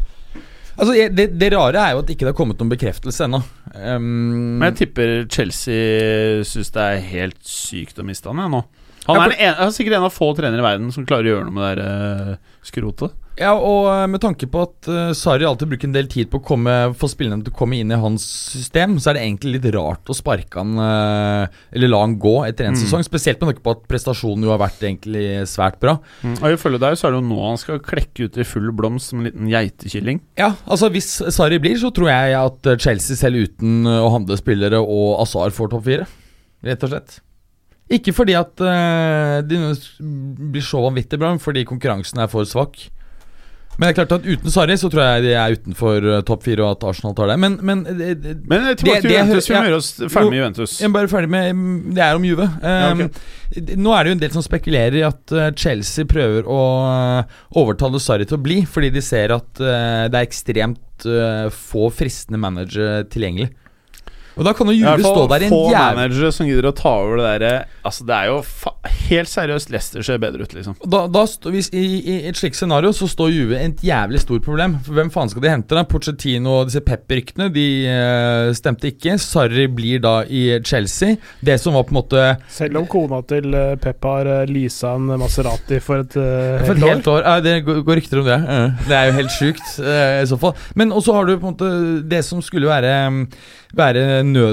[SPEAKER 2] Altså, jeg- det, det rare er jo at ikke det har kommet noen bekreftelse ennå. Um,
[SPEAKER 1] Men jeg tipper Chelsea syns det er helt sykt å miste han jeg, nå. Han
[SPEAKER 2] Ja,
[SPEAKER 1] er, den en, er sikkert en av få trenere i verden som klarer å gjøre noe med det der, eh, skrotet.
[SPEAKER 2] Ja, og eh, med tanke på at uh, Sarri alltid bruker en del tid på å komme, få spillerne til å komme inn i hans system, så er det egentlig litt rart å sparke han eh, Eller la han gå etter én
[SPEAKER 1] Mm.
[SPEAKER 2] sesong. Spesielt med tanke på at prestasjonen jo har vært egentlig svært bra.
[SPEAKER 1] Mm. Og Ifølge deg så er det jo nå han skal klekke ut i full blomst som en liten geitekilling.
[SPEAKER 2] Ja, altså Hvis Sarri blir, så tror jeg at eh, Chelsea selv uten eh, å handle spillere og Azar får topp fire. Rett og slett. Ikke fordi at eh, de nødvendigvis blir så vanvittig bra, men fordi konkurransen er for svak. Men det er klart at uten Sarri så tror jeg de er utenfor eh, topp fire, og at Arsenal tar det. Men, men eh, eh,
[SPEAKER 1] Men eh, tilbake
[SPEAKER 2] Det-
[SPEAKER 1] til
[SPEAKER 2] det-
[SPEAKER 1] Juventus. Vi
[SPEAKER 2] ja.
[SPEAKER 1] må gjøre oss ferdig med Juventus.
[SPEAKER 2] jeg er bare ferdig med mm, Det er om Juve. Um,
[SPEAKER 1] ok.
[SPEAKER 2] d- Nå er det jo en del som spekulerer i at uh, Chelsea prøver å uh, overtale Sarri til å bli, fordi de ser at uh, det er ekstremt uh, få fristende managere tilgjengelig. Og da kan jo
[SPEAKER 1] Det er
[SPEAKER 2] Juve
[SPEAKER 1] i hvert
[SPEAKER 2] stå
[SPEAKER 1] fall
[SPEAKER 2] der i en
[SPEAKER 1] få
[SPEAKER 2] jævla
[SPEAKER 1] managere som gidder å ta over det derre Altså, det er jo fa helt seriøst Leicester ser bedre ut, liksom.
[SPEAKER 2] da, da stå, hvis, i, I et slikt scenario så står Juve et jævlig stort problem. For Hvem faen skal de hente? da? Pochettino og disse Pep-ryktene De eh, stemte ikke. Sarri blir da i Chelsea. Det som var på en måte
[SPEAKER 4] Selv om kona til eh, Pep har eh, leasa en Maserati for et eh,
[SPEAKER 2] For et helt år. Ja, det går går rykter om det. Ja, Det er jo helt sjukt eh, i så fall. Men også har du på en måte Det som skulle være, mm, være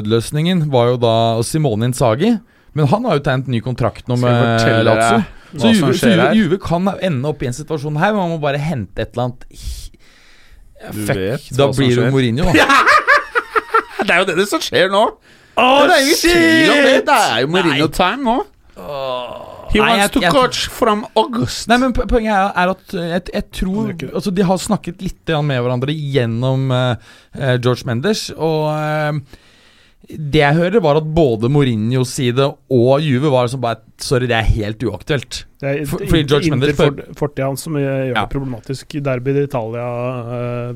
[SPEAKER 2] nødløsningen, var jo da Simone Inzaghi. Men han har jo tegnet ny kontrakt nå
[SPEAKER 1] Skal jeg
[SPEAKER 2] med
[SPEAKER 1] fortelle altså? deg hva
[SPEAKER 2] Lazio. Så
[SPEAKER 1] som
[SPEAKER 2] Juve, så
[SPEAKER 1] skjer
[SPEAKER 2] Juve,
[SPEAKER 1] her?
[SPEAKER 2] Juve kan ende opp i en situasjon her hvor man må bare hente et eller annet Ja,
[SPEAKER 1] Du
[SPEAKER 2] Fuck,
[SPEAKER 1] vet
[SPEAKER 2] da
[SPEAKER 1] hva som
[SPEAKER 2] blir det
[SPEAKER 1] skjer.
[SPEAKER 2] Mourinho, da.
[SPEAKER 1] Det er jo det som skjer nå! det er ingen tvil om det! Det er jo Merino-time nå. He
[SPEAKER 2] Nei,
[SPEAKER 1] wants
[SPEAKER 2] jeg-
[SPEAKER 1] to
[SPEAKER 2] jeg-
[SPEAKER 1] coach from August.
[SPEAKER 2] Nei, men po- Poenget er, er at eh, jeg, jeg tror
[SPEAKER 4] Det er ikke det.
[SPEAKER 2] altså, De har snakket litt grann med hverandre gjennom eh, eh, George Menders, og eh, det jeg hører, var at både Mourinhos side og Juve var liksom bare Sorry, det er helt uaktuelt.
[SPEAKER 4] Det er
[SPEAKER 2] For- fordi George
[SPEAKER 4] Inter-
[SPEAKER 2] Mendes-
[SPEAKER 4] for- Fortida hans som gjør
[SPEAKER 2] Ja.
[SPEAKER 4] det problematisk. Derby i Italia eh,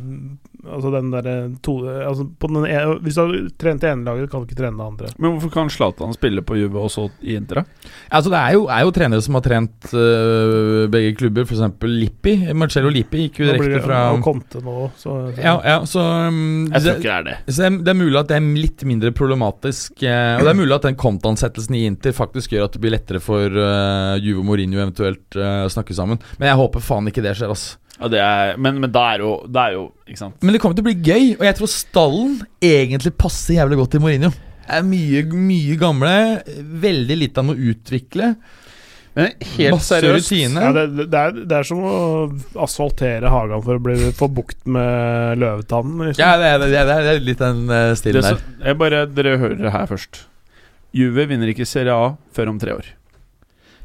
[SPEAKER 4] Altså den derre to... Altså på den ene, hvis du har trent det ene laget, kan du ikke trene det andre.
[SPEAKER 1] Men hvorfor kan Zlatan spille på Juve og så i Inter? da?
[SPEAKER 2] Altså, det er jo, er jo trenere som har trent eh, begge klubber, f.eks. Lippi. Marcello Lippi gikk jo
[SPEAKER 4] Nå blir
[SPEAKER 2] direkte
[SPEAKER 4] det
[SPEAKER 2] fra
[SPEAKER 4] og Conte nå, så
[SPEAKER 2] ja, ja, så, um,
[SPEAKER 1] Jeg
[SPEAKER 2] det-
[SPEAKER 1] tror ikke det er det.
[SPEAKER 2] Så det, er- det er mulig at det er litt mindre problematisk. Eh, og det er mulig at den kontansettelsen i Inter faktisk gjør at det blir lettere for eh, Juve og Mourinho eventuelt eh, å snakke sammen. Men jeg håper faen ikke det skjer, ass.
[SPEAKER 1] Ja, det er, men, men da er jo, det er jo Ikke sant?
[SPEAKER 2] Men det kommer til å bli gøy, og jeg tror stallen egentlig passer jævlig godt til Mourinho. Det er mye, mye gamle, veldig lite han må utvikle.
[SPEAKER 1] Men helt
[SPEAKER 2] masse
[SPEAKER 1] seriøst
[SPEAKER 2] rutine.
[SPEAKER 4] Ja, det, det, er, det er som å asfaltere hagen for å bli, få bukt med løvetannen. Liksom.
[SPEAKER 2] Ja, det er, det er, det er litt den eh, stilen
[SPEAKER 1] det
[SPEAKER 2] der.
[SPEAKER 1] som, jeg bare, Dere hører det her først. Juve vinner ikke Serie A før om tre år.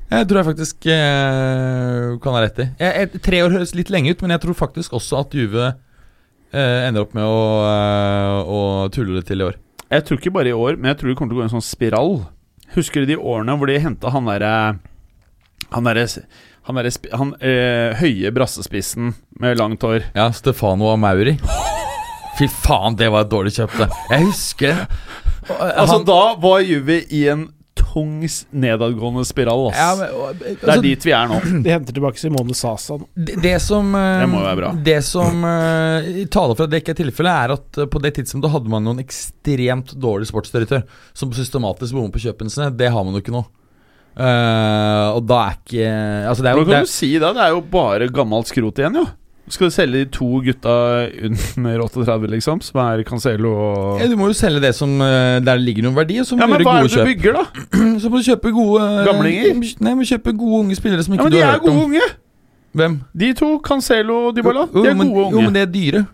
[SPEAKER 2] Jeg tror jeg faktisk eh, kan ha rett i. Jeg, jeg, tre år høres litt lenge ut, men jeg tror faktisk også at Juve eh, ender opp med å, eh, å tulle det til i år.
[SPEAKER 1] Jeg tror ikke bare i år, men jeg tror det kommer til å gå i en sånn spiral. Husker du de årene hvor de henta han derre Han derre han, derre sp- han eh, høye brassespissen med langt hår.
[SPEAKER 2] Ja, Stefano Amauri. Fy faen, det var et dårlig kjøpt, det. Jeg husker det. Og, eh,
[SPEAKER 1] Altså,
[SPEAKER 2] han-
[SPEAKER 1] da var Juve i en tung s- nedadgående spiral, ass.
[SPEAKER 2] ja, men, og, eh,
[SPEAKER 1] det
[SPEAKER 2] altså,
[SPEAKER 1] er dit vi er nå.
[SPEAKER 4] De henter tilbake Simone Sasa nå.
[SPEAKER 2] Det, det som eh,
[SPEAKER 1] Det må jo være bra.
[SPEAKER 2] Det som eh, taler for at det ikke er tilfellet, er at eh, på det tidspunktet hadde man noen ekstremt dårlig sportsdirektør som systematisk bommer på kjøpene sine. Det har man jo ikke nå. Eh, og da er ikke Altså, det er jo
[SPEAKER 1] Hvordan
[SPEAKER 2] det,
[SPEAKER 1] kan du si det? Det er jo bare gammelt skrot igjen, jo. Skal du selge de to gutta under 38, liksom? Som er Cancelo og
[SPEAKER 2] ja, Du må jo selge det som eh, der ligger noen verdi, og så må
[SPEAKER 1] Ja,
[SPEAKER 2] du
[SPEAKER 1] men hva er
[SPEAKER 2] gjøre gode
[SPEAKER 1] det du
[SPEAKER 2] kjøp.
[SPEAKER 1] bygger, da?
[SPEAKER 2] Så må du kjøpe gode eh,
[SPEAKER 1] Gamlinger?
[SPEAKER 2] Nei, men kjøpe gode unge spillere som
[SPEAKER 1] Ja,
[SPEAKER 2] ikke
[SPEAKER 1] men
[SPEAKER 2] du
[SPEAKER 1] De
[SPEAKER 2] har
[SPEAKER 1] er
[SPEAKER 2] hørt
[SPEAKER 1] gode
[SPEAKER 2] om.
[SPEAKER 1] unge!
[SPEAKER 2] Hvem?
[SPEAKER 1] De to, Cancelo og Dybala,
[SPEAKER 2] Jo,
[SPEAKER 1] de er
[SPEAKER 2] men,
[SPEAKER 1] gode
[SPEAKER 2] Jo, men
[SPEAKER 1] unge.
[SPEAKER 2] de er dyre.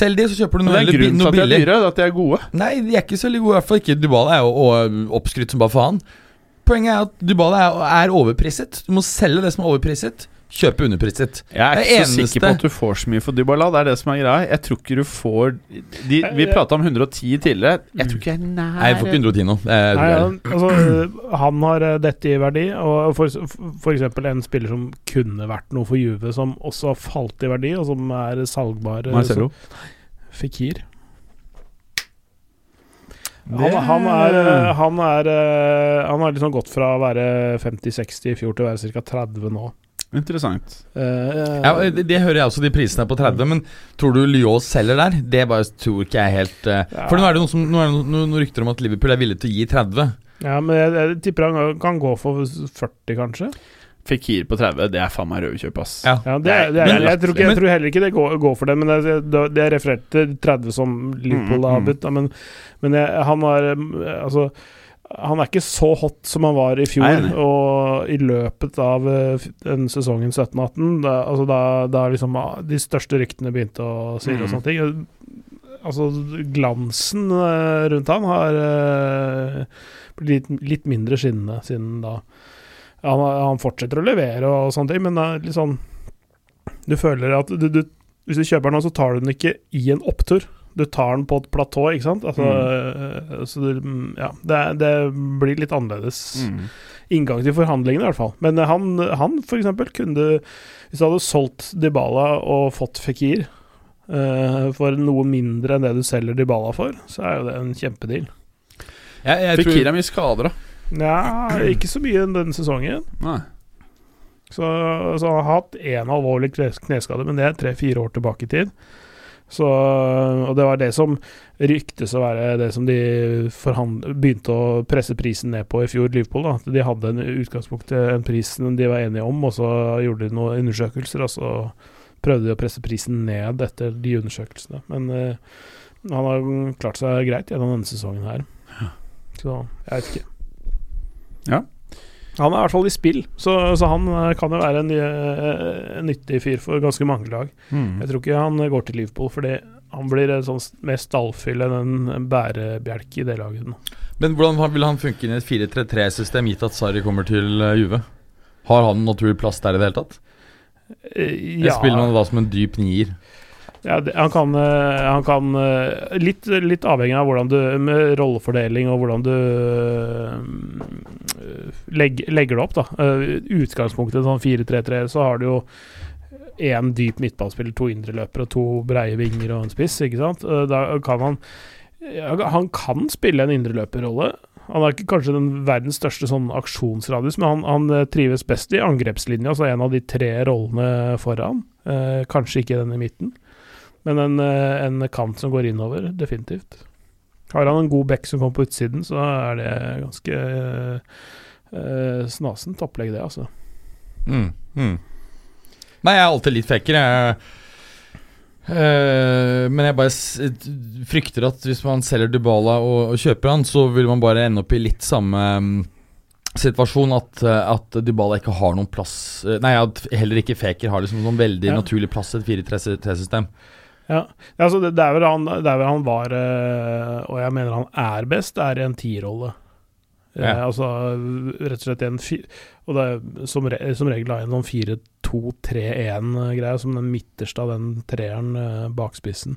[SPEAKER 2] Selg de, så kjøper du
[SPEAKER 1] Men
[SPEAKER 2] noe,
[SPEAKER 1] det er
[SPEAKER 2] eller bi-
[SPEAKER 1] grunnen til
[SPEAKER 2] noe
[SPEAKER 1] at de er
[SPEAKER 2] billig.
[SPEAKER 1] dyre, det er at de er gode.
[SPEAKER 2] Nei, de er ikke så veldig gode. I hvert fall ikke Dybala er jo og- oppskrytt som bare faen. Poenget er at Dybala er, er overpriset. Du må selge det som er overpriset. Kjøpe underpriset.
[SPEAKER 1] Jeg er
[SPEAKER 2] Det
[SPEAKER 1] ikke så
[SPEAKER 2] eneste-
[SPEAKER 1] sikker på at du får så mye for Dybala. Det er det som er greia. Jeg tror ikke du får de, Vi prata om 110 tidligere. Jeg tror ikke jeg er nær
[SPEAKER 2] Nei, jeg får ikke 110 nå. Det er-
[SPEAKER 4] Nei, han, altså, øh, han har øh, dette i verdi, og for, for eksempel en spiller som kunne vært noe for Juve, som også har falt i verdi, og som er salgbar øh,
[SPEAKER 1] Marcelo.
[SPEAKER 4] som- Fikir. Han, han, er, øh, han, er, øh, han har liksom gått fra å være 50-60 i fjor til å være ca. 30 nå.
[SPEAKER 1] Interessant.
[SPEAKER 4] Eh,
[SPEAKER 2] Ja, det, det hører jeg også, de prisene er på 30, men tror du Lyon selger der? Det bare tror ikke jeg helt eh,
[SPEAKER 4] øh,
[SPEAKER 2] For nå er det noen, som, nå er det noen, noen rykter om at Liverpool er villig til å gi 30.
[SPEAKER 4] ja, men jeg, jeg tipper han kan gå for 40, kanskje.
[SPEAKER 1] Fikir på 30, det er faen meg røverkjøp, ass.
[SPEAKER 2] Ja.
[SPEAKER 4] Ja, det, er- det er,
[SPEAKER 2] Men-
[SPEAKER 4] jeg, tror ikke,
[SPEAKER 2] men-
[SPEAKER 4] jeg tror heller ikke det går, går for det, men det, det det er referert til 30 som Liverpool har
[SPEAKER 1] Mm, mm.
[SPEAKER 4] budt. da, Men, men jeg, han var um, Altså, han er ikke så hot som han var i
[SPEAKER 1] Nei,
[SPEAKER 4] fjor.
[SPEAKER 1] nei.
[SPEAKER 4] Og i løpet av eh, f- den sesongen 17-18, da, altså da, da liksom ah, de største ryktene begynte å si og
[SPEAKER 1] Mm.
[SPEAKER 4] sånne ting Altså, glansen eh, rundt han har eh, blitt litt, litt mindre skinnende siden da. Han, han fortsetter å levere og sånne ting, men det er litt sånn Du føler at du, du, hvis du kjøper den nå, så tar du den ikke i en opptur. Du tar den på et platå, ikke sant? Altså, eh, Så det, mm, ja, det, er- det blir litt annerledes
[SPEAKER 1] Mm.
[SPEAKER 4] inngang til forhandlingene, i hvert fall. Men eh, han, han for eksempel, kunne du- Hvis du hadde solgt Dybala og fått Fikir eh, for noe mindre enn det du selger Dybala for, så er jo det en kjempedeal.
[SPEAKER 2] Jeg, jeg tror-
[SPEAKER 1] Fikir er mye skader, da.
[SPEAKER 4] Nja, ikke så mye denne sesongen.
[SPEAKER 1] Nei.
[SPEAKER 4] Så, så han har hatt én alvorlig kne- kneskade, men det er tre-fire år tilbake i tid. Så, og det var det som ryktes å være det som de forhand- begynte å presse prisen ned på i fjor, Liverpool. Da. At De hadde en i utgangspunktet en pris de var enige om, og så gjorde de noen undersøkelser, og så prøvde de å presse prisen ned etter de undersøkelsene. Men eh, han har jo klart seg greit gjennom denne sesongen her. Så jeg vet ikke.
[SPEAKER 1] Ja.
[SPEAKER 4] Han er i hvert fall i spill, så, så han eh, kan jo være en eh, nyttig fyr for ganske mange lag.
[SPEAKER 2] Mm.
[SPEAKER 4] Jeg tror ikke han går til Liverpool fordi han blir en sånn s- mer stallfyll enn en bærebjelke i det laget. nå.
[SPEAKER 2] Men hvordan har- vil han funke inn i et 4-3-3-system, gitt at Sarri kommer til eh, Juve? Har han naturlig plass der i det hele tatt?
[SPEAKER 4] Eh,
[SPEAKER 2] Eller spiller man da som en dyp nier?
[SPEAKER 4] Ja, det, han kan, eh, han kan eh, litt, litt avhengig av hvordan du Med rollefordeling og hvordan du eh, legg, legger det opp, da. Eh, Utgangspunktet sånn 4-3-3, så har du jo én dyp midtballspiller, to indreløpere, to breie vinger og en spiss, ikke sant? Eh, Da kan han ja, Han kan spille en indreløperrolle. Han er ikke kanskje den verdens største sånn aksjonsradius, men han, han eh, trives best i angrepslinja, altså en av de tre rollene foran. Eh, kanskje ikke den i midten. Men en, eh, en kant som går innover, definitivt. Har han en god back som kommer på utsiden, så er det ganske eh, eh, snasent opplegg, det, altså.
[SPEAKER 2] Mm. Mm. Nei, jeg er alltid litt fekker. Jeg, Eh, men jeg bare s frykter at hvis man selger Dybala og, og kjøper han, så vil man bare ende opp i litt samme mm, situasjon at, eh, at Dybala ikke har noen plass eh, Nei, at heller ikke Feker har liksom noen veldig
[SPEAKER 4] Ja.
[SPEAKER 2] naturlig plass i et 4-3-system.
[SPEAKER 4] Ja, altså det, det, er vel han, det er vel han var, eh, og jeg mener han er best, er i en tierrolle. Eh,
[SPEAKER 2] Ja.
[SPEAKER 4] Altså rett og slett en fi, Og det er som, re, som regel da en sånn 4-2-3-1-greie, som den midterste av den treeren eh, bak spissen.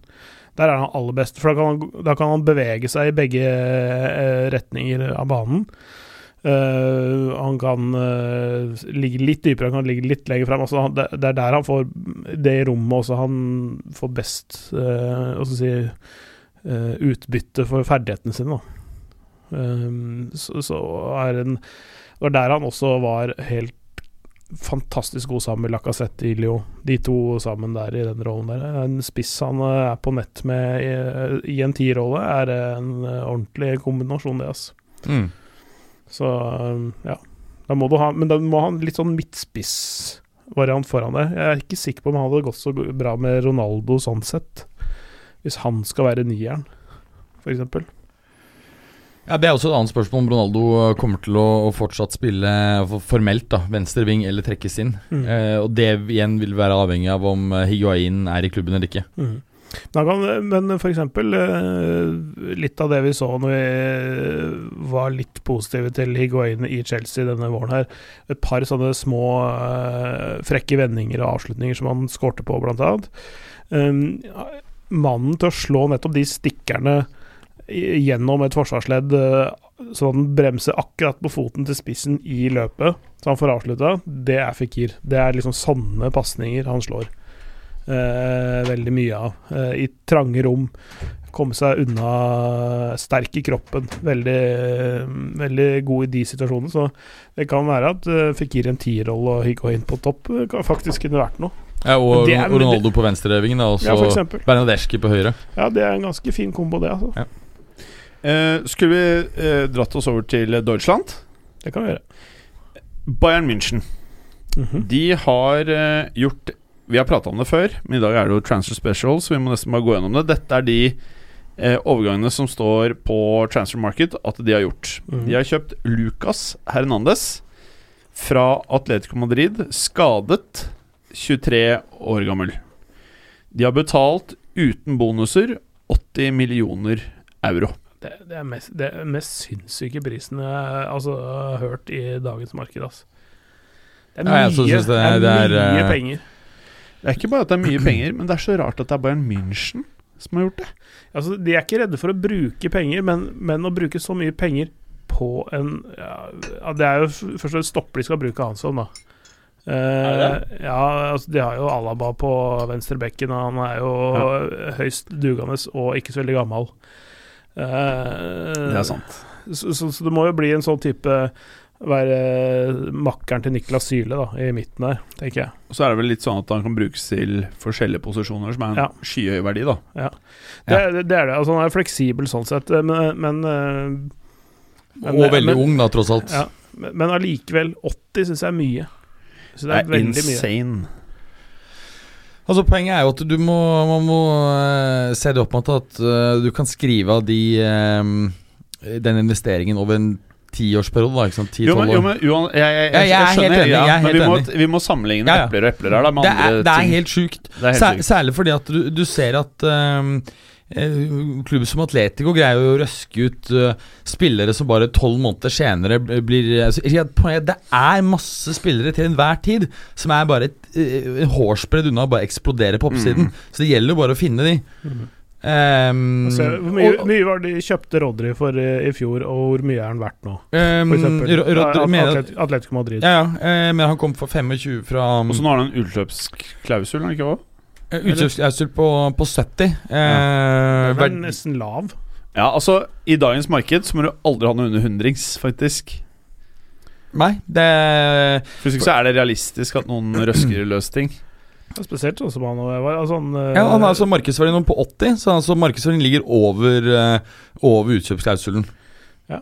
[SPEAKER 4] Der er han aller best, for da kan han, da kan han bevege seg i begge eh, retninger av banen. Eh, han kan eh, ligge litt dypere, han kan ligge litt lenger frem. Altså, han, det, det er der han får det rommet også han får best eh, hva skal jeg si, eh, utbytte for ferdighetene sine. Da. Eh, så, så er en, det var der han også var helt fantastisk god sammen med Lacassette i Lyon. De to sammen der i den rollen der. En spiss han eh, er på nett med i, i en tierrolle, er en eh, ordentlig kombinasjon, det, altså.
[SPEAKER 2] Mm.
[SPEAKER 4] Så um, ja. Da må du ha, men da må han litt sånn midtspissvariant foran deg. Jeg er ikke sikker på om han hadde gått så go- bra med Ronaldo sånn sett. Hvis han skal være nieren, f.eks.
[SPEAKER 2] Ja, Det er også et annet spørsmål om Ronaldo eh, kommer til å, å fortsatt spille eh, for- formelt da, venstre ving eller trekkes inn.
[SPEAKER 4] Mm.
[SPEAKER 2] Eh, og Det igjen vil være avhengig av om eh, Higuain er i klubben eller ikke.
[SPEAKER 4] Mm. Men, han kan, men for eksempel eh, litt av det vi så når vi var litt positive til Higuain i Chelsea denne våren her. Et par sånne små eh, frekke vendinger og avslutninger som han skårte på, blant annet. Um, mannen til å slå nettopp de stikkerne i- gjennom et forsvarsledd, eh, sånn at han bremser akkurat på foten til spissen i løpet, så han får avslutta, det er Fikir. Det er liksom sånne pasninger han slår eh, veldig mye av. eh, I trange rom. Komme seg unna sterk i kroppen. Veldig, veldig god i de situasjonene. Så det kan være at eh, Fikir en tierrolle og Higuain inn på topp eh, kan faktisk kunne vært noe.
[SPEAKER 2] Ja, og
[SPEAKER 4] Det er-
[SPEAKER 2] Ronaldo på venstrevingen, da, og
[SPEAKER 4] Ja, for
[SPEAKER 2] så
[SPEAKER 4] eksempel.
[SPEAKER 2] Bernadeschi på høyre.
[SPEAKER 4] Ja, det er en ganske fin kombo, det. altså.
[SPEAKER 1] Eh, skulle vi eh, dratt oss over til Deutschland?
[SPEAKER 4] Det kan vi gjøre.
[SPEAKER 1] Bayern München.
[SPEAKER 4] Mhm.
[SPEAKER 1] De har eh, gjort Vi har prata om det før, men i dag er det jo Transfer Special, så vi må nesten bare gå gjennom det. Dette er de eh, overgangene som står på Transfer Market at de har gjort.
[SPEAKER 4] Mhm.
[SPEAKER 1] De har kjøpt Lucas Hernandez fra Atletico Madrid, skadet, 23 år gammel. De har betalt uten bonuser 80 millioner euro.
[SPEAKER 4] Det, det er mest, det er mest sinnssyke prisen jeg altså, har hørt i dagens marked. Altså.
[SPEAKER 2] Ja,
[SPEAKER 4] Det er mye,
[SPEAKER 2] jeg også synes
[SPEAKER 4] det
[SPEAKER 2] det
[SPEAKER 4] er,
[SPEAKER 2] er- det er,
[SPEAKER 4] mye
[SPEAKER 2] eh,
[SPEAKER 4] penger.
[SPEAKER 1] Det er ikke bare at det er mye penger, men det er så rart at det er Bayern München som har gjort det.
[SPEAKER 4] Altså, de er ikke redde for å bruke penger, men, men å bruke så mye penger på en ja, ja, Det er jo f- først og fremst stopper de skal bruke Hansson, da. Eh, ja, altså, de har jo Alaba på venstrebekken, og han er jo høyst dugende og ikke så veldig gammel. det
[SPEAKER 1] sant.
[SPEAKER 4] Så, så, så det må jo bli en sånn type Være makkeren til Niklas Syle da, i midten der, tenker jeg.
[SPEAKER 1] Og så er det vel litt sånn at han kan brukes til forskjellige posisjoner, som er en
[SPEAKER 4] Ja.
[SPEAKER 1] skyhøy verdi, da.
[SPEAKER 4] Det, er- det er det. altså Han er fleksibel sånn sett, men, men eh, Men- eh,
[SPEAKER 2] Og veldig
[SPEAKER 4] men-
[SPEAKER 2] ung, da, tross alt.
[SPEAKER 4] Ja. Men allikevel, 80 syns jeg er mye. Så det er, veldig mye.
[SPEAKER 1] insane.
[SPEAKER 2] Altså Poenget er jo at du må, man må eh, se det opp mot at eh, du kan skrive av de eh, den investeringen over en tiårsperiode, da. Ikke sant?
[SPEAKER 1] Jo, men,
[SPEAKER 2] 10-12
[SPEAKER 1] jo,
[SPEAKER 2] år.
[SPEAKER 1] men uan, jeg, jeg, jeg,
[SPEAKER 2] Ja, jeg er helt
[SPEAKER 1] skjønner,
[SPEAKER 2] enig, jeg er
[SPEAKER 1] ja, men
[SPEAKER 2] helt
[SPEAKER 1] vi må,
[SPEAKER 2] enig.
[SPEAKER 1] vi må sammenligne
[SPEAKER 2] Ja, ja.
[SPEAKER 1] epler og epler her, da, med
[SPEAKER 2] Det er,
[SPEAKER 1] andre
[SPEAKER 2] det er
[SPEAKER 1] ting.
[SPEAKER 2] helt sjukt.
[SPEAKER 1] det er
[SPEAKER 2] Sær,
[SPEAKER 1] sykt.
[SPEAKER 2] særlig fordi at du, du ser at ehm, eh, Klubber som Atletico greier jo å røske ut eh, spillere som bare tolv måneder senere b- blir altså, jeg sier at poenget- Det er masse spillere til enhver tid som er bare et eh, hårsbredd unna å bare eksplodere på oppsiden.
[SPEAKER 1] Mm.
[SPEAKER 2] Så det gjelder jo bare å finne de. Ehm,
[SPEAKER 4] Mm. Altså, hvor mye,
[SPEAKER 2] og-
[SPEAKER 4] mye var det de kjøpte Rodry for eh, i fjor, og hvor mye er han verdt nå?
[SPEAKER 2] ehm,
[SPEAKER 4] For eksempel.
[SPEAKER 2] Ro- Ro-
[SPEAKER 4] At-
[SPEAKER 2] mener at-
[SPEAKER 4] Atlet- Atletico Madrid.
[SPEAKER 2] ja, ja, eh, men han kom for 25 fra
[SPEAKER 1] Og så nå har han en utløpsklausul, har han ikke òg?
[SPEAKER 2] eh, utkjøpsklausul på, på 70. eh,
[SPEAKER 4] Den er
[SPEAKER 2] verd-
[SPEAKER 4] nesten lav.
[SPEAKER 1] Ja, altså, i dagens marked så må du aldri ha noe under hundrings, faktisk.
[SPEAKER 2] nei, det
[SPEAKER 1] For hvis ikke så er det realistisk at [CLEARS THROAT] noen røsker løs ting.
[SPEAKER 4] Ja, Spesielt sånn som han var. Altså, han, eh,
[SPEAKER 2] Ja, han har altså markedsverdien nå på 80, så altså markedsverdien ligger over, eh, over utkjøpsklausulen.
[SPEAKER 4] Ja.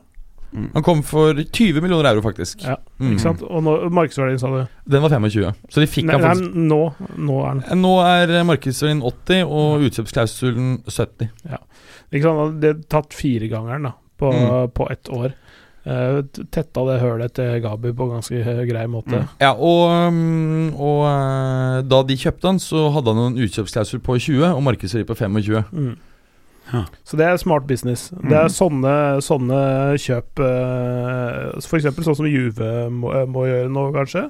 [SPEAKER 1] Mm.
[SPEAKER 2] Han kom for 20 millioner euro, faktisk.
[SPEAKER 4] Ja,
[SPEAKER 2] Mm.
[SPEAKER 4] Ikke sant? Og nå, markedsverdien, sa du.
[SPEAKER 2] Den var 25, så de fikk
[SPEAKER 4] Nei,
[SPEAKER 2] han
[SPEAKER 4] nei,
[SPEAKER 2] faktisk.
[SPEAKER 4] nå, nå er han
[SPEAKER 2] Nå er eh, markedsverdien 80 og utkjøpsklausulen 70.
[SPEAKER 4] Ikke sant? Han hadde tatt firegangeren da, på,
[SPEAKER 2] Mm.
[SPEAKER 4] på ett år. Eh, t- tetta det hølet til Gabi på ganske eh, grei måte.
[SPEAKER 1] Mm.
[SPEAKER 2] Ja, og, mm, og eh, da de kjøpte han, så hadde han en utkjøpsklausul på 20 og markedsverdi på 25.
[SPEAKER 4] Mm.
[SPEAKER 1] Ja.
[SPEAKER 4] Så det er smart business. Det er sånne, sånne kjøp eh, så For eksempel sånn som Juve må, eh, må gjøre nå, kanskje.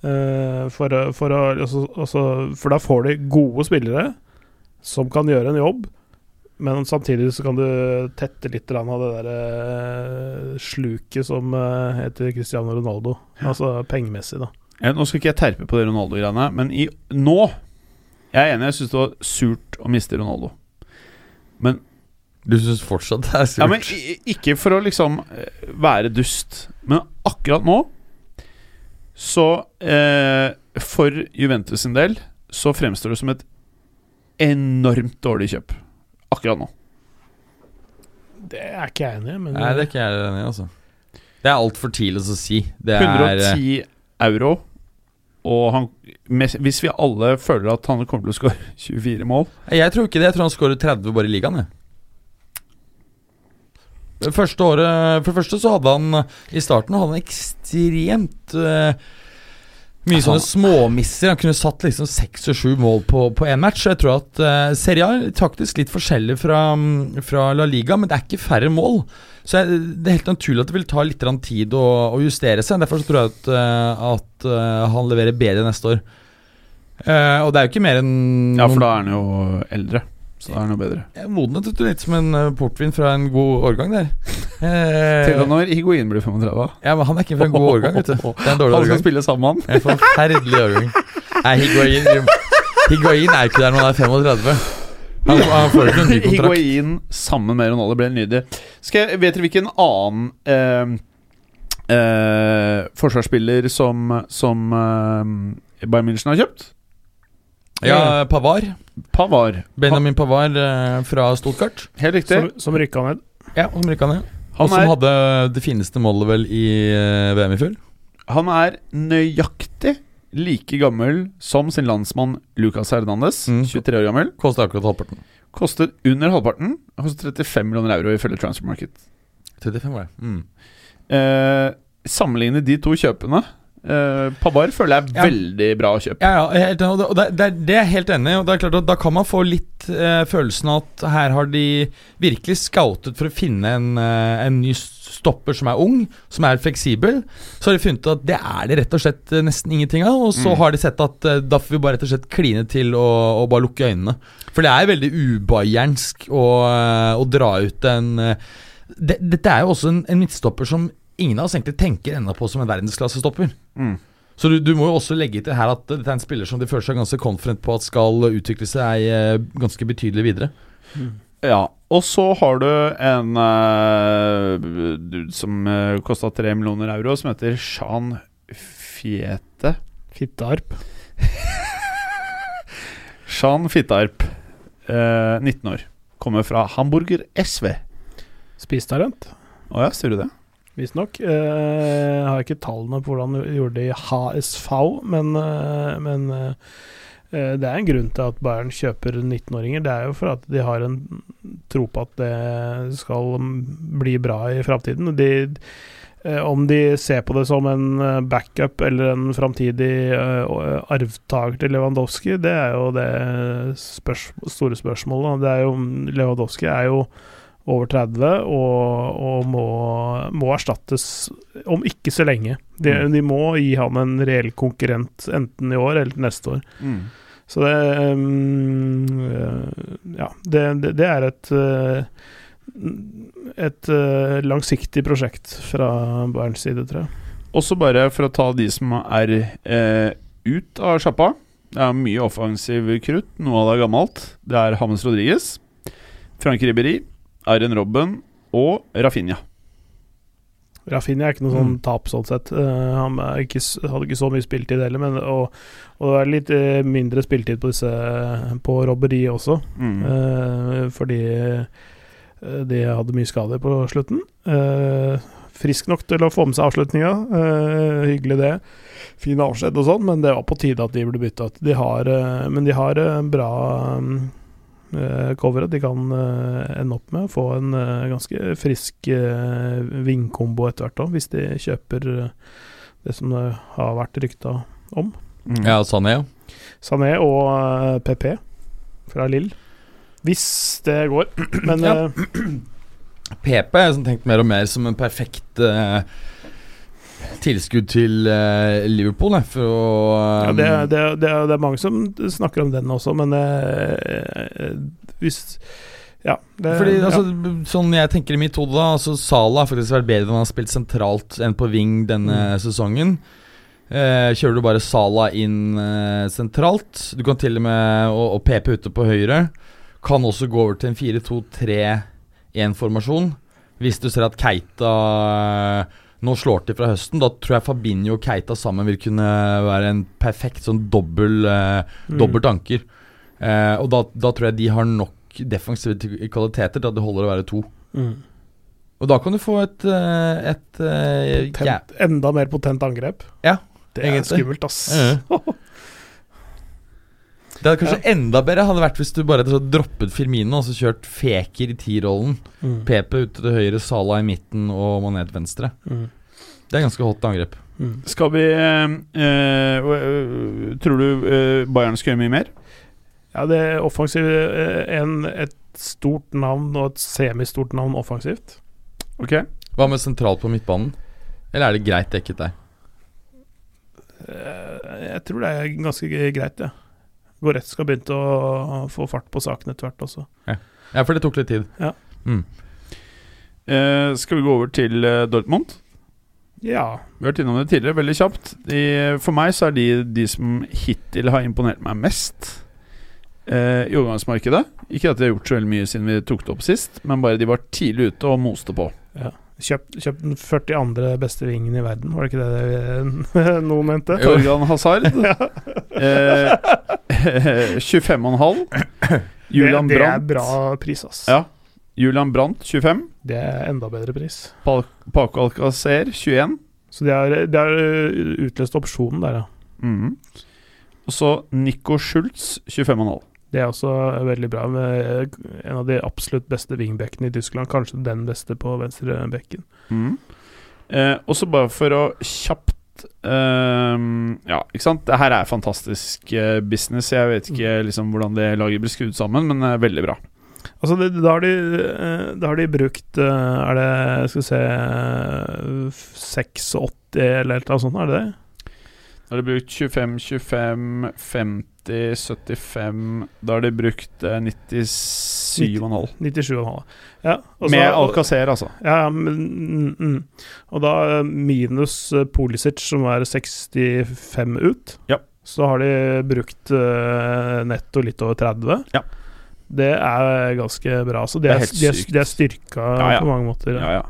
[SPEAKER 4] Eh, for, å- for, å, altså, altså, for da får de gode spillere som kan gjøre en jobb, men samtidig så kan du tette litt grann av det der eh, sluket som eh, heter Cristiano Ronaldo. Altså pengemessig, da.
[SPEAKER 1] Ja, nå skal ikke jeg terpe på det Ronaldo-greiene, men i, nå Jeg er enig, jeg syns det var surt å miste Ronaldo. Men
[SPEAKER 2] Du syns fortsatt det er surt?
[SPEAKER 1] Ja, men i- i- Ikke for å liksom eh, være dust, men akkurat nå så eh, For Juventus sin del så fremstår det som et enormt dårlig kjøp. Akkurat nå.
[SPEAKER 4] Det er ikke jeg enig i, men
[SPEAKER 2] Nei, det er ikke jeg enig i, altså. Det er altfor tidlig å si. Det er eh,
[SPEAKER 1] 110 euro. Og han, med, hvis vi alle føler at han kommer til å skåre [LAUGHS] 24 mål
[SPEAKER 2] Jeg tror ikke det. Jeg tror han skårer 30 bare i ligaen. Jeg. Det Første året, for det første så hadde han I starten hadde han ekstremt eh, mye sånne småmisser. Han kunne satt liksom seks og sju mål på, på én match. Så jeg tror at eh, Serie A er taktisk litt forskjellig fra, mm, fra La Liga, men det er ikke færre mål. Så jeg, det er helt naturlig at det vil ta litt grann tid å, å justere seg. Derfor så tror jeg at, eh, at eh, han leverer bedre neste år. Eh, og det er jo ikke mer enn
[SPEAKER 1] Ja, for
[SPEAKER 2] noen-
[SPEAKER 1] da er han jo eldre. Så da er han jo bedre.
[SPEAKER 2] jeg modnet du litt som en eh, portvin fra en god årgang
[SPEAKER 1] [LAUGHS]
[SPEAKER 2] der. Eh,
[SPEAKER 1] Til og når Higuain blir 35.
[SPEAKER 2] ja, men han er ikke fra en god årgang,
[SPEAKER 1] [LAUGHS]
[SPEAKER 2] vet du. Det er en dårlig
[SPEAKER 1] Han skal
[SPEAKER 2] årgang.
[SPEAKER 1] spille sammen med han.
[SPEAKER 2] En forferdelig årgang. Nei, Higuain Higuain er ikke der når han er 35. Han, han får ikke noen ny kontrakt.
[SPEAKER 1] Higuain sammen med Ronaldo ble nydelig. Skal jeg, vet dere hvilken annen eh, eh, forsvarsspiller som, som eh, Bayern München har kjøpt?
[SPEAKER 2] Ja, Pavar.
[SPEAKER 1] Pavar.
[SPEAKER 2] Benjamin Pavar eh, fra Stuttgart.
[SPEAKER 1] Helt riktig.
[SPEAKER 4] Som, som rykka ned.
[SPEAKER 2] Ja, som rykka ned. Og
[SPEAKER 1] Han
[SPEAKER 2] som
[SPEAKER 1] er,
[SPEAKER 2] hadde det fineste målet vel i eh, VM i fjor.
[SPEAKER 1] han er nøyaktig like gammel som sin landsmann Lucas Hernandez.
[SPEAKER 2] Mm.
[SPEAKER 1] 23 år gammel.
[SPEAKER 2] Kosta akkurat halvparten.
[SPEAKER 1] Kostet under halvparten. Kostet 35 millioner euro ifølge Transfer Market.
[SPEAKER 2] 35 var det. Mm.
[SPEAKER 1] Eh, sammenligne de to kjøpene eh, Pavar føler jeg er
[SPEAKER 2] Ja.
[SPEAKER 1] veldig bra kjøp.
[SPEAKER 2] Ja, ja, jeg er helt enig, og det, og det, det er- det er jeg helt enig i. og det er klart at Da kan man få litt eh, følelsen av at her har de virkelig scoutet for å finne en, eh, en ny stopper som er ung, som er fleksibel. Så har de funnet ut at det er det rett og slett eh, nesten ingenting av. Og så
[SPEAKER 1] Mm.
[SPEAKER 2] har de sett at eh, da får vi bare rett og slett kline til og, og bare lukke øynene. For det er veldig ubayernsk å, eh, å dra ut en eh, det, Dette er jo også en, en midtstopper som ingen av oss egentlig tenker ennå på som en verdensklassestopper.
[SPEAKER 1] Mm.
[SPEAKER 2] Så du, du må jo også legge til her at dette er en spiller som de føler seg ganske confident på at skal utvikle seg eh, ganske betydelig videre.
[SPEAKER 1] Ja, og så har du en eh, dude som uh, kosta tre millioner euro, som heter Shan Fiete.
[SPEAKER 4] Fittearp.
[SPEAKER 1] Shan Fittarp, eh, 19 år. Kommer fra Hamburger SV.
[SPEAKER 4] Spistarent,
[SPEAKER 1] Å ja, sier du det?
[SPEAKER 4] visstnok. Eh, jeg har ikke tallene på hvordan de gjorde det i HSV, men, eh, men eh, eh, det er en grunn til at Bayern kjøper 19-åringer. Det er jo for at de har en tro på at det skal bli bra i framtiden. De, eh, om de ser på det som en eh, backup eller en framtidig uh, arvtaker til Lewandowski, det er jo det spørs store spørsmålet. og Det er jo, Lewandowski er jo over 30 og, og må, må erstattes om ikke så lenge. De, de må gi han en reell konkurrent enten i år eller neste år.
[SPEAKER 1] Mm.
[SPEAKER 4] Så det um, eh, Ja, det, det, det er et eh, et eh, langsiktig prosjekt fra Bayerns side, tror jeg.
[SPEAKER 1] Også bare for å ta de som er eh, ut av sjappa. Det er mye offensiv krutt, noe av det er gammelt. Det er Hammes Rodriguez, Frank Ribberi, Arjen Robben og Rafinha.
[SPEAKER 4] Rafinha er ikke noe sånn tap sånn sett. Eh, han er ikke, s- hadde ikke så mye spiltid heller, men og, og det var litt eh, mindre spiltid på disse på robberi også.
[SPEAKER 1] Mm.
[SPEAKER 4] Eh, fordi eh, de hadde mye skader på slutten. Eh, frisk nok til å få med seg avslutninga. Eh, hyggelig, det. Fin avskjed og sånn, men det var på tide at de ble bytta ut. De har, eh, men de har eh, bra mm, eh, coveret de kan eh, ende opp med. Få en eh, ganske frisk eh, vingkombo etter hvert òg, hvis de kjøper eh, det som det har vært rykta om.
[SPEAKER 1] Mm.
[SPEAKER 2] Ja, Sané, ja.
[SPEAKER 4] Sané og eh, PP fra Lill. Hvis det går. [CLEARS THROAT] Men
[SPEAKER 2] Ja.
[SPEAKER 4] eh,
[SPEAKER 2] PP har jeg sånn tenkt mer og mer som en perfekt eh, tilskudd til eh, Liverpool, jeg, for å
[SPEAKER 4] ja,
[SPEAKER 2] eh,
[SPEAKER 4] det, det, det, det er mange som snakker om den også, men eh, eh, hvis Ja. Det,
[SPEAKER 2] Fordi
[SPEAKER 4] ja.
[SPEAKER 2] altså, b- Sånn jeg tenker i mitt hode, da altså, Salah har faktisk vært bedre enn han har spilt sentralt enn på wing denne
[SPEAKER 4] Mm.
[SPEAKER 2] sesongen. Eh, kjører du bare Salah inn eh, sentralt, du kan til og med og, og PP ute på høyre. Kan også gå over til en 4-2-3-1-formasjon. Hvis du ser at Keita eh, nå slår til fra høsten, da tror jeg Fabinho og Keita sammen vil kunne være en perfekt sånn dobbel eh,
[SPEAKER 4] Mm.
[SPEAKER 2] dobbelt anker. Eh, og da, da tror jeg de har nok defensive t- kvaliteter til at det holder å være to.
[SPEAKER 4] Mm.
[SPEAKER 2] Og da kan du få et, eh, et eh,
[SPEAKER 4] Potent,
[SPEAKER 2] ja.
[SPEAKER 4] Enda mer potent angrep.
[SPEAKER 2] Ja,
[SPEAKER 4] Det er
[SPEAKER 2] egentlig.
[SPEAKER 4] skummelt, ass.
[SPEAKER 2] Det hadde kanskje enda bedre hadde vært hvis du bare hadde droppet Firmino og så kjørt Feker i T-rollen.
[SPEAKER 4] Mm.
[SPEAKER 2] Pepe ute til høyre, Salah i midten og Mané til venstre.
[SPEAKER 4] Mm.
[SPEAKER 2] Det er ganske hot angrep.
[SPEAKER 4] Mm.
[SPEAKER 1] Skal vi eh, eh, øh, Tror du eh, Bayern skal gjøre mye mer?
[SPEAKER 4] Ja, det er offensivt eh, en, Et stort navn og et semistort navn offensivt.
[SPEAKER 1] Ok
[SPEAKER 2] Hva med sentralt på midtbanen? Eller er det greit dekket der?
[SPEAKER 4] Eh, Jeg tror det er ganske greit, jeg. Ja. Goretzka har begynt å få fart på saken etter hvert også.
[SPEAKER 2] Ja, for det tok litt tid.
[SPEAKER 1] Eh, Skal vi gå over til eh, Dortmund?
[SPEAKER 4] Ja.
[SPEAKER 1] Vi har vært innom det tidligere, veldig kjapt. De, for meg så er de de som hittil har imponert meg mest. eh, i overgangsmarkedet. Ikke at de har gjort så veldig mye siden vi tok det opp sist, men bare de var tidlig ute og moste på.
[SPEAKER 4] Kjøpt, kjøpt den 40 andre beste vingen i verden, var det ikke det [LAUGHS] vi- noen mente?
[SPEAKER 1] Torgan Hazard. eh, [LAUGHS] 25,5. Julian
[SPEAKER 4] det, det er
[SPEAKER 1] Brandt.
[SPEAKER 4] bra pris, ass.
[SPEAKER 1] Ja. Julian Brandt 25.
[SPEAKER 4] Det er enda bedre pris.
[SPEAKER 1] Pa- Paco Alcacer 21.
[SPEAKER 4] Så de har, de har uh, utløst opsjonen der, ja.
[SPEAKER 1] Mhm. Og så Nico Schultz 25,5.
[SPEAKER 4] Det er også eh, veldig bra. Med eh, en av de absolutt beste wingbackene i Tyskland. Kanskje den beste på venstre bekken.
[SPEAKER 1] Mhm. Eh, og så bare for å kjapt ehm, Ja, ikke sant. Det her er fantastisk eh, business. Jeg vet ikke liksom hvordan det laget blir skrudd sammen, men det er veldig bra.
[SPEAKER 4] Altså, det, da, har de, eh, da har de brukt eh, Er det Skal vi se eh, 86 eller et eller annet sånt, er det det?
[SPEAKER 1] Da har de brukt 25, 25, 50, 75 Da har de brukt eh, 97,5.
[SPEAKER 4] 97,5. Ja, og så-
[SPEAKER 1] Med Alcacer, altså.
[SPEAKER 4] Ja, ja, men mm, mm. Og da eh, minus eh, Pulisic, som er 65 ut,
[SPEAKER 1] Ja.
[SPEAKER 4] så har de brukt eh, netto litt over 30.
[SPEAKER 1] Ja.
[SPEAKER 4] Det er ganske bra. Så de
[SPEAKER 1] Det er
[SPEAKER 4] er,
[SPEAKER 1] helt
[SPEAKER 4] de er,
[SPEAKER 1] sykt.
[SPEAKER 4] de er styrka
[SPEAKER 1] Ja, ja.
[SPEAKER 4] på mange måter.
[SPEAKER 1] Ja, ja.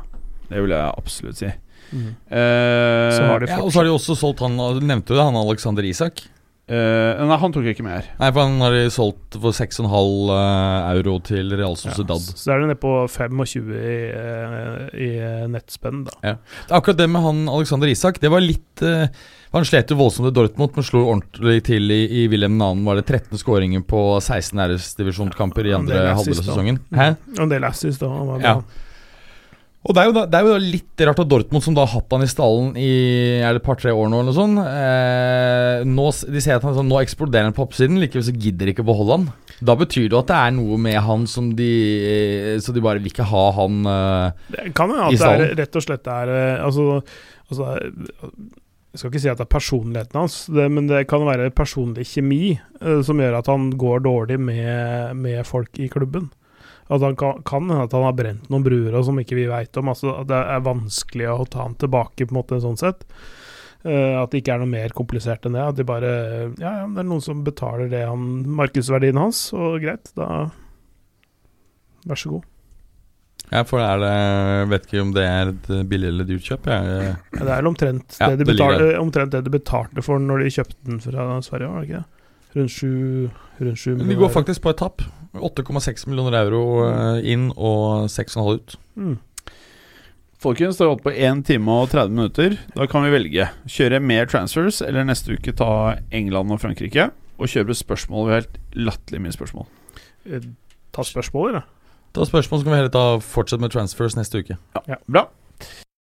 [SPEAKER 1] Det vil jeg absolutt si.
[SPEAKER 4] Mm.
[SPEAKER 1] Eh,
[SPEAKER 4] Så har de
[SPEAKER 2] Ja, og så har de også solgt han Du nevnte jo det, han Alexander Isak?
[SPEAKER 1] eh, Nei, han tok jeg ikke med her.
[SPEAKER 2] Nei, for han har de solgt for 6,5 eh, euro til Real
[SPEAKER 4] Ja,
[SPEAKER 2] Sociedad.
[SPEAKER 4] Så så er det nede på 25 i, eh, i eh, nettspenn, da.
[SPEAKER 2] Akkurat det med han Alexander Isak, det var litt eh, Han slet jo voldsomt i Dortmund, men slo ordentlig til i, i Wilhelm 2. Var det 13 skåringer på 16 æresdivisjonskamper i
[SPEAKER 4] Ja, det
[SPEAKER 2] andre
[SPEAKER 4] er
[SPEAKER 2] halvdel av
[SPEAKER 4] sist, da.
[SPEAKER 2] sesongen? Hæ?
[SPEAKER 4] Mm. Og en del assis, da. Han var
[SPEAKER 2] Ja.
[SPEAKER 4] bra.
[SPEAKER 2] Mm. Og det er, jo da, det er jo da litt rart at Dortmund, som da har hatt han i stallen i er det et par-tre år nå, eller noe sånt eh, nå, s- De ser at han sånn, nå eksploderer han på oppsiden, likevel så gidder de ikke å beholde han. Da betyr det jo at det er noe med han som de eh, Så de bare vil ikke ha han eh,
[SPEAKER 4] Det kan hende
[SPEAKER 2] I
[SPEAKER 4] at det
[SPEAKER 2] stallen.
[SPEAKER 4] er, rett og slett er eh, altså, altså eh, Jeg skal ikke si at det er personligheten hans, det, men det kan være personlig kjemi eh, som gjør at han går dårlig med, med folk i klubben. At han kan, kan hende at han har brent noen bruer og som ikke vi veit om. Altså, at det er vanskelig å ta han tilbake, på en måte, sånn sett. Eh, at det ikke er noe mer komplisert enn det. At de bare Ja, ja, det er noen som betaler det han markedsverdien hans, og greit, da Vær så god.
[SPEAKER 2] Ja, for er det Vet ikke om det er et eh, billig eller dyrt kjøp. Jeg, Eh,
[SPEAKER 4] Ja, Det er vel omtrent,
[SPEAKER 2] Ja,
[SPEAKER 4] det de
[SPEAKER 2] det ligger
[SPEAKER 4] betalte, omtrent det de betalte for når de kjøpte den fra Sverige, var det ikke det? Rundt sju Rundt sju
[SPEAKER 2] Men de går faktisk på et tap. 8,6 millioner euro eh, inn og 6,5 ut.
[SPEAKER 4] mm.
[SPEAKER 1] Folkens, det har holdt på 1 time og 30 minutter. Da kan vi velge. Kjøre mer transfers, eller neste uke ta England og Frankrike. Og kjøre spørsmål. Vi har helt latterlig mye spørsmål.
[SPEAKER 4] Eh, Ta spørsmål, eller?
[SPEAKER 2] Da er spørsmålet skal vi heller ta fortsette med transfers neste uke.
[SPEAKER 1] Bra.